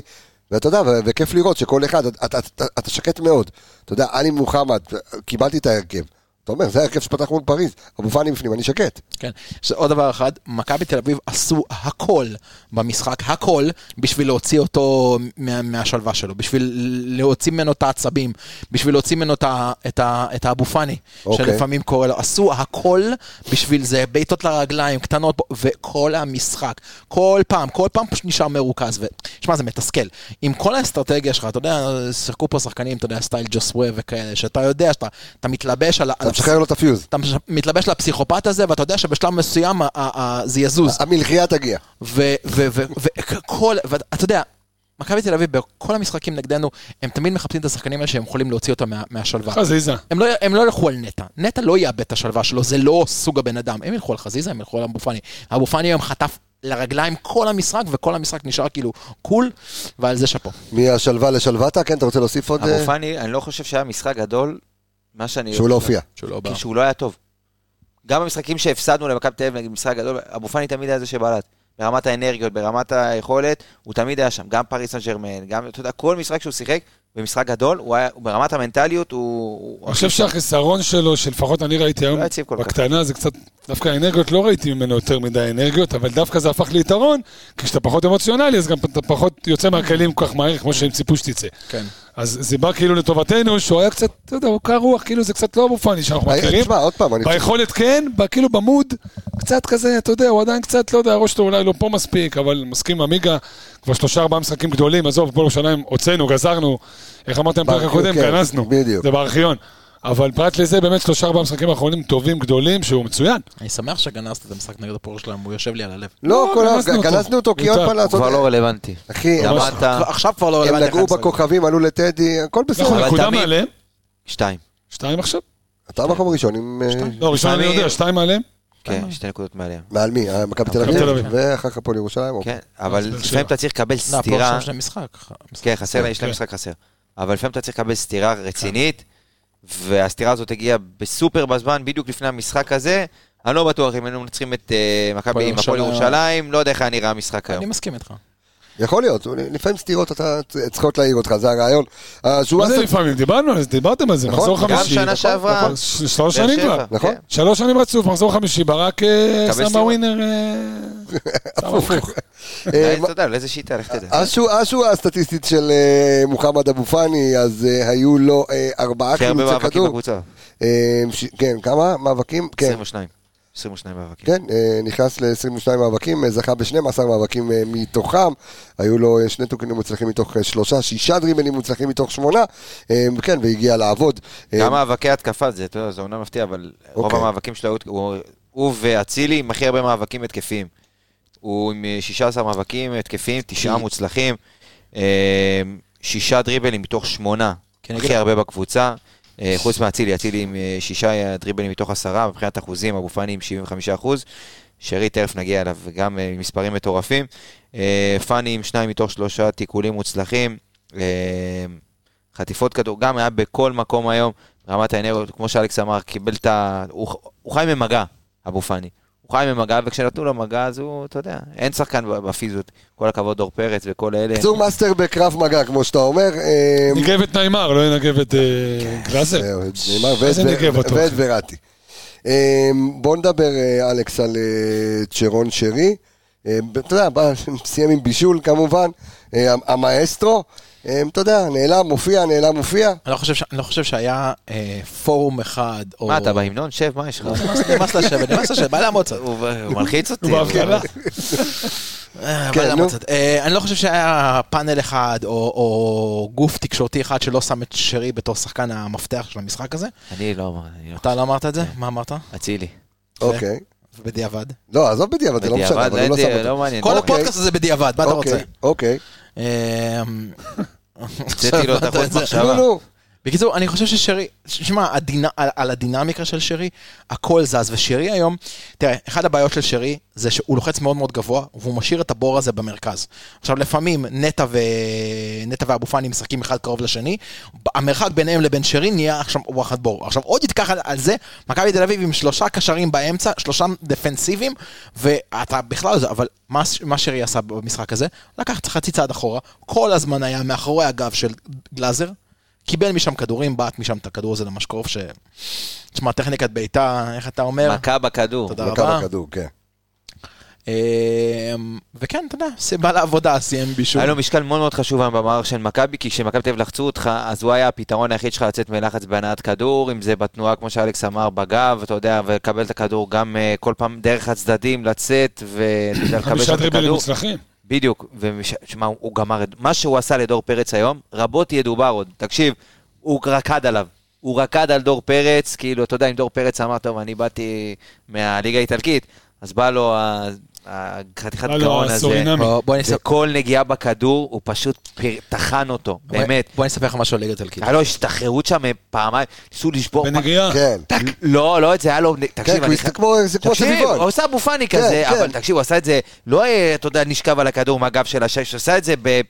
[SPEAKER 1] ואתה יודע, ו- וכיף לראות שכל אחד, אתה- אתה- אתה אתה שקט מאוד. אתה יודע, עלי מוחמד, קיבלתי את ההרכב. אתה אומר, זה ההרכב שפתח מול פריז, אבו פאני בפנים, אני שקט.
[SPEAKER 3] כן. עכשיו, עוד דבר אחד, מכבי תל אביב עשו הכל במשחק, הכל, בשביל להוציא אותו מה, מהשלווה שלו, בשביל להוציא ממנו את העצבים, בשביל להוציא ממנו את, ה- את, ה- את האבו פאני,
[SPEAKER 1] אוקיי.
[SPEAKER 3] שלפעמים קורא לו. עשו הכל בשביל זה, בעיטות לרגליים, קטנות, פה, וכל המשחק, כל פעם, כל פעם פשוט נשאר מרוכז. ו- שמע, זה מתסכל. עם כל האסטרטגיה שלך, אתה יודע, שיחקו פה שחקנים, אתה יודע, סטייל ג'וסווה וכאלה, שאתה יודע שאתה אתה מתלבש על ה... על
[SPEAKER 1] אתה
[SPEAKER 3] הפס-
[SPEAKER 1] משחרר לו את הפיוז.
[SPEAKER 3] אתה מתלבש לפסיכופת הזה, ואתה יודע שבשלב מסוים ה- ה- ה- זה יזוז.
[SPEAKER 1] המלחייה תגיע.
[SPEAKER 3] וכל, ואתה יודע, מכבי תל אביב, בכל המשחקים נגדנו, הם תמיד מחפשים את השחקנים האלה שהם יכולים להוציא אותם מה- מהשלווה.
[SPEAKER 6] חזיזה.
[SPEAKER 3] הם לא, הם לא ילכו על נטע, נטע לא יאבד את השלווה שלו, זה לא סוג הבן אדם. הם ילכו על חזיזה, הם ילכו על אבו פאני. אבו פאני היום חטף לרגליים כל המשחק, וכל המשחק נשאר כאילו קול, ועל זה שאפו.
[SPEAKER 1] מהשלווה לשלוותה, כן, אתה רוצה להוסיף עוד? אה,
[SPEAKER 5] אבו פאני, אני לא חושב שהיה משחק גדול, מה שאני...
[SPEAKER 1] שהוא לא הופיע.
[SPEAKER 3] שלא בא.
[SPEAKER 5] כי שהוא לא היה טוב. גם במשחקים שהפסדנו למכבי תל אביב, נגיד משחק גדול, אבו פאני תמיד היה זה שבלט. ברמת האנרגיות, ברמת היכולת, הוא תמיד היה שם. גם פריס סן ג'רמן, גם, אתה יודע, כל משחק שהוא שיחק, במשחק גדול, הוא היה, ברמת המנטליות, הוא... הוא-
[SPEAKER 6] אני חושב שהחיסרון שלו, שלפחות אני ראיתי היום,
[SPEAKER 5] לא יציב כל כך.
[SPEAKER 6] בקטנה זה קצת, דווקא האנרגיות, לא ראיתי ממנו יותר מדי אנרגיות, אבל דווקא זה הפך ליתרון, כי כשאתה פחות אמוציונלי, אז גם אתה פחות יוצא מהכלים כל כך מהר, כמו שהם ציפו שתצא.
[SPEAKER 3] כן.
[SPEAKER 6] אז זה בא כאילו לטובתנו, שהוא היה קצת, אתה יודע, הוא קר רוח, כאילו זה קצת לא אבו פאני שאנחנו
[SPEAKER 1] אה,
[SPEAKER 6] מכירים.
[SPEAKER 1] תשמע, עוד פעם, אני חושב...
[SPEAKER 6] ביכולת כן, ב- כאילו במוד, קצת כזה, אתה יודע, הוא עדיין קצת, לא יודע, הראש שלו אולי לא פה מספיק, אבל מסכים עם עמיגה, כבר שלושה ארבעה משחקים גדולים, עזוב, פה ירושלים, הוצאנו, גזרנו, איך אמרתם בפרק
[SPEAKER 1] בארכיון,
[SPEAKER 6] הקודם,
[SPEAKER 1] כן,
[SPEAKER 6] גנזנו,
[SPEAKER 1] בדיוק.
[SPEAKER 6] זה בארכיון. אבל פרט לזה, באמת שלושה ארבעה משחקים האחרונים טובים, גדולים, שהוא מצוין.
[SPEAKER 3] אני שמח שגנזת את המשחק נגד הפועל שלהם, הוא יושב לי על הלב.
[SPEAKER 1] לא,
[SPEAKER 6] לא,
[SPEAKER 1] כל ה-
[SPEAKER 6] גנזנו אותו.
[SPEAKER 1] גנזנו אותו, כי עוד
[SPEAKER 6] הוא
[SPEAKER 1] פעם
[SPEAKER 5] הוא
[SPEAKER 1] לעשות...
[SPEAKER 5] כבר לא רלוונטי.
[SPEAKER 1] אחי, הם-
[SPEAKER 6] ממש.
[SPEAKER 5] למדת,
[SPEAKER 3] עכשיו כבר לא
[SPEAKER 1] הם
[SPEAKER 3] רלוונטי.
[SPEAKER 1] נגעו
[SPEAKER 3] אחד-עשרה.
[SPEAKER 1] בכוכבים, עלו לטדי, הכל בסדר.
[SPEAKER 6] נכון,
[SPEAKER 5] אבל
[SPEAKER 6] נקודה
[SPEAKER 5] תמיד-
[SPEAKER 6] מעליהם,
[SPEAKER 5] שתיים.
[SPEAKER 6] שתיים עכשיו.
[SPEAKER 1] אתה מקום ראשון עם... אה,
[SPEAKER 6] לא, ראשון אני
[SPEAKER 5] שתיים.
[SPEAKER 6] יודע, שתיים מעליהם.
[SPEAKER 5] כן, שתי נקודות מעליהם.
[SPEAKER 1] מעל מי? אה, מכבי תל
[SPEAKER 6] מכבי תל
[SPEAKER 1] אביב,
[SPEAKER 6] אביב.
[SPEAKER 1] ואחר כך הפועל ירושלים. אוקיי.
[SPEAKER 5] כן, אבל
[SPEAKER 6] באר שבע.
[SPEAKER 5] לפעמים אתה צריך לקבל
[SPEAKER 3] לא, הפועל
[SPEAKER 5] סטירה.
[SPEAKER 3] שלהם שלהם משחק.
[SPEAKER 5] כן, חסר, לה- יש להם
[SPEAKER 6] כן.
[SPEAKER 5] משחק חסר. אבל לפעמים אתה צריך לקבל סטירה רצינית, והסטירה הזאת הגיעה בסופר בזמן, בדיוק לפני המשחק הזה. אני לא בטוח אם היינו מנצחים את אה, מכבי עם הפועל
[SPEAKER 3] ירושלים.
[SPEAKER 5] ירושלים, לא יודע איך היה נראה המשחק
[SPEAKER 3] אני
[SPEAKER 5] היום.
[SPEAKER 3] מסכים איתך.
[SPEAKER 1] יכול להיות, לפעמים סתירות אתה צריכות להעיר אותך, זה הרעיון.
[SPEAKER 6] מה
[SPEAKER 1] השורה
[SPEAKER 6] זה
[SPEAKER 1] הסט-
[SPEAKER 6] לפעמים? דיברנו על זה, דיברתם על זה,
[SPEAKER 1] נכון,
[SPEAKER 6] מחזור
[SPEAKER 1] גם
[SPEAKER 5] גם
[SPEAKER 6] חמישי.
[SPEAKER 5] שנה שעברה,
[SPEAKER 6] נכון, ש- שלוש
[SPEAKER 5] באר
[SPEAKER 6] שנים
[SPEAKER 5] שבע,
[SPEAKER 6] כבר.
[SPEAKER 1] נכון.
[SPEAKER 5] כן.
[SPEAKER 6] שלוש שנים רצוף, מחזור חמישי, ברק אה,
[SPEAKER 5] מקבל
[SPEAKER 6] שם
[SPEAKER 5] סיום.
[SPEAKER 6] בווינר... אה, שם הפוך.
[SPEAKER 1] אה,
[SPEAKER 5] אה, אתה יודע, לאיזה שיטה, לך תדע.
[SPEAKER 1] השו- השורה הסטטיסטית של אה, מוחמד אבו פאני, אז אה, היו לו אה, ארבעה
[SPEAKER 5] הכי הרבה
[SPEAKER 1] חילוצי
[SPEAKER 5] מאבקים
[SPEAKER 1] כדור.
[SPEAKER 5] בקבוצה.
[SPEAKER 1] אה, ש- כן, כמה? מאבקים? כן.
[SPEAKER 5] 22. 22 מאבקים.
[SPEAKER 1] כן, אה, נכנס ל-22 מאבקים, אה, זכה ב-12 מאבקים אה, מתוכם, היו לו אה, שני טוקנים מוצלחים מתוך אה, שלושה, שישה דריבלים מוצלחים מתוך שמונה, אה, כן, והגיע לעבוד. אה,
[SPEAKER 5] גם מאבקי התקפה, זה, אתה יודע, זה אומנם מפתיע, אבל רוב
[SPEAKER 1] אוקיי.
[SPEAKER 5] המאבקים שלו, היו- הוא- הוא ואצילי עם הכי הרבה מאבקים התקפיים. הוא עם אה, 16 מאבקים התקפיים,
[SPEAKER 1] אוקיי.
[SPEAKER 5] תשעה מוצלחים, אה, שישה דריבלים מתוך שמונה,
[SPEAKER 3] כן,
[SPEAKER 5] הכי
[SPEAKER 3] נגד-
[SPEAKER 5] הרבה בקבוצה. אה, חוץ מאצילי, אצילי עם אה, שישה אה, דריבלים מתוך עשרה, מבחינת אחוזים, אבו פאני עם 75 אחוז. שרי, תכף נגיע אליו, גם אה, עם מספרים מטורפים. אה, פאני עם שניים מתוך שלושה תיקולים מוצלחים. אה, חטיפות כדור, גם היה בכל מקום היום, רמת האנרגיות, כמו שאלכס אמר, קיבל את ה... הוא, הוא חי ממגע, אבו פאני. הוא חי ממגע, וכשנתנו לו מגע, אז הוא, אתה יודע, אין שחקן ב- בפיזיות. כל הכבוד, דור פרץ וכל אלה.
[SPEAKER 1] בקיצור מאסטר בקרב מגע, כמו שאתה אומר. אה,
[SPEAKER 6] ניגב את נעימר, לא ינגב את
[SPEAKER 1] כן,
[SPEAKER 6] אה, גלאזר.
[SPEAKER 1] זהו, נאמר,
[SPEAKER 6] איזה
[SPEAKER 1] ואת-
[SPEAKER 6] נגב אותו,
[SPEAKER 1] ואת
[SPEAKER 6] אחי.
[SPEAKER 1] וראטי. אמ, בוא נדבר, אה, אלכס, על אה, צ'רון שרי. אמ, אתה יודע, בא- סיים עם בישול כמובן, אה, המ- המאסטרו. אמ, אתה יודע, נעלם, מופיע, נעלם, מופיע.
[SPEAKER 3] אני לא חושב ש- אני לא חושב שהיה אה, פורום אחד, או...
[SPEAKER 5] מה, אתה בהמנון? שב, מה יש לך?
[SPEAKER 3] נמאס- נמאס לשבת, נמאס לשבת, בא לעמוד קצת.
[SPEAKER 5] הוא הוא מלחיץ אותי.
[SPEAKER 6] הוא בהבדלה.
[SPEAKER 3] אה,
[SPEAKER 1] כן,
[SPEAKER 3] אבל
[SPEAKER 1] נו.
[SPEAKER 3] המצאת. אה, אני לא חושב שהיה פאנל אחד או- או גוף תקשורתי אחד שלא שם את שרי בתור שחקן המפתח של המשחק הזה.
[SPEAKER 5] אני לא אמר, אני לא...
[SPEAKER 3] אתה לא אמרת את זה? מה אמרת?
[SPEAKER 5] אצילי.
[SPEAKER 1] אוקיי.
[SPEAKER 3] בדיעבד.
[SPEAKER 1] לא, עזוב בדיעבד, זה לא משנה,
[SPEAKER 5] בדיעבד,
[SPEAKER 1] אבל הוא לא שם
[SPEAKER 5] לא-
[SPEAKER 1] אותו.
[SPEAKER 5] לא מעניין.
[SPEAKER 3] כל
[SPEAKER 5] אה, אוקיי.
[SPEAKER 3] הפודקאסט הזה בדיעבד,
[SPEAKER 7] לא
[SPEAKER 3] מה אתה רוצה?
[SPEAKER 1] אוקיי, אוקיי.
[SPEAKER 3] אה,
[SPEAKER 5] הוצאתי לו את החוץ
[SPEAKER 3] את זה.
[SPEAKER 5] מחשבה.
[SPEAKER 1] נו, נו.
[SPEAKER 3] בקיצור, אני חושב ששרי, שמע, הדינה- על, על הדינמיקה של שרי, הכל זז, ושרי היום, תראה, אחת הבעיות של שרי זה שהוא לוחץ מאוד מאוד גבוה, והוא משאיר את הבור הזה במרכז. עכשיו, לפעמים נטע, ו... נטע ואבו פאני משחקים אחד קרוב לשני, המרחק ביניהם לבין שרי נהיה עכשיו וואחד בור. עכשיו, עוד יתקח על, על זה, מכבי תל אביב עם שלושה קשרים באמצע, שלושה דפנסיביים, ואתה בכלל לא זה, אבל מה, מה שרי עשה במשחק הזה? לקח חצי צעד אחורה, כל הזמן היה מאחורי הגב של גלאזר. קיבל משם כדורים, בעט משם את הכדור הזה למשקוף, ש... תשמע, טכניקת בעיטה, איך אתה אומר?
[SPEAKER 5] מכה בכדור.
[SPEAKER 3] תודה
[SPEAKER 1] לקו
[SPEAKER 3] רבה.
[SPEAKER 1] הכדור, כן.
[SPEAKER 3] אמ, וכן, אתה יודע, זה בא לעבודה, סיים בישול.
[SPEAKER 5] היה לו משקל מאוד מאוד חשוב היום במערך של מכבי, כי כשמכבי תל אביב לחצו אותך, אז הוא היה הפתרון היחיד שלך לצאת מלחץ בהנעת כדור, אם זה בתנועה, כמו שאלכס אמר, בגב, אתה יודע, ולקבל את הכדור גם אה, כל פעם דרך הצדדים, לצאת, ואתה יודע, לקבל שם
[SPEAKER 6] חמישה
[SPEAKER 5] את
[SPEAKER 6] דריבלים
[SPEAKER 5] הכדור.
[SPEAKER 6] מוצלחים.
[SPEAKER 5] בדיוק, ושמע, הוא הוא גמר את... מה שהוא עשה לדור פרץ היום, רבות ידובר עוד. תקשיב, הוא רקד עליו. הוא רקד על דור פרץ, כאילו, אתה יודע, אם דור פרץ אמר, טוב, אני באתי מהליגה האיטלקית, אז בא לו ה- החתיכת
[SPEAKER 6] בא לו
[SPEAKER 5] גאון הזה.
[SPEAKER 6] הסורינמי.
[SPEAKER 3] בוא- בוא אני אספר-
[SPEAKER 5] וכל נגיעה בכדור, הוא פשוט פר- טחן אותו,
[SPEAKER 3] בוא-
[SPEAKER 5] באמת.
[SPEAKER 3] בוא אני אספר לך משהו על ליגת אלקין.
[SPEAKER 5] היה לו השתחררות שם פעמיים, ניסו לשבור...
[SPEAKER 6] בנגיעה.
[SPEAKER 1] כן.
[SPEAKER 5] טק. לא, לא את זה, היה לו... תקשיב,
[SPEAKER 1] כן,
[SPEAKER 5] אני...
[SPEAKER 1] כי זה כמו- זה כמו
[SPEAKER 5] תקשיב,
[SPEAKER 1] סביבון.
[SPEAKER 5] הוא עושה אבו פאני
[SPEAKER 1] כן,
[SPEAKER 5] כזה,
[SPEAKER 1] כן.
[SPEAKER 5] אבל תקשיב, הוא עשה את זה, לא, אה, אתה יודע, נשכב על הכדור מהגב של השש, הוא עשה את זה ב...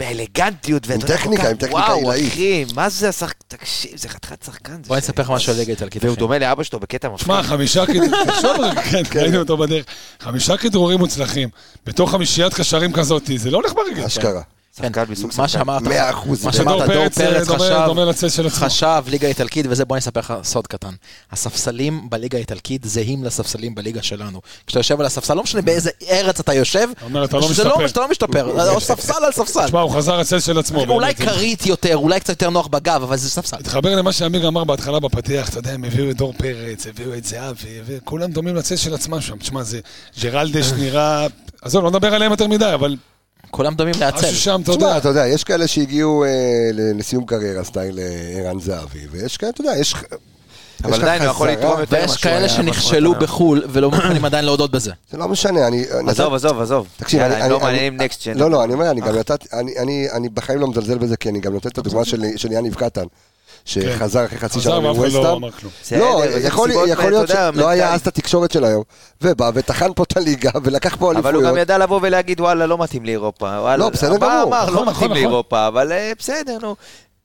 [SPEAKER 5] באלגנטיות, ואתה יודע, כל
[SPEAKER 1] טכניקה,
[SPEAKER 5] כך-
[SPEAKER 1] עם טכניקה
[SPEAKER 5] וואו,
[SPEAKER 1] עילאית.
[SPEAKER 5] אחי, מה זה השחק... תקשיב, זה חתיכת שחקן. זה
[SPEAKER 3] בוא אני
[SPEAKER 5] ש-
[SPEAKER 3] אספר לך משהו על ליגת אלקין.
[SPEAKER 5] והוא דומה לאבא שלו בקטע מפחיד.
[SPEAKER 6] שמע, חמישה כדרורים, תחשוב רגע, כן, ראינו אותו בדרך. חמישה כדרורים מוצלחים, בתוך חמישיית קשרים כזאת, זה לא הולך ברגל.
[SPEAKER 1] אשכרה.
[SPEAKER 5] שחקן
[SPEAKER 1] כן,
[SPEAKER 5] מסוג
[SPEAKER 3] כן, מה
[SPEAKER 5] שחקן.
[SPEAKER 3] שאמרת,
[SPEAKER 1] מאה אחוז.
[SPEAKER 3] מה
[SPEAKER 1] זה
[SPEAKER 6] דור
[SPEAKER 3] שאמרת, דור
[SPEAKER 6] פרץ, אה,
[SPEAKER 3] פרץ
[SPEAKER 6] דומה-
[SPEAKER 3] חשב,
[SPEAKER 6] דומה לצל של עצמו.
[SPEAKER 3] חשב ליגה איטלקית, וזה בוא אני אספר לך סוד קטן. הספסלים בליגה האיטלקית זהים לספסלים בליגה שלנו. כשאתה יושב על הספסל, לא משנה באיזה ארץ אתה יושב,
[SPEAKER 6] אומר, אתה לא
[SPEAKER 3] זה
[SPEAKER 6] משתפר.
[SPEAKER 3] אתה לא משתפר, או ספסל על ספסל.
[SPEAKER 6] תשמע, הוא חזר הצל של עצמו.
[SPEAKER 3] אולי
[SPEAKER 6] באמת.
[SPEAKER 3] כרית יותר, אולי קצת יותר נוח בגב, אבל זה ספסל.
[SPEAKER 6] התחבר למה שעמיג אמר בהתחלה בפתיח, אתה יודע, הם הביאו את דור פרץ, הביאו את זהבי, הביאו- כולם
[SPEAKER 1] אה.
[SPEAKER 6] דומים לצל של עצמם שם. תשמע, זה ג'רלדש נראה... עזוב, לא נדבר עליהם יותר מדי, אבל
[SPEAKER 3] כולם דומים להצל.
[SPEAKER 6] משהו שם, אתה
[SPEAKER 1] תשמע,
[SPEAKER 6] יודע.
[SPEAKER 1] אתה יודע, יש כאלה שהגיעו אה, ל- לסיום קריירה, סטייל אה, ערן זהבי, ויש כאלה, אתה יודע, יש...
[SPEAKER 7] אבל
[SPEAKER 1] יש לך
[SPEAKER 7] עדיין הוא יכול
[SPEAKER 1] חזרה.
[SPEAKER 7] לתרום יותר.
[SPEAKER 3] ויש
[SPEAKER 7] משהו היה
[SPEAKER 3] כאלה שנכשלו
[SPEAKER 7] בקורונה.
[SPEAKER 3] בחו"ל ולא מוכנים עדיין להודות בזה.
[SPEAKER 1] זה לא משנה, אני...
[SPEAKER 5] עזוב, עזוב, עזוב.
[SPEAKER 1] תקשיב,
[SPEAKER 5] יאללה,
[SPEAKER 1] אני...
[SPEAKER 5] הם לא
[SPEAKER 1] אני-
[SPEAKER 5] מעניינים
[SPEAKER 1] אני-
[SPEAKER 5] נקסט ג'ן.
[SPEAKER 1] לא, לא, אני אומר, אני גם נתתי... אני- אני- אני בחיים לא מזלזל בזה, כי אני גם נותן את הדוגמה של של יניב קטן, שחזר אחרי חצי
[SPEAKER 6] כן. חזר
[SPEAKER 1] שנה
[SPEAKER 6] ואף אחד לא
[SPEAKER 1] מווסטאם.
[SPEAKER 6] אמר כלום.
[SPEAKER 5] בסדר,
[SPEAKER 1] לא,
[SPEAKER 5] אבל זה
[SPEAKER 1] יכול
[SPEAKER 5] מסיבות,
[SPEAKER 1] יכול
[SPEAKER 5] אתה
[SPEAKER 1] להיות
[SPEAKER 5] יודע,
[SPEAKER 1] שלא היה
[SPEAKER 5] מנטלית.
[SPEAKER 1] אז את התקשורת של היום, ובא וטחן פה את הליגה, ולקח פה
[SPEAKER 5] אבל הוא גם
[SPEAKER 1] אליפויות.
[SPEAKER 5] ידע לבוא ולהגיד, וואלה, לא מתאים לאירופה. וואלה,
[SPEAKER 1] לא, בסדר
[SPEAKER 5] בא,
[SPEAKER 1] גמור.
[SPEAKER 5] אמר,
[SPEAKER 6] נכון,
[SPEAKER 5] לא
[SPEAKER 6] נכון,
[SPEAKER 5] מתאים
[SPEAKER 6] נכון.
[SPEAKER 5] לאירופה, אבל אה, בסדר, נו.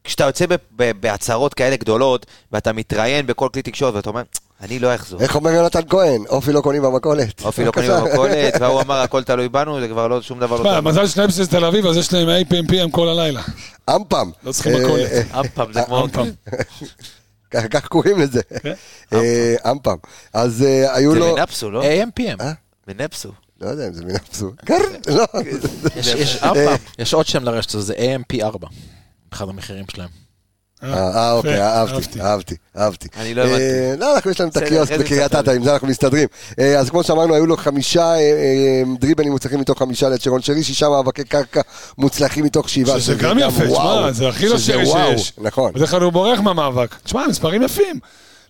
[SPEAKER 5] כשאתה יוצא ב- ב- בהצהרות כאלה גדולות, ואתה מתראיין בכל כלי תקשורת, ואתה אומר, אני לא אחזור.
[SPEAKER 1] איך אומר יונתן כהן? אופי לא קונים במכולת.
[SPEAKER 5] אופי לא קונים
[SPEAKER 1] בבקשה.
[SPEAKER 5] במכולת, והוא אמר, הכל תלוי בנו, זה כבר לא, שום דבר לא
[SPEAKER 6] תשמע,
[SPEAKER 5] תלוי.
[SPEAKER 6] מזל שלהם שזה תל אביב, אז יש להם APMPM כל הלילה.
[SPEAKER 1] אמפם.
[SPEAKER 6] לא צריכים
[SPEAKER 1] אה,
[SPEAKER 6] מכולת.
[SPEAKER 1] אה,
[SPEAKER 5] אמפם, זה כמו...
[SPEAKER 6] אמפם.
[SPEAKER 1] כ- כך קוראים לזה.
[SPEAKER 6] כן.
[SPEAKER 1] אה, אמפם. אז אה, היו
[SPEAKER 5] זה
[SPEAKER 1] לו...
[SPEAKER 5] מנפסו, לא?
[SPEAKER 3] AMPM.
[SPEAKER 5] מנפסו.
[SPEAKER 1] לא יודע אם זה מנפסו. כן, לא.
[SPEAKER 3] יש- יש- יש עוד שם לרשת הזו, זה AMP4. אחד המחירים שלהם.
[SPEAKER 1] אה, אה, אוקיי,
[SPEAKER 6] יפה,
[SPEAKER 1] אהבתי,
[SPEAKER 6] כן, אהבתי.
[SPEAKER 1] אהבתי, אהבתי.
[SPEAKER 5] אני לא הבנתי.
[SPEAKER 1] אה, לא, אנחנו יש לנו את
[SPEAKER 5] בסדר,
[SPEAKER 1] הקיוסק
[SPEAKER 5] אחרי זה
[SPEAKER 1] בקריית
[SPEAKER 5] נצטרך
[SPEAKER 1] אתא, עם זה אנחנו מסתדרים. אה, אז כמו שאמרנו, היו לו חמישה אה, אה, דריבלים מוצלחים מתוך חמישה ליד שרון שרי, שישה מאבקי קרקע מוצלחים מתוך שבעה.
[SPEAKER 6] שזה גם יפה,
[SPEAKER 1] לא, וואו.
[SPEAKER 6] תשמע, זה הכי לא
[SPEAKER 1] שזה
[SPEAKER 6] שרי
[SPEAKER 1] וואו,
[SPEAKER 6] שיש.
[SPEAKER 1] נכון.
[SPEAKER 6] בדרך כלל הוא בורח מהמאבק. תשמע, מספרים יפים.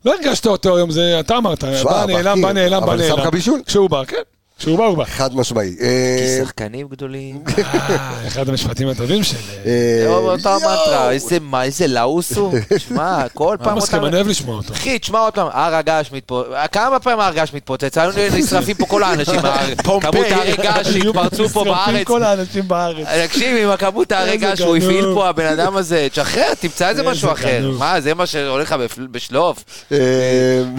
[SPEAKER 6] לא הרגשת אותו היום, זה אתה אמרת, בא נעלם, בא נעלם, בא
[SPEAKER 1] אבל שם
[SPEAKER 6] נעלם.
[SPEAKER 1] לך בישול.
[SPEAKER 6] כשהוא בא, כן. כשהוא בא, הוא בא.
[SPEAKER 1] חד משמעי. אה,
[SPEAKER 5] כי שחקנים גדולים.
[SPEAKER 6] אה, אחד המשפטים הטובים שלי.
[SPEAKER 1] אה,
[SPEAKER 5] זה אותה
[SPEAKER 1] יואו.
[SPEAKER 5] מטרה, איזה מה, איזה לאוס הוא. שמע, כל פעם
[SPEAKER 6] מה מסכים,
[SPEAKER 5] אותם...
[SPEAKER 6] אני אוהב לשמוע אותו.
[SPEAKER 5] אחי, תשמע עוד פעם, הר הגעש מתפוצץ, כמה פעמים הר הגעש מתפוצץ? היו נשרפים פה כל האנשים, הר- כמות הרי געש שהתפרצו פה בארץ.
[SPEAKER 6] כל האנשים בארץ.
[SPEAKER 5] תקשיב, עם הכמות הרי
[SPEAKER 6] איזה
[SPEAKER 5] געש שהוא
[SPEAKER 6] גנוב.
[SPEAKER 5] הפעיל פה, הבן אדם הזה, תשחרר, תמצא איזה
[SPEAKER 6] איזה
[SPEAKER 5] משהו אחר.
[SPEAKER 6] גנוב.
[SPEAKER 5] מה, זה מה שהולך לך בפל- בשלוף?
[SPEAKER 1] אה,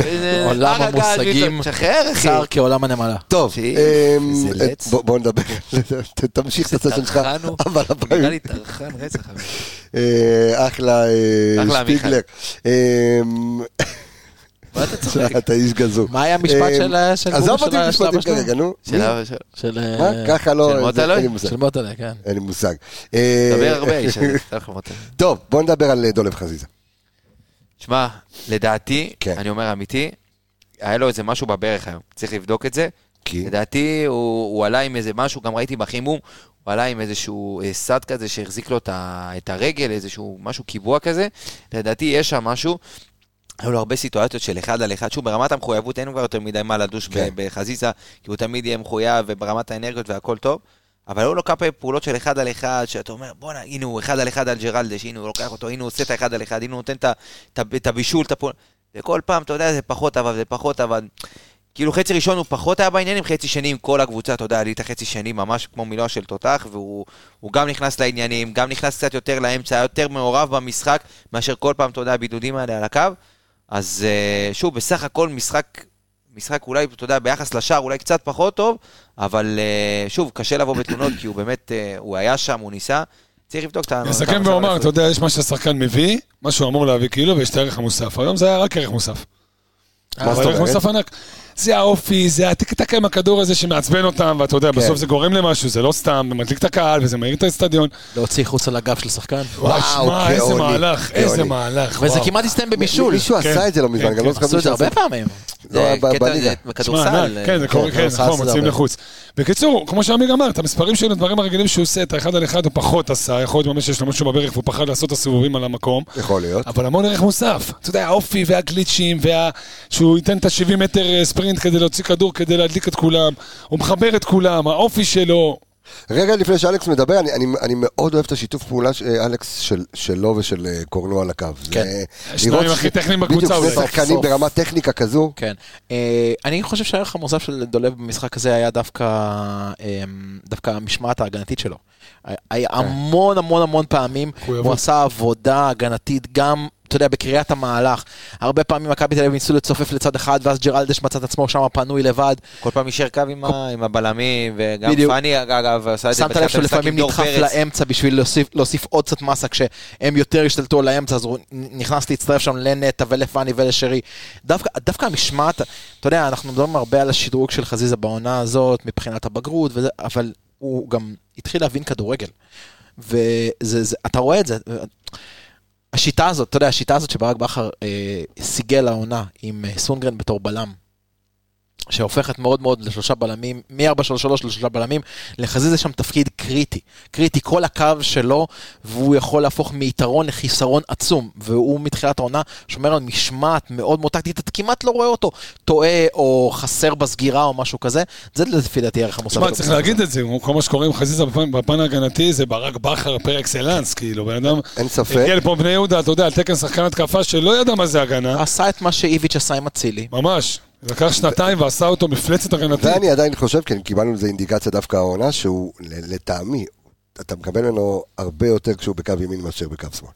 [SPEAKER 5] איזה- הר
[SPEAKER 3] עולם
[SPEAKER 5] הגעש,
[SPEAKER 3] המושגים.
[SPEAKER 5] תשחרר, אחי.
[SPEAKER 3] צר כעולם הנמלה.
[SPEAKER 1] טוב,
[SPEAKER 5] שי,
[SPEAKER 1] אמ,
[SPEAKER 5] איזה לץ.
[SPEAKER 1] בוא- בוא נדבר, ת- תמשיך את הסשן שלך,
[SPEAKER 5] טרחן הוא.
[SPEAKER 1] אבל
[SPEAKER 5] נראה
[SPEAKER 1] הפעם,
[SPEAKER 5] לי טרחן רצח. אבל.
[SPEAKER 1] אה, אחלה אה,
[SPEAKER 5] אחלה, עמיחי.
[SPEAKER 1] שפיגלר. אמ,
[SPEAKER 5] מה אתה צוחק?
[SPEAKER 1] אתה איש גזור.
[SPEAKER 3] מה היה המשפט
[SPEAKER 1] אמ,
[SPEAKER 3] של ה- של
[SPEAKER 1] עזוב
[SPEAKER 3] גורו
[SPEAKER 1] אותי
[SPEAKER 3] של ה- של
[SPEAKER 1] משפטים
[SPEAKER 3] אבא שלו?
[SPEAKER 1] כרגע, נו. מי?
[SPEAKER 5] שאלה, שאלה.
[SPEAKER 3] של...
[SPEAKER 1] מה?
[SPEAKER 3] אה,
[SPEAKER 1] ככה לא,
[SPEAKER 5] של
[SPEAKER 1] זה-
[SPEAKER 5] מוטל'ה?
[SPEAKER 1] אין לי מושג.
[SPEAKER 3] של מוטלה, כן.
[SPEAKER 1] אין לי מושג. אה,
[SPEAKER 5] דבר הרבה, איש הזה. תלך למוטל.
[SPEAKER 1] טוב, בוא נדבר על אה, דולב חזיזה.
[SPEAKER 5] שמע, לדעתי,
[SPEAKER 1] כן.
[SPEAKER 5] אני אומר אמיתי, היה לו איזה משהו בברך היום, צריך לבדוק את זה.
[SPEAKER 1] כי?
[SPEAKER 5] לדעתי הוא, הוא עלה עם איזה משהו, גם ראיתי בחימום, הוא עלה עם איזשהו אה, סד כזה שהחזיק לו את, ה, את הרגל, איזשהו משהו קיבוע כזה. לדעתי יש שם משהו. היו לו הרבה סיטואציות של אחד על אחד, שוב, ברמת המחויבות אין כבר יותר מדי מה לדוש
[SPEAKER 1] כן.
[SPEAKER 5] כן. בחזיזה, כי הוא תמיד יהיה מחויב, וברמת האנרגיות והכל טוב. אבל היו לו כמה פעולות של אחד על אחד, שאתה אומר, בואנה, הנה הוא אחד על אחד על ג'רלדש, הנה הוא לוקח אותו, הנה הוא עושה את האחד על אחד, הנה הוא נותן את ה- את ה- את הבישול, את הפעול... וכל פעם, אתה יודע, זה פחות עבד, זה פחות עבד. כאילו חצי ראשון הוא פחות היה בעניינים, חצי שני עם כל הקבוצה, אתה יודע, עלית חצי שני ממש כמו מילוע של תותח, והוא הוא גם נכנס לעניינים, גם נכנס קצת יותר לאמצע, היה יותר מעורב במשחק, מאשר כל פעם, אתה יודע, הבידודים האלה על הקו. אז אה, שוב, בסך הכל משחק, משחק אולי, אתה יודע, ביחס לשער אולי קצת פחות טוב, אבל אה, שוב, קשה לבוא בתלונות, כי הוא באמת, אה, הוא היה שם, הוא ניסה. צריך לבדוק את ה...
[SPEAKER 6] אני אסכם ואומר, אתה יודע, יש מה שהשחקן מביא, מה שהוא אמור להביא כאילו, ויש את הערך המוסף. היום זה היה רק ערך מוסף.
[SPEAKER 1] מה זאת
[SPEAKER 6] אבל
[SPEAKER 1] אומרת?
[SPEAKER 6] ערך מוסף ענק. זה האופי, זה הטק-טק עם הכדור הזה שמעצבן אותם, ואתה
[SPEAKER 1] כן.
[SPEAKER 6] יודע, בסוף זה גורם למשהו, זה לא סתם, זה מדליק את הקהל וזה מאיר את האצטדיון.
[SPEAKER 3] להוציא חוץ על הגב של שחקן.
[SPEAKER 6] וואי, שמע,
[SPEAKER 1] גאוני,
[SPEAKER 6] איזה מהלך,
[SPEAKER 1] גאוני.
[SPEAKER 6] איזה מהלך,
[SPEAKER 3] וזה
[SPEAKER 6] וואו.
[SPEAKER 3] כמעט הסתיים בבישול.
[SPEAKER 1] מישהו
[SPEAKER 6] כן,
[SPEAKER 1] עשה את זה לא מזמן,
[SPEAKER 6] כן,
[SPEAKER 1] גם לא
[SPEAKER 6] כן.
[SPEAKER 1] זוכר
[SPEAKER 3] עשו את זה
[SPEAKER 1] מישהו
[SPEAKER 3] הרבה
[SPEAKER 1] עשה
[SPEAKER 3] פעמים.
[SPEAKER 1] זה
[SPEAKER 5] אה,
[SPEAKER 1] היה ב- בליגה.
[SPEAKER 6] שמע,
[SPEAKER 5] בכדורסל.
[SPEAKER 6] ענק, כן, זה קורה,
[SPEAKER 1] כן,
[SPEAKER 6] כן,
[SPEAKER 1] עשה
[SPEAKER 6] נכון,
[SPEAKER 1] עשרה
[SPEAKER 6] מוציאים
[SPEAKER 1] בערך.
[SPEAKER 6] לחוץ. בקיצור, כמו שעמיר אמר, את המספרים שלו, הדברים הרגילים שהוא עושה, את האחד על אחד הוא פחות עשה, יכול להיות ממש שיש לו משהו בברך והוא פחד לעשות את הסיבובים על המקום.
[SPEAKER 1] יכול להיות.
[SPEAKER 6] אבל המון ערך מוסף. אתה יודע, האופי והגליצ'ים, וה... שהוא ייתן את ה-70 מטר אה, ספרינט כדי להוציא כדור, כדי להדליק את כולם. הוא מחבר את כולם, האופי שלו.
[SPEAKER 1] רגע לפני שאלכס מדבר, אני, אני, אני מאוד אוהב את השיתוף פעולה, ש- אה, אלכס, של, שלו ושל אה, קורנו על הקו.
[SPEAKER 3] כן.
[SPEAKER 1] זה-
[SPEAKER 6] השניים
[SPEAKER 1] לראות
[SPEAKER 6] הכי
[SPEAKER 1] ש-
[SPEAKER 6] טכניים בקבוצה
[SPEAKER 1] בדיוק,
[SPEAKER 6] אולי.
[SPEAKER 1] שני שחקנים
[SPEAKER 3] סוף.
[SPEAKER 1] ברמת טכניקה כזו.
[SPEAKER 3] כן. אה, אני חושב שהערך המוסף של דולב במשחק הזה היה דווקא אה, דווקא המשמעת ההגנתית שלו. היה המון המון המון פעמים, הוא
[SPEAKER 6] יבוא.
[SPEAKER 3] עשה עבודה הגנתית גם, אתה יודע, בקריאת המהלך. הרבה פעמים מכבי תל אביב ניסו לצופף לצד אחד, ואז ג'רלדש מצא את עצמו שם פנוי לבד.
[SPEAKER 5] כל פעם יישר קו עם ה- עם הבלמים, וגם
[SPEAKER 3] בדיוק.
[SPEAKER 5] פאני, אגב, עשה את זה
[SPEAKER 3] שמת לב
[SPEAKER 5] בתחילת המשחק
[SPEAKER 3] שלפעמים
[SPEAKER 5] עם דור
[SPEAKER 3] נדחף
[SPEAKER 5] פרץ.
[SPEAKER 3] לאמצע בשביל להוסיף- להוסיף עוד קצת מסה כשהם יותר השתלטו על האמצע, אז הוא נכנס להצטרף שם לנטע ולפאני ולשרי. דווקא דווקא המשמעת, אתה יודע, אנחנו מדברים הרבה על השדרוג של חזיזה בעונה הזאת מבחינת הבגרות, וזה, אבל הוא גם התחיל להבין כדורגל. ואתה רואה את זה. השיטה הזאת, אתה יודע, השיטה הזאת שברק בכר אה, סיגל העונה עם אה, סונגרן בתור בלם, שהופכת מאוד מאוד לשלושה בלמים, מ-4-3-3 לשלושה בלמים, לחזיזה שם תפקיד קריטי. קריטי, כל הקו שלו, והוא יכול להפוך מיתרון לחיסרון עצום. והוא מתחילת העונה שומר על משמעת מאוד מאוד טקטית, אתה כמעט לא רואה אותו טועה או חסר בסגירה או משהו כזה. זה לפי דעתי הערך המוסף.
[SPEAKER 6] תשמע,
[SPEAKER 3] שלו
[SPEAKER 6] צריך
[SPEAKER 3] במשחק
[SPEAKER 6] להגיד
[SPEAKER 3] הזה.
[SPEAKER 6] את זה, הוא- כל מה שקורה עם חזיזה בפן- בפן ההגנתי זה ברק בכר פר אקסלנס, כאילו, בן אדם...
[SPEAKER 1] אין ספק.
[SPEAKER 6] הגיע לפה בני יהודה, אתה יודע, על תקן שחקן התקפה שלא ידע מה זה הגנה,
[SPEAKER 3] עשה את מה שאיביץ' עשה עם אצילי.
[SPEAKER 6] ממש. לקח שנתיים ועשה אותו מפלצת הגנתית.
[SPEAKER 1] ואני עדיין חושב, כן, קיבלנו לזה אינדיקציה דווקא העונה, שהוא, ל- לטעמי, אתה מקבל ממנו הרבה יותר כשהוא בקו ימין מאשר בקו שמאל.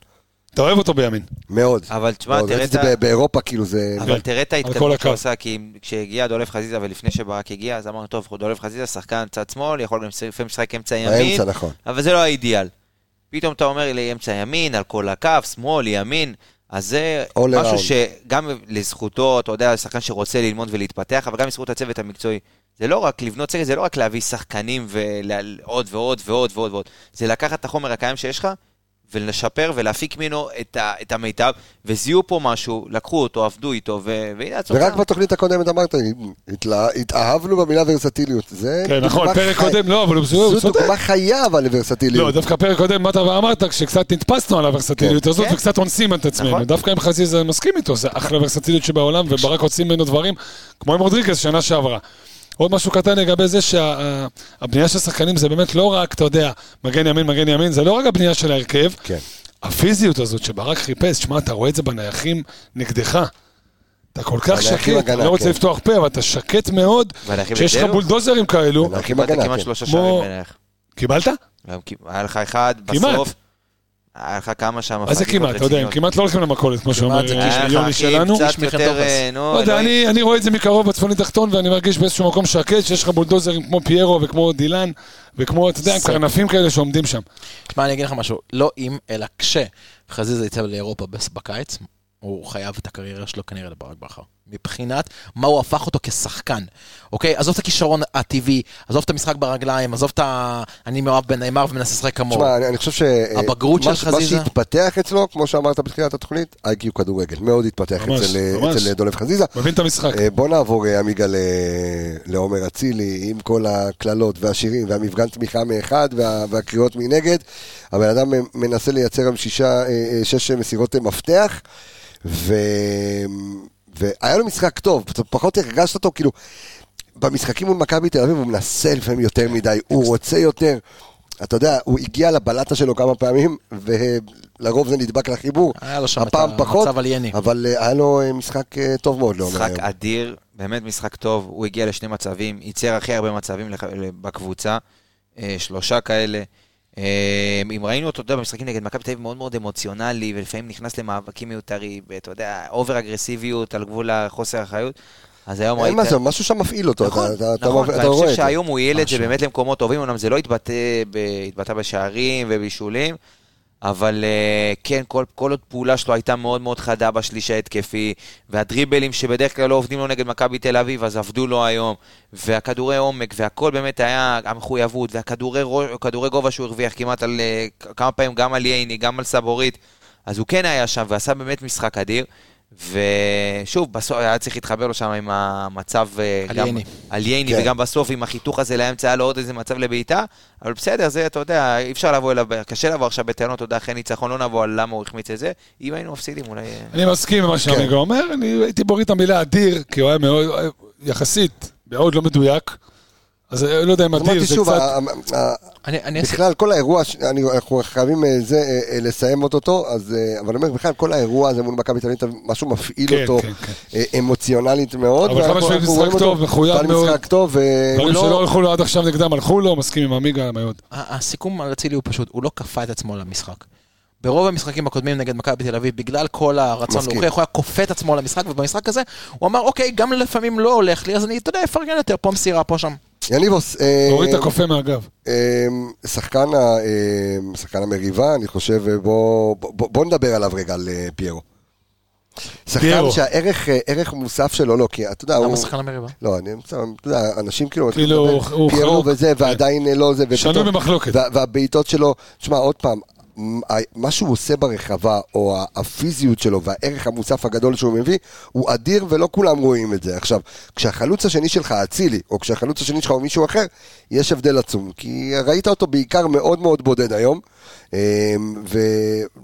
[SPEAKER 6] אתה אוהב אותו בימין.
[SPEAKER 1] מאוד.
[SPEAKER 5] אבל תשמע,
[SPEAKER 1] מאוד.
[SPEAKER 5] תראה
[SPEAKER 1] לא, ראיתי
[SPEAKER 5] את
[SPEAKER 1] זה
[SPEAKER 5] ה-
[SPEAKER 1] ב- באירופה, כאילו זה...
[SPEAKER 5] אבל
[SPEAKER 6] כן.
[SPEAKER 5] תראה את
[SPEAKER 6] כל
[SPEAKER 5] ההתקדמות
[SPEAKER 6] הקו.
[SPEAKER 5] שהוא עשה, כי אם- כשהגיע דולף חזיזה ולפני שברק הגיע, אז אמרנו, טוב, דולף חזיזה, שחקן צד שמאל, יכול גם לפעמים לשחק אמצע ימין,
[SPEAKER 1] באמצע, נכון.
[SPEAKER 5] אבל זה לא האידיאל. פתאום אתה אומר לי אמצע ימין, על כל הקו, שמאל, ימין, אז זה
[SPEAKER 1] All
[SPEAKER 5] משהו
[SPEAKER 1] around.
[SPEAKER 5] שגם לזכותו, אתה יודע, שחקן שרוצה ללמוד ולהתפתח, אבל גם לזכות הצוות המקצועי. זה לא רק לבנות סגל, זה לא רק להביא שחקנים ועוד ועוד ועוד ועוד ועוד. זה לקחת את החומר הקיים שיש לך ולשפר ולהפיק ממנו את, ה- את המיטב, וזיהו פה משהו, לקחו אותו, עבדו איתו, ו- והנה הצוצה.
[SPEAKER 1] ורק בתוכנית הקודמת אמרת, התלה- התאהבנו במילה ורסטיליות. זה...
[SPEAKER 6] כן, נכון,
[SPEAKER 1] דוגמה
[SPEAKER 6] פרק
[SPEAKER 1] חי-
[SPEAKER 6] קודם, לא, אבל הוא הוא
[SPEAKER 1] זו
[SPEAKER 6] צודק.
[SPEAKER 1] דוגמה חיה אבל לוורסטיליות.
[SPEAKER 6] לא, דווקא פרק קודם באת ואמרת, כשקצת נתפסנו על הוורסטיליות הזאת
[SPEAKER 5] כן.
[SPEAKER 6] וקצת אונסים את עצמנו.
[SPEAKER 5] נכון.
[SPEAKER 6] דווקא עם חזיזה אני מסכים איתו, זה אחלה ורסטיליות שבעולם,
[SPEAKER 1] נכון.
[SPEAKER 6] וברק עושים ממנו דברים, כמו עם רודריגז שנה שעברה. עוד משהו קטן לגבי זה שהבנייה של שחקנים זה באמת לא רק, אתה יודע, מגן ימין, מגן ימין, זה לא רק הבנייה של ההרכב.
[SPEAKER 1] כן.
[SPEAKER 6] הפיזיות הזאת שברק חיפש, שמע, אתה רואה את זה בנייחים נגדך. אתה כל כך
[SPEAKER 1] בנייחים
[SPEAKER 6] שקט, אני
[SPEAKER 1] הגנה,
[SPEAKER 6] לא רוצה
[SPEAKER 1] כן.
[SPEAKER 6] לפתוח פה, אבל אתה שקט מאוד,
[SPEAKER 5] בנייחים
[SPEAKER 6] שיש לך
[SPEAKER 5] נגדנו?
[SPEAKER 6] בולדוזרים כאלו.
[SPEAKER 1] בנייחים
[SPEAKER 5] קיבלת
[SPEAKER 1] הגנה,
[SPEAKER 5] כמעט לא-
[SPEAKER 1] כן.
[SPEAKER 5] שלושה
[SPEAKER 6] כמו-
[SPEAKER 5] שערים בעיניך.
[SPEAKER 6] קיבלת?
[SPEAKER 5] גם כי- היה לך אחד
[SPEAKER 6] כמעט.
[SPEAKER 5] בסוף. היה לך כמה שם.
[SPEAKER 6] מה זה
[SPEAKER 5] פדיחות
[SPEAKER 6] כמעט? אתה יודע, הם
[SPEAKER 5] רציניות.
[SPEAKER 6] כמעט לא הולכים למכולת, כמו שאומר
[SPEAKER 3] זה
[SPEAKER 5] היה
[SPEAKER 6] אה,
[SPEAKER 5] לך
[SPEAKER 6] יוני
[SPEAKER 5] אחי,
[SPEAKER 6] שלנו.
[SPEAKER 5] קצת
[SPEAKER 3] מיכה
[SPEAKER 5] יותר,
[SPEAKER 3] טורס.
[SPEAKER 5] אה, נו,
[SPEAKER 6] לא יודע,
[SPEAKER 5] אלוהים.
[SPEAKER 6] אני אני רואה את זה מקרוב בצפוני תחתון, ואני מרגיש באיזשהו מקום שקט, שיש לך בולדוזרים כמו פיירו וכמו דילן, וכמו, אתה יודע, עם
[SPEAKER 3] זה-
[SPEAKER 6] קרנפים כאלה שעומדים שם.
[SPEAKER 3] תשמע, אני אגיד לך משהו, לא אם, אלא כשחזיזה יצא לאירופה בס- בקיץ, הוא חייב את הקריירה שלו כנראה לברק בכר. מבחינת מה הוא הפך אותו כשחקן, אוקיי? עזוב את הכישרון הטבעי, עזוב את המשחק ברגליים, עזוב את ה... אני מאוהב בנאמר ומנסה לשחק כמוהו.
[SPEAKER 1] תשמע, אני, אני חושב ש...
[SPEAKER 5] לא.
[SPEAKER 3] הבגרות
[SPEAKER 1] מה,
[SPEAKER 3] של
[SPEAKER 1] מה
[SPEAKER 3] חזיזה?
[SPEAKER 1] שהתפתח אצלו, כמו שאמרת בתחילת התוכנית, איי-קיו כדורגל. מאוד התפתח
[SPEAKER 6] ממש,
[SPEAKER 1] אצל, אה,
[SPEAKER 6] ממש.
[SPEAKER 1] אצל אה, דולף חזיזה.
[SPEAKER 6] מבין את המשחק.
[SPEAKER 1] אה, בוא נעבור, אה, עמיגה, ל- לעומר אצילי, עם כל הקללות והשירים והמפגן תמיכה מאחד וה, והקריאות מנגד. הבן אדם אה, מנסה לייצר היום שישה, אה, אה, שש אה, מסירות אה, מפתח, ו... והיה לו משחק טוב, פ- פחות הרגשת אותו, כאילו, במשחקים מול מכבי תל אביב הוא מנסה לפעמים יותר מדי, הוא רוצה יותר. אתה יודע, הוא הגיע לבלטה שלו כמה פעמים, ולרוב זה נדבק לחיבור.
[SPEAKER 3] היה לו שם את
[SPEAKER 1] הפעם פחות,
[SPEAKER 3] המצב על יני.
[SPEAKER 1] אבל אה, היה לו אה, משחק אה, טוב מאוד לעומר
[SPEAKER 5] משחק
[SPEAKER 1] היום.
[SPEAKER 5] אדיר, באמת משחק טוב. הוא הגיע לשני מצבים, ייצר הכי הרבה מצבים לח- בקבוצה, אה, שלושה כאלה. אה, אם ראינו אותו, אתה יודע, במשחקים נגד מכבי תל אביב מאוד מאוד אמוציונלי, ולפעמים נכנס למאבקים מיותרים, ואתה יודע, אובר אגרסיביות על גבול החוסר אחריות. אז היום ראית...
[SPEAKER 1] אין מה זה, משהו שם מפעיל אותו,
[SPEAKER 5] נכון,
[SPEAKER 1] אתה- אתה אתה-
[SPEAKER 5] נכון,
[SPEAKER 1] אתה
[SPEAKER 5] ואני
[SPEAKER 1] רואה
[SPEAKER 5] חושב
[SPEAKER 1] את זה.
[SPEAKER 5] שהיום הוא העיל את זה
[SPEAKER 3] משהו.
[SPEAKER 5] באמת למקומות טובים, אמנם זה לא התבטא ב- התבטא בשערים ובישולים, אבל אה, כן, כל, כל עוד פעולה שלו הייתה מאוד מאוד חדה בשליש ההתקפי, והדריבלים שבדרך כלל לא עובדים לו נגד מכבי תל אביב, אז עבדו לו היום, והכדורי עומק, והכל באמת היה המחויבות, והכדורי רו- כדורי גובה שהוא הרוויח כמעט על אה, כ- כמה פעמים, גם על ייני, גם על סבורית, אז הוא כן היה שם ועשה באמת משחק אדיר. ושוב, בסוף היה צריך להתחבר לו שם עם המצב... אה,
[SPEAKER 3] על
[SPEAKER 5] גם-
[SPEAKER 3] ייני.
[SPEAKER 5] על ייני,
[SPEAKER 1] כן.
[SPEAKER 5] וגם בסוף עם החיתוך הזה לאמצע היה לו עוד איזה מצב לבעיטה, אבל בסדר, זה, אתה יודע, אי אפשר לבוא אליו, קשה לבוא עכשיו בטענות, אתה יודע, אחרי ניצחון, לא נבוא על למה הוא החמיץ את זה. אם היינו מפסידים, אולי...
[SPEAKER 6] אני מסכים
[SPEAKER 1] כן.
[SPEAKER 6] עם מה שעמיגה אומר, אני הייתי מוריד את המילה אדיר, כי הוא היה מאוד, יחסית, מאוד לא מדויק. אז אה, לא יודע אם אדיר
[SPEAKER 1] אמרתי
[SPEAKER 6] זה
[SPEAKER 1] שוב, אה,
[SPEAKER 6] קצת...
[SPEAKER 1] ה- ה- ה-
[SPEAKER 3] אני, אני אעשה...
[SPEAKER 1] בכלל כל האירוע, ש- אני- אנחנו חייבים אה, זה, אה, אה, לסיים אותו, טוב, אז, אה, אבל אני אומר, בכלל כל האירוע הזה מול מכבי תל אביב, משהו
[SPEAKER 6] כן,
[SPEAKER 1] מפעיל אותו
[SPEAKER 6] כן, כן.
[SPEAKER 1] אה, אמוציונלית מאוד.
[SPEAKER 6] אבל חד
[SPEAKER 1] ואנחנו-
[SPEAKER 6] משמעית
[SPEAKER 1] אנחנו
[SPEAKER 6] משחק
[SPEAKER 1] רואים אותו,
[SPEAKER 6] טוב, מחויב
[SPEAKER 1] נתן
[SPEAKER 6] מאוד.
[SPEAKER 1] משחק טוב, אה,
[SPEAKER 6] דברים
[SPEAKER 1] לא-
[SPEAKER 6] שלא הלכו לו עד עכשיו נגדם הלכו לו, מסכים עם עמיגה מאוד.
[SPEAKER 3] ה- הסיכום על אצילי הוא פשוט, הוא לא כפה את עצמו למשחק. ברוב המשחקים הקודמים נגד מכבי תל אביב, בגלל כל הרצון
[SPEAKER 1] מסכים.
[SPEAKER 3] להוכיח, הוא היה כופה את עצמו למשחק, ובמשחק הזה הוא אמר, אוקיי, גם לפעמים לא הולך לי, אז אני, אתה יודע, אפרגן יותר, פה מסירה, פה שם.
[SPEAKER 1] יניבוס, אה,
[SPEAKER 6] הוריד את הקופה מהגב.
[SPEAKER 1] אמ, שחקן, ה- אמ, שחקן המריבה, אני חושב, אה, בוא, בוא, בוא נדבר עליו רגע על אה, פיירו. שחקן
[SPEAKER 6] פיירו.
[SPEAKER 1] שהערך אה, ערך מוסף שלו, לא, כי אתה יודע, הוא...
[SPEAKER 3] למה שחקן המריבה?
[SPEAKER 1] לא, אני אתה יודע, אנשים כאילו...
[SPEAKER 6] כאילו,
[SPEAKER 1] אתה
[SPEAKER 6] הוא-
[SPEAKER 1] מדבר,
[SPEAKER 6] הוא
[SPEAKER 1] פיירו
[SPEAKER 6] חלוק.
[SPEAKER 1] וזה, ועדיין אה, לא זה.
[SPEAKER 6] כן. שנוי
[SPEAKER 1] ופתאום-
[SPEAKER 6] במחלוקת.
[SPEAKER 1] וה- והבעיטות שלו, תשמע, עוד פעם, מ- ה- מה שהוא עושה ברחבה, או ה- הפיזיות שלו והערך המוסף הגדול שהוא מביא, הוא אדיר ולא כולם רואים את זה. עכשיו, כשהחלוץ השני שלך, אצילי, או כשהחלוץ השני שלך הוא מישהו אחר, יש הבדל עצום. כי ראית אותו בעיקר מאוד מאוד בודד היום, אמ,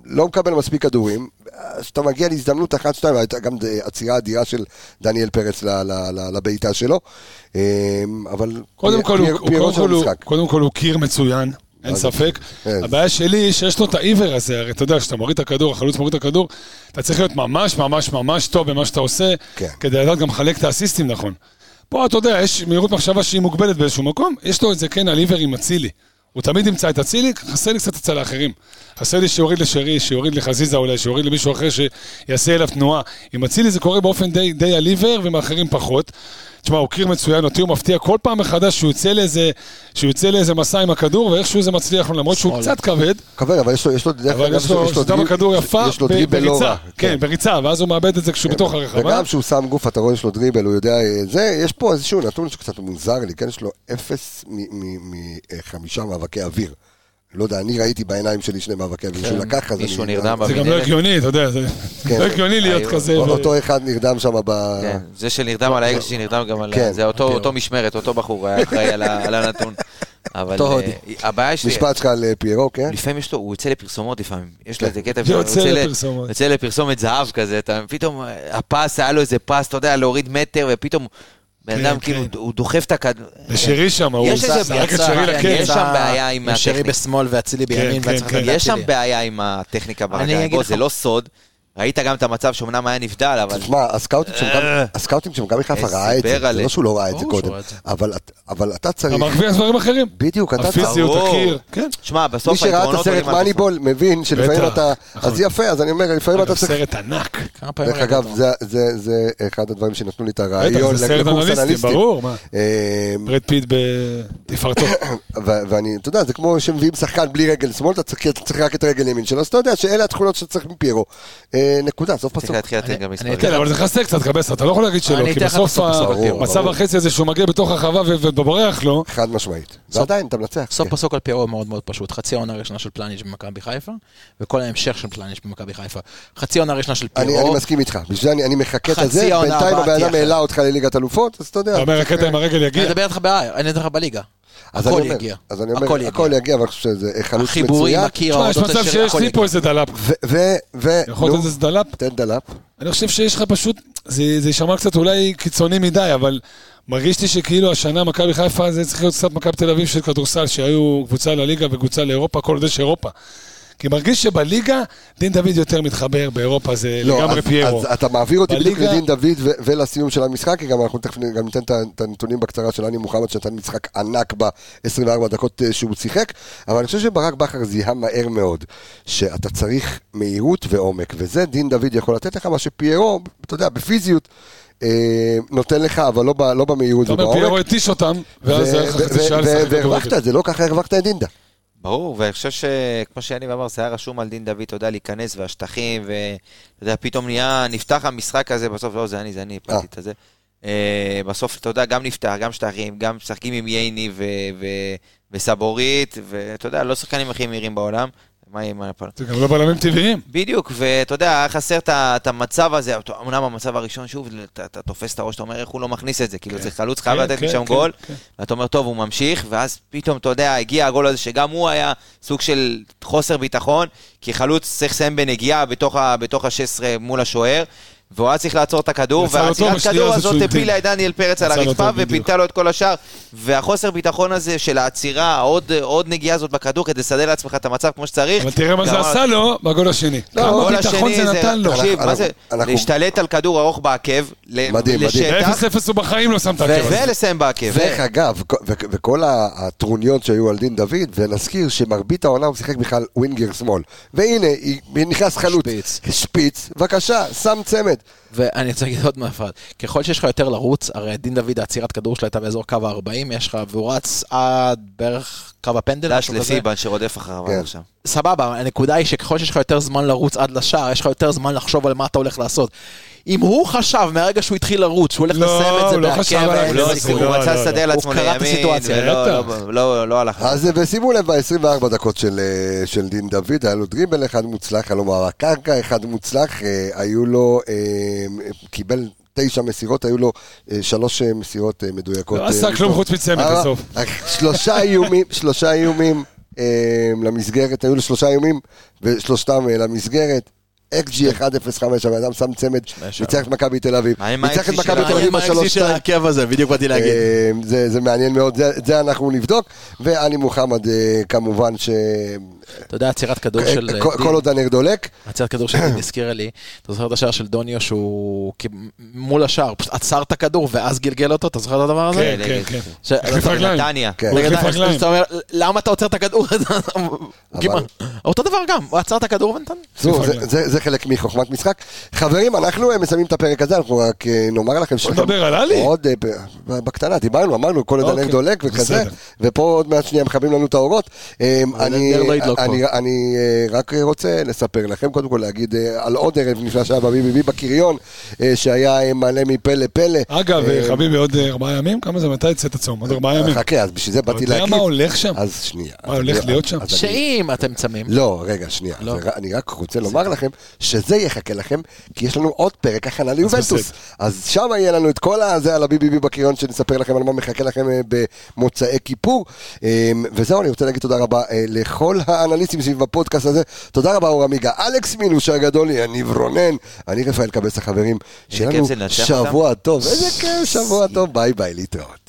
[SPEAKER 1] ולא מקבל מספיק כדורים. כשאתה מגיע להזדמנות אחת, שתיים, הייתה גם ד- עצירה אדירה של דניאל פרץ ל- ל- ל- לבעיטה שלו, אמ, אבל...
[SPEAKER 6] קודם
[SPEAKER 1] פי-
[SPEAKER 6] כל, הוא-
[SPEAKER 1] פי-
[SPEAKER 6] הוא-
[SPEAKER 1] פיירו
[SPEAKER 6] קודם
[SPEAKER 1] של
[SPEAKER 6] כל הוא-
[SPEAKER 1] המשחק.
[SPEAKER 6] קודם כל הוא קיר מצוין, אין ספק.
[SPEAKER 1] כן.
[SPEAKER 6] הבעיה שלי היא שיש לו את העיוור הזה, הרי אתה יודע, כשאתה מוריד את הכדור, החלוץ מוריד את הכדור, אתה צריך להיות ממש ממש ממש טוב במה שאתה עושה,
[SPEAKER 1] כן.
[SPEAKER 6] כדי לדעת גם לחלק את האסיסטים נכון. פה אתה יודע, יש מהירות מחשבה שהיא מוגבלת באיזשהו מקום, יש לו את זה כן על עיוור עם אצילי. הוא תמיד ימצא את אצילי, חסר לי קצת אצל האחרים. חסר לי שיוריד לשרי, שיוריד לחזיזה אולי, שיוריד למישהו אחר שיעשה אליו תנועה. עם אצילי זה קורה באופן די, די על עיוור, ועם האחרים פחות. תשמע, הוא קיר מצוין, אותי הוא מפתיע כל פעם מחדש שהוא יוצא לאיזה, שהוא יוצא לאיזה מסע עם הכדור, ואיכשהו זה מצליח לו, למרות שהוא קצת כבד.
[SPEAKER 1] כבד, אבל יש לו, יש לו, דרך
[SPEAKER 6] אבל
[SPEAKER 1] אגב,
[SPEAKER 6] יש לו סתם
[SPEAKER 1] דריב-
[SPEAKER 6] הכדור יפה
[SPEAKER 1] יש לו
[SPEAKER 6] ב-
[SPEAKER 1] דריבל לא
[SPEAKER 6] בריצה,
[SPEAKER 1] רע.
[SPEAKER 6] כן, בריצה, ואז הוא מאבד את זה כשהוא בתוך הרחבה.
[SPEAKER 1] וגם כשהוא שם גוף, אתה רואה, יש לו דריבל, הוא יודע, אה, זה, יש פה איזשהו נתון שקצת מוזר לי, כן, יש לו אפס מחמישה אה, מאבקי אוויר. לא יודע, אני ראיתי בעיניים שלי שני מאבקי
[SPEAKER 3] כן.
[SPEAKER 1] אוויר שהוא לקח, אז אני...
[SPEAKER 5] מישהו נרדם
[SPEAKER 6] זה גם לא
[SPEAKER 5] במנהלת.
[SPEAKER 6] הגיוני, אתה יודע, זה
[SPEAKER 1] כן.
[SPEAKER 6] לא הגיוני להיות כזה. ו-
[SPEAKER 1] אותו אחד נרדם שם ב...
[SPEAKER 5] כן, זה שנרדם על האקסי נרדם גם על...
[SPEAKER 1] כן.
[SPEAKER 5] ה- זה אותו- אותו משמרת, אותו בחור היה אחראי על ה- על הנתון. אבל
[SPEAKER 3] אותו
[SPEAKER 5] אה,
[SPEAKER 3] הודי.
[SPEAKER 5] הבעיה שלי...
[SPEAKER 1] משפט שלך על אה, פיירו, כן?
[SPEAKER 5] לפעמים יש לו, הוא יוצא לפרסומות לפעמים, יש לו איזה קטע,
[SPEAKER 6] זה
[SPEAKER 5] הוא
[SPEAKER 6] יוצא
[SPEAKER 5] ל-
[SPEAKER 6] לפרסומות.
[SPEAKER 5] יוצא לפרסומת זהב כזה, אתה פתאום, אה, הפס, היה לו איזה פס, אתה יודע, להוריד מטר, ופתאום, בן
[SPEAKER 6] כן,
[SPEAKER 5] אדם
[SPEAKER 6] כן.
[SPEAKER 5] כאילו, הוא דוחף את הכדור,
[SPEAKER 6] ושירי שם, הוא
[SPEAKER 5] יש איזה
[SPEAKER 6] זרק את
[SPEAKER 5] פרצה,
[SPEAKER 6] שרי
[SPEAKER 5] כן,
[SPEAKER 6] לקרן.
[SPEAKER 5] יש שם בעיה עם
[SPEAKER 3] שרי
[SPEAKER 5] הטכניקה.
[SPEAKER 3] בשמאל ואצילי בימין,
[SPEAKER 6] כן,
[SPEAKER 3] והיה צריך
[SPEAKER 6] כן.
[SPEAKER 3] לתת
[SPEAKER 5] יש שם
[SPEAKER 3] לאצילי.
[SPEAKER 5] בעיה עם הטכניקה ברגליים,
[SPEAKER 3] אגיד
[SPEAKER 5] בוא,
[SPEAKER 3] לך-
[SPEAKER 5] זה לא סוד, ראית גם את המצב שאומנם היה נבדל, אבל...
[SPEAKER 1] תשמע, הסקאוטים שם
[SPEAKER 3] אה.
[SPEAKER 1] גם- הסקאוטים שם גם מחיפה
[SPEAKER 5] איזה
[SPEAKER 1] ראה את זה,
[SPEAKER 5] ברלה.
[SPEAKER 1] זה לא שהוא לא ראה את זה
[SPEAKER 3] ברור שהוא
[SPEAKER 1] קודם,
[SPEAKER 3] ראה את זה.
[SPEAKER 1] אבל את- אבל אתה
[SPEAKER 6] אתה
[SPEAKER 1] צריך...
[SPEAKER 6] מרוויח דברים אחרים.
[SPEAKER 1] בדיוק, אתה צריך...
[SPEAKER 6] הפיזיות,
[SPEAKER 5] ברור.
[SPEAKER 6] הקיר. כן.
[SPEAKER 5] שמע,
[SPEAKER 1] מי
[SPEAKER 5] בסוף
[SPEAKER 1] שראה את
[SPEAKER 5] היתרונות
[SPEAKER 1] הסרט
[SPEAKER 5] עולים על התופעות.
[SPEAKER 1] מאניבול מבין שלפעמים
[SPEAKER 6] בטח,
[SPEAKER 1] אתה...
[SPEAKER 6] נכון.
[SPEAKER 1] אז יפה, אז אני אומר, לפעמים אתה
[SPEAKER 6] אגב,
[SPEAKER 1] צריך...
[SPEAKER 6] סרט ענק.
[SPEAKER 3] כמה פעמים
[SPEAKER 1] דרך
[SPEAKER 3] ראיתי
[SPEAKER 1] אגב,
[SPEAKER 3] אותו?
[SPEAKER 1] זה, זה, זה אחד הדברים שנתנו לי את הרעיון
[SPEAKER 6] בטח, זה סרט
[SPEAKER 1] לקורס
[SPEAKER 6] אנליסטי,
[SPEAKER 1] אנליסטים.
[SPEAKER 6] ברור, מה.
[SPEAKER 1] אמ,
[SPEAKER 6] ברד פיט בתפארתו.
[SPEAKER 1] ו- ואני, אתה יודע, זה כמו שמביאים שחקן בלי רגל שמאל, אתה צריך, אתה צריך רק את רגל ימין שלו, אז אתה יודע שאלה התכונות שאתה צריך מפיירו. אה, נקודה, סוף
[SPEAKER 5] צריך
[SPEAKER 1] פסוק.
[SPEAKER 5] להתחיל לתת גם
[SPEAKER 3] אני-
[SPEAKER 5] מספרים.
[SPEAKER 6] כן, אבל זה חסר קצת קבסה, אתה לא יכול להגיד שלא, כי
[SPEAKER 3] אני אתן לך
[SPEAKER 6] בסוף
[SPEAKER 3] בסוף, בסוף,
[SPEAKER 1] ברור,
[SPEAKER 6] המצב
[SPEAKER 1] ברור.
[SPEAKER 6] החצי הזה שהוא מגיע בתוך הרחבה ו- ובורח לו,
[SPEAKER 1] חד משמעית. ועדיין, אתה מנצח.
[SPEAKER 3] סוף
[SPEAKER 1] כן.
[SPEAKER 3] פסוק על פיירו מאוד מאוד פשוט. חצי העונה הראשונה של פלניג' במכבי חיפה, וכל ההמשך של פלניג' במכבי חיפה. חצי העונה הראשונה של
[SPEAKER 1] אני, אני
[SPEAKER 3] פיירו,
[SPEAKER 1] מסכים איתך, בשביל זה אני, אני מחכה את
[SPEAKER 3] חצי
[SPEAKER 1] הזה,
[SPEAKER 3] העונה
[SPEAKER 1] בינתיים
[SPEAKER 3] הבאה
[SPEAKER 1] הבן אדם
[SPEAKER 3] תהיה
[SPEAKER 1] העלה אותך לליגת אלופות, אז אתה יודע.
[SPEAKER 6] אתה אומר הקטע עם הרגל
[SPEAKER 3] אני
[SPEAKER 6] יגיע.
[SPEAKER 3] מדבר איתך בעיה, אני אדבר לך בליגה.
[SPEAKER 1] אז אני
[SPEAKER 3] הכל
[SPEAKER 1] אומר,
[SPEAKER 3] יגיע.
[SPEAKER 1] אז אני
[SPEAKER 3] הכל
[SPEAKER 1] אומר, הכל
[SPEAKER 3] יגיע.
[SPEAKER 1] יגיע, אבל אני חושב שזה חלוץ
[SPEAKER 3] החיבורים,
[SPEAKER 1] מצוין.
[SPEAKER 3] הקיר,
[SPEAKER 6] תשמע, יש
[SPEAKER 3] העובדות
[SPEAKER 6] מצב
[SPEAKER 3] השיר,
[SPEAKER 6] שיש
[SPEAKER 3] הכל
[SPEAKER 6] לי
[SPEAKER 3] יגיע.
[SPEAKER 6] פה איזה דלאפ.
[SPEAKER 1] ו... ו... ו...
[SPEAKER 6] יכול
[SPEAKER 1] נו,
[SPEAKER 6] להיות איזה דלאפ?
[SPEAKER 1] תן דלאפ.
[SPEAKER 6] אני חושב שיש לך פשוט, זה זה יישמע קצת אולי קיצוני מדי, אבל מרגיש לי שכאילו השנה מכבי חיפה זה צריך להיות קצת מכבי תל אביב של כדורסל, שהיו קבוצה לליגה וקבוצה לאירופה, כל עוד יש אירופה. כי מרגיש שבליגה דין דוד יותר מתחבר, באירופה זה
[SPEAKER 1] לא,
[SPEAKER 6] לגמרי
[SPEAKER 1] אז,
[SPEAKER 6] פיירו.
[SPEAKER 1] אז אתה מעביר אותי בדיוק
[SPEAKER 6] בליגה-
[SPEAKER 1] לדין דוד ו- ולסיום של המשחק, כי גם אנחנו תכף נ- גם ניתן את ה- את הנתונים בקצרה של אני מוחמד, שנתן משחק ענק ב-24 דקות אה, שהוא שיחק, אבל אני חושב שברק בכר זיהה מהר מאוד, שאתה צריך מהירות ועומק, וזה דין דוד יכול לתת לך, מה שפיירו, אתה יודע, בפיזיות, אה, נותן לך, אבל לא, ב- לא במהירות
[SPEAKER 6] אתה אומר, פיירו
[SPEAKER 1] ובעומק.
[SPEAKER 6] התיש אותם,
[SPEAKER 1] ו-
[SPEAKER 6] ואז היה לך
[SPEAKER 1] ו-
[SPEAKER 6] חצי
[SPEAKER 1] ו-
[SPEAKER 6] שעה
[SPEAKER 1] ו-
[SPEAKER 6] לשחק
[SPEAKER 1] והרווחת
[SPEAKER 6] בכדורגל.
[SPEAKER 1] את זה, לא ככה הרווחת את דינדה.
[SPEAKER 5] ברור, ואני חושב שכמו שיניב אמר, זה היה רשום על דין דוד, אתה יודע, להיכנס, והשטחים, ואתה יודע, פתאום נהיה, נפתח המשחק הזה, בסוף לא, זה אני, זה אני, הפלתי את הזה. אה, בסוף, אתה יודע, גם נפתח, גם שטחים, גם משחקים עם ייני ו- ו- וסבורית, ואתה יודע, לא השחקנים הכי מהירים בעולם. מה עם הפל...
[SPEAKER 6] זה גם לא בלמים טבעיים.
[SPEAKER 5] בדיוק, ואתה יודע, היה חסר את ה- את המצב הזה, אתה- אמנם המצב הראשון, שוב, אתה אתה תופס את הראש, אתה אומר, איך הוא לא מכניס את זה, כאילו, זה חלוץ, חייב
[SPEAKER 6] כן,
[SPEAKER 5] לתת
[SPEAKER 6] כן,
[SPEAKER 5] משם
[SPEAKER 6] כן,
[SPEAKER 5] גול,
[SPEAKER 6] כן.
[SPEAKER 5] ואתה אומר, טוב, הוא ממשיך, ואז פתאום, אתה יודע, הגיע הגול הזה, שגם הוא היה סוג של חוסר ביטחון, כי חלוץ צריך לסיים בנגיעה בתוך ה- בתוך ה-16 מול השוער. והוא היה צריך לעצור את הכדור,
[SPEAKER 6] יצא לו טוב
[SPEAKER 5] והעצירת
[SPEAKER 6] בשנייה
[SPEAKER 5] כדור
[SPEAKER 6] הזאת
[SPEAKER 5] הזאת
[SPEAKER 6] שהוא
[SPEAKER 5] הפילה את
[SPEAKER 6] המתין.
[SPEAKER 5] דניאל פרץ על
[SPEAKER 6] יצא לו
[SPEAKER 5] הרצפה
[SPEAKER 6] טוב, בדיוק.
[SPEAKER 5] ופינתה לו את כל השאר. והחוסר ביטחון הזה של העצירה, עוד- עוד נגיעה הזאת בכדור כדי לסדר לעצמך את המצב כמו שצריך.
[SPEAKER 6] אבל תראה מה זה
[SPEAKER 5] גמר-
[SPEAKER 6] עשה לו בגול השני.
[SPEAKER 1] לא,
[SPEAKER 6] כמה
[SPEAKER 5] הגול
[SPEAKER 6] ביטחון
[SPEAKER 5] השני
[SPEAKER 6] זה נתן לו.
[SPEAKER 5] תקשיב,
[SPEAKER 1] אנחנו-
[SPEAKER 5] מה זה?
[SPEAKER 1] אנחנו-
[SPEAKER 5] להשתלט על כדור ארוך בעקב, ל-
[SPEAKER 1] מדהים, מדהים.
[SPEAKER 5] לשטח,
[SPEAKER 6] ב-0-0 הוא בחיים לא שם את
[SPEAKER 5] ו-
[SPEAKER 6] הכדור.
[SPEAKER 5] ולסיים בעקב.
[SPEAKER 1] דרך אגב, ו- ו- וכל ה- הטרוניות שהיו על דין דוד, ונזכיר שמרבית העונה הוא שיחק בכלל ווינגר שמאל. והנה, היא- היא נכנס חלוץ.
[SPEAKER 3] שפיץ.
[SPEAKER 1] שפיץ, בבקשה, שם צמד.
[SPEAKER 3] ואני רוצה להגיד עוד מעט, ככל שיש לך יותר לרוץ, הרי דין דוד, העצירת כדור שלה הייתה באזור קו ה-40, יש לך, והוא רץ עד בערך קו הפנדל,
[SPEAKER 5] דש
[SPEAKER 3] משהו כזה.
[SPEAKER 5] לפיבן שרודף אחריו
[SPEAKER 1] כן.
[SPEAKER 5] עד עכשיו.
[SPEAKER 3] סבבה, הנקודה היא שככל שיש לך יותר זמן לרוץ עד לשער, יש לך יותר זמן לחשוב על מה אתה הולך לעשות. אם הוא חשב מהרגע שהוא התחיל לרוץ, שהוא הולך
[SPEAKER 6] לא,
[SPEAKER 3] לסיים את זה
[SPEAKER 6] הוא לא חשב על
[SPEAKER 3] בעקב,
[SPEAKER 6] זה,
[SPEAKER 7] לא,
[SPEAKER 3] זה
[SPEAKER 6] הסיפור.
[SPEAKER 3] סיפור.
[SPEAKER 7] הוא רצה
[SPEAKER 6] לא, לא.
[SPEAKER 7] לסדר לעצמו
[SPEAKER 3] הוא קרא את
[SPEAKER 7] לימין,
[SPEAKER 3] הסיטואציה,
[SPEAKER 7] ולא-
[SPEAKER 6] בטח.
[SPEAKER 7] לא- לא- לא הלך.
[SPEAKER 1] אז אה, ושימו לב, ב-24 דקות של, אה, של דין דוד, היה לו דריבל אחד מוצלח, היה לו מערק קרקע אחד מוצלח, אה, היו לו, אה, קיבל תשע מסירות, היו לו אה, שלוש אה, מסירות אה, מדויקות.
[SPEAKER 6] לא
[SPEAKER 1] אה,
[SPEAKER 6] עשה כלום
[SPEAKER 1] מתוך-
[SPEAKER 6] חוץ מצמד
[SPEAKER 1] אה,
[SPEAKER 6] בסוף.
[SPEAKER 1] אה, שלושה איומים, שלושה איומים אה, למסגרת, היו לו שלושה איומים, ושלושתם אה, למסגרת.
[SPEAKER 6] כן.
[SPEAKER 1] XG 1.05, הבן אדם שם צמד, ניצח את מכבי תל אביב.
[SPEAKER 7] מה עם
[SPEAKER 1] ניצח את
[SPEAKER 7] ה-XG של
[SPEAKER 1] מכבי תל אביב
[SPEAKER 3] מה עם האקזיט
[SPEAKER 1] בשלוש
[SPEAKER 3] של
[SPEAKER 1] שתיים.
[SPEAKER 3] העקב הזה, בדיוק באתי להגיד.
[SPEAKER 1] אה, זה, זה מעניין מאוד, זה, זה אנחנו נבדוק. ואני מוחמד, אה, כמובן, ש... אה,
[SPEAKER 3] אתה יודע, עצירת כדור של... אה,
[SPEAKER 1] כל, כל עוד הנר דולק.
[SPEAKER 3] עצירת כדור של דין הזכירה לי, אתה זוכר את השער של דוניו שהוא כ- מול השער, פשוט עצר את הכדור ואז גלגל אותו, אתה זוכר את הדבר הזה?
[SPEAKER 6] כן, כן, כן.
[SPEAKER 3] ש-
[SPEAKER 6] החליף רגליים.
[SPEAKER 7] נתניה.
[SPEAKER 1] כן.
[SPEAKER 6] הוא
[SPEAKER 3] נגד
[SPEAKER 6] החליף
[SPEAKER 3] ה-
[SPEAKER 6] רגליים.
[SPEAKER 3] זאת אומרת, למה אתה עוצר את הכדור הזה? כמעט. אותו דבר גם, הוא עצר את הכדור ונתן.
[SPEAKER 1] זו, זה, זה, זה חלק מחוכמת משחק. חברים, אנחנו אה, מסיימים את הפרק הזה, אנחנו רק אה, נאמר לכם ש...
[SPEAKER 6] נדבר על עלי.
[SPEAKER 1] עוד, אה, ב- בקטנה, דיברנו, אמרנו, כל עוד הנר
[SPEAKER 6] אוקיי,
[SPEAKER 1] דולק וכזה,
[SPEAKER 6] בסדר.
[SPEAKER 1] ופה עוד מעט שנייה מכבים לנו את האורות. אה, אני,
[SPEAKER 3] הנר לא ידלוק
[SPEAKER 1] אני, אני אה, רק רוצה לספר לכם, קודם כל להגיד אה, על עוד ערב נפלא שהיה בביבי בקריון, אה, שהיה אה, מלא מפה לפה.
[SPEAKER 6] אגב,
[SPEAKER 1] אה,
[SPEAKER 6] חביבי, עוד אה, ארבעה ימים? כמה זה? מתי יצא את הצום? עוד ארבעה ימים.
[SPEAKER 1] חכה, אז בשביל זה באתי
[SPEAKER 6] אתה יודע
[SPEAKER 1] להגיד.
[SPEAKER 6] מה הולך שם?
[SPEAKER 1] אז שנייה.
[SPEAKER 6] מה הולך
[SPEAKER 1] אז אני-
[SPEAKER 6] להיות שם?
[SPEAKER 1] אז אני-
[SPEAKER 3] שאם אתם צמים,
[SPEAKER 1] לא, רגע, שנייה.
[SPEAKER 3] לא.
[SPEAKER 1] זה ר- אני רק רוצה לומר לכם שזה יחכה לכם, כי יש לנו עוד פרק הכנה ליובנטוס.
[SPEAKER 6] בסדר.
[SPEAKER 1] אז שם יהיה לנו את כל הזה על הבי-בי-בי בקריון, שנספר לכם על מה מחכה לכם אה, במוצאי כיפור. אה, וזהו, אני רוצה להגיד תודה רבה אה, לכל האנליסטים סביב הפודקאסט הזה. תודה רבה, אור עמיגה. אלכס מינוש הגדול, יניב רונן, אני רפאל קבס החברים. שיהיה
[SPEAKER 7] כיף
[SPEAKER 1] לנו
[SPEAKER 7] זה לנצח אותם.
[SPEAKER 1] שבוע טוב. איזה כיף, שבוע טוב. ביי ביי, להתראות.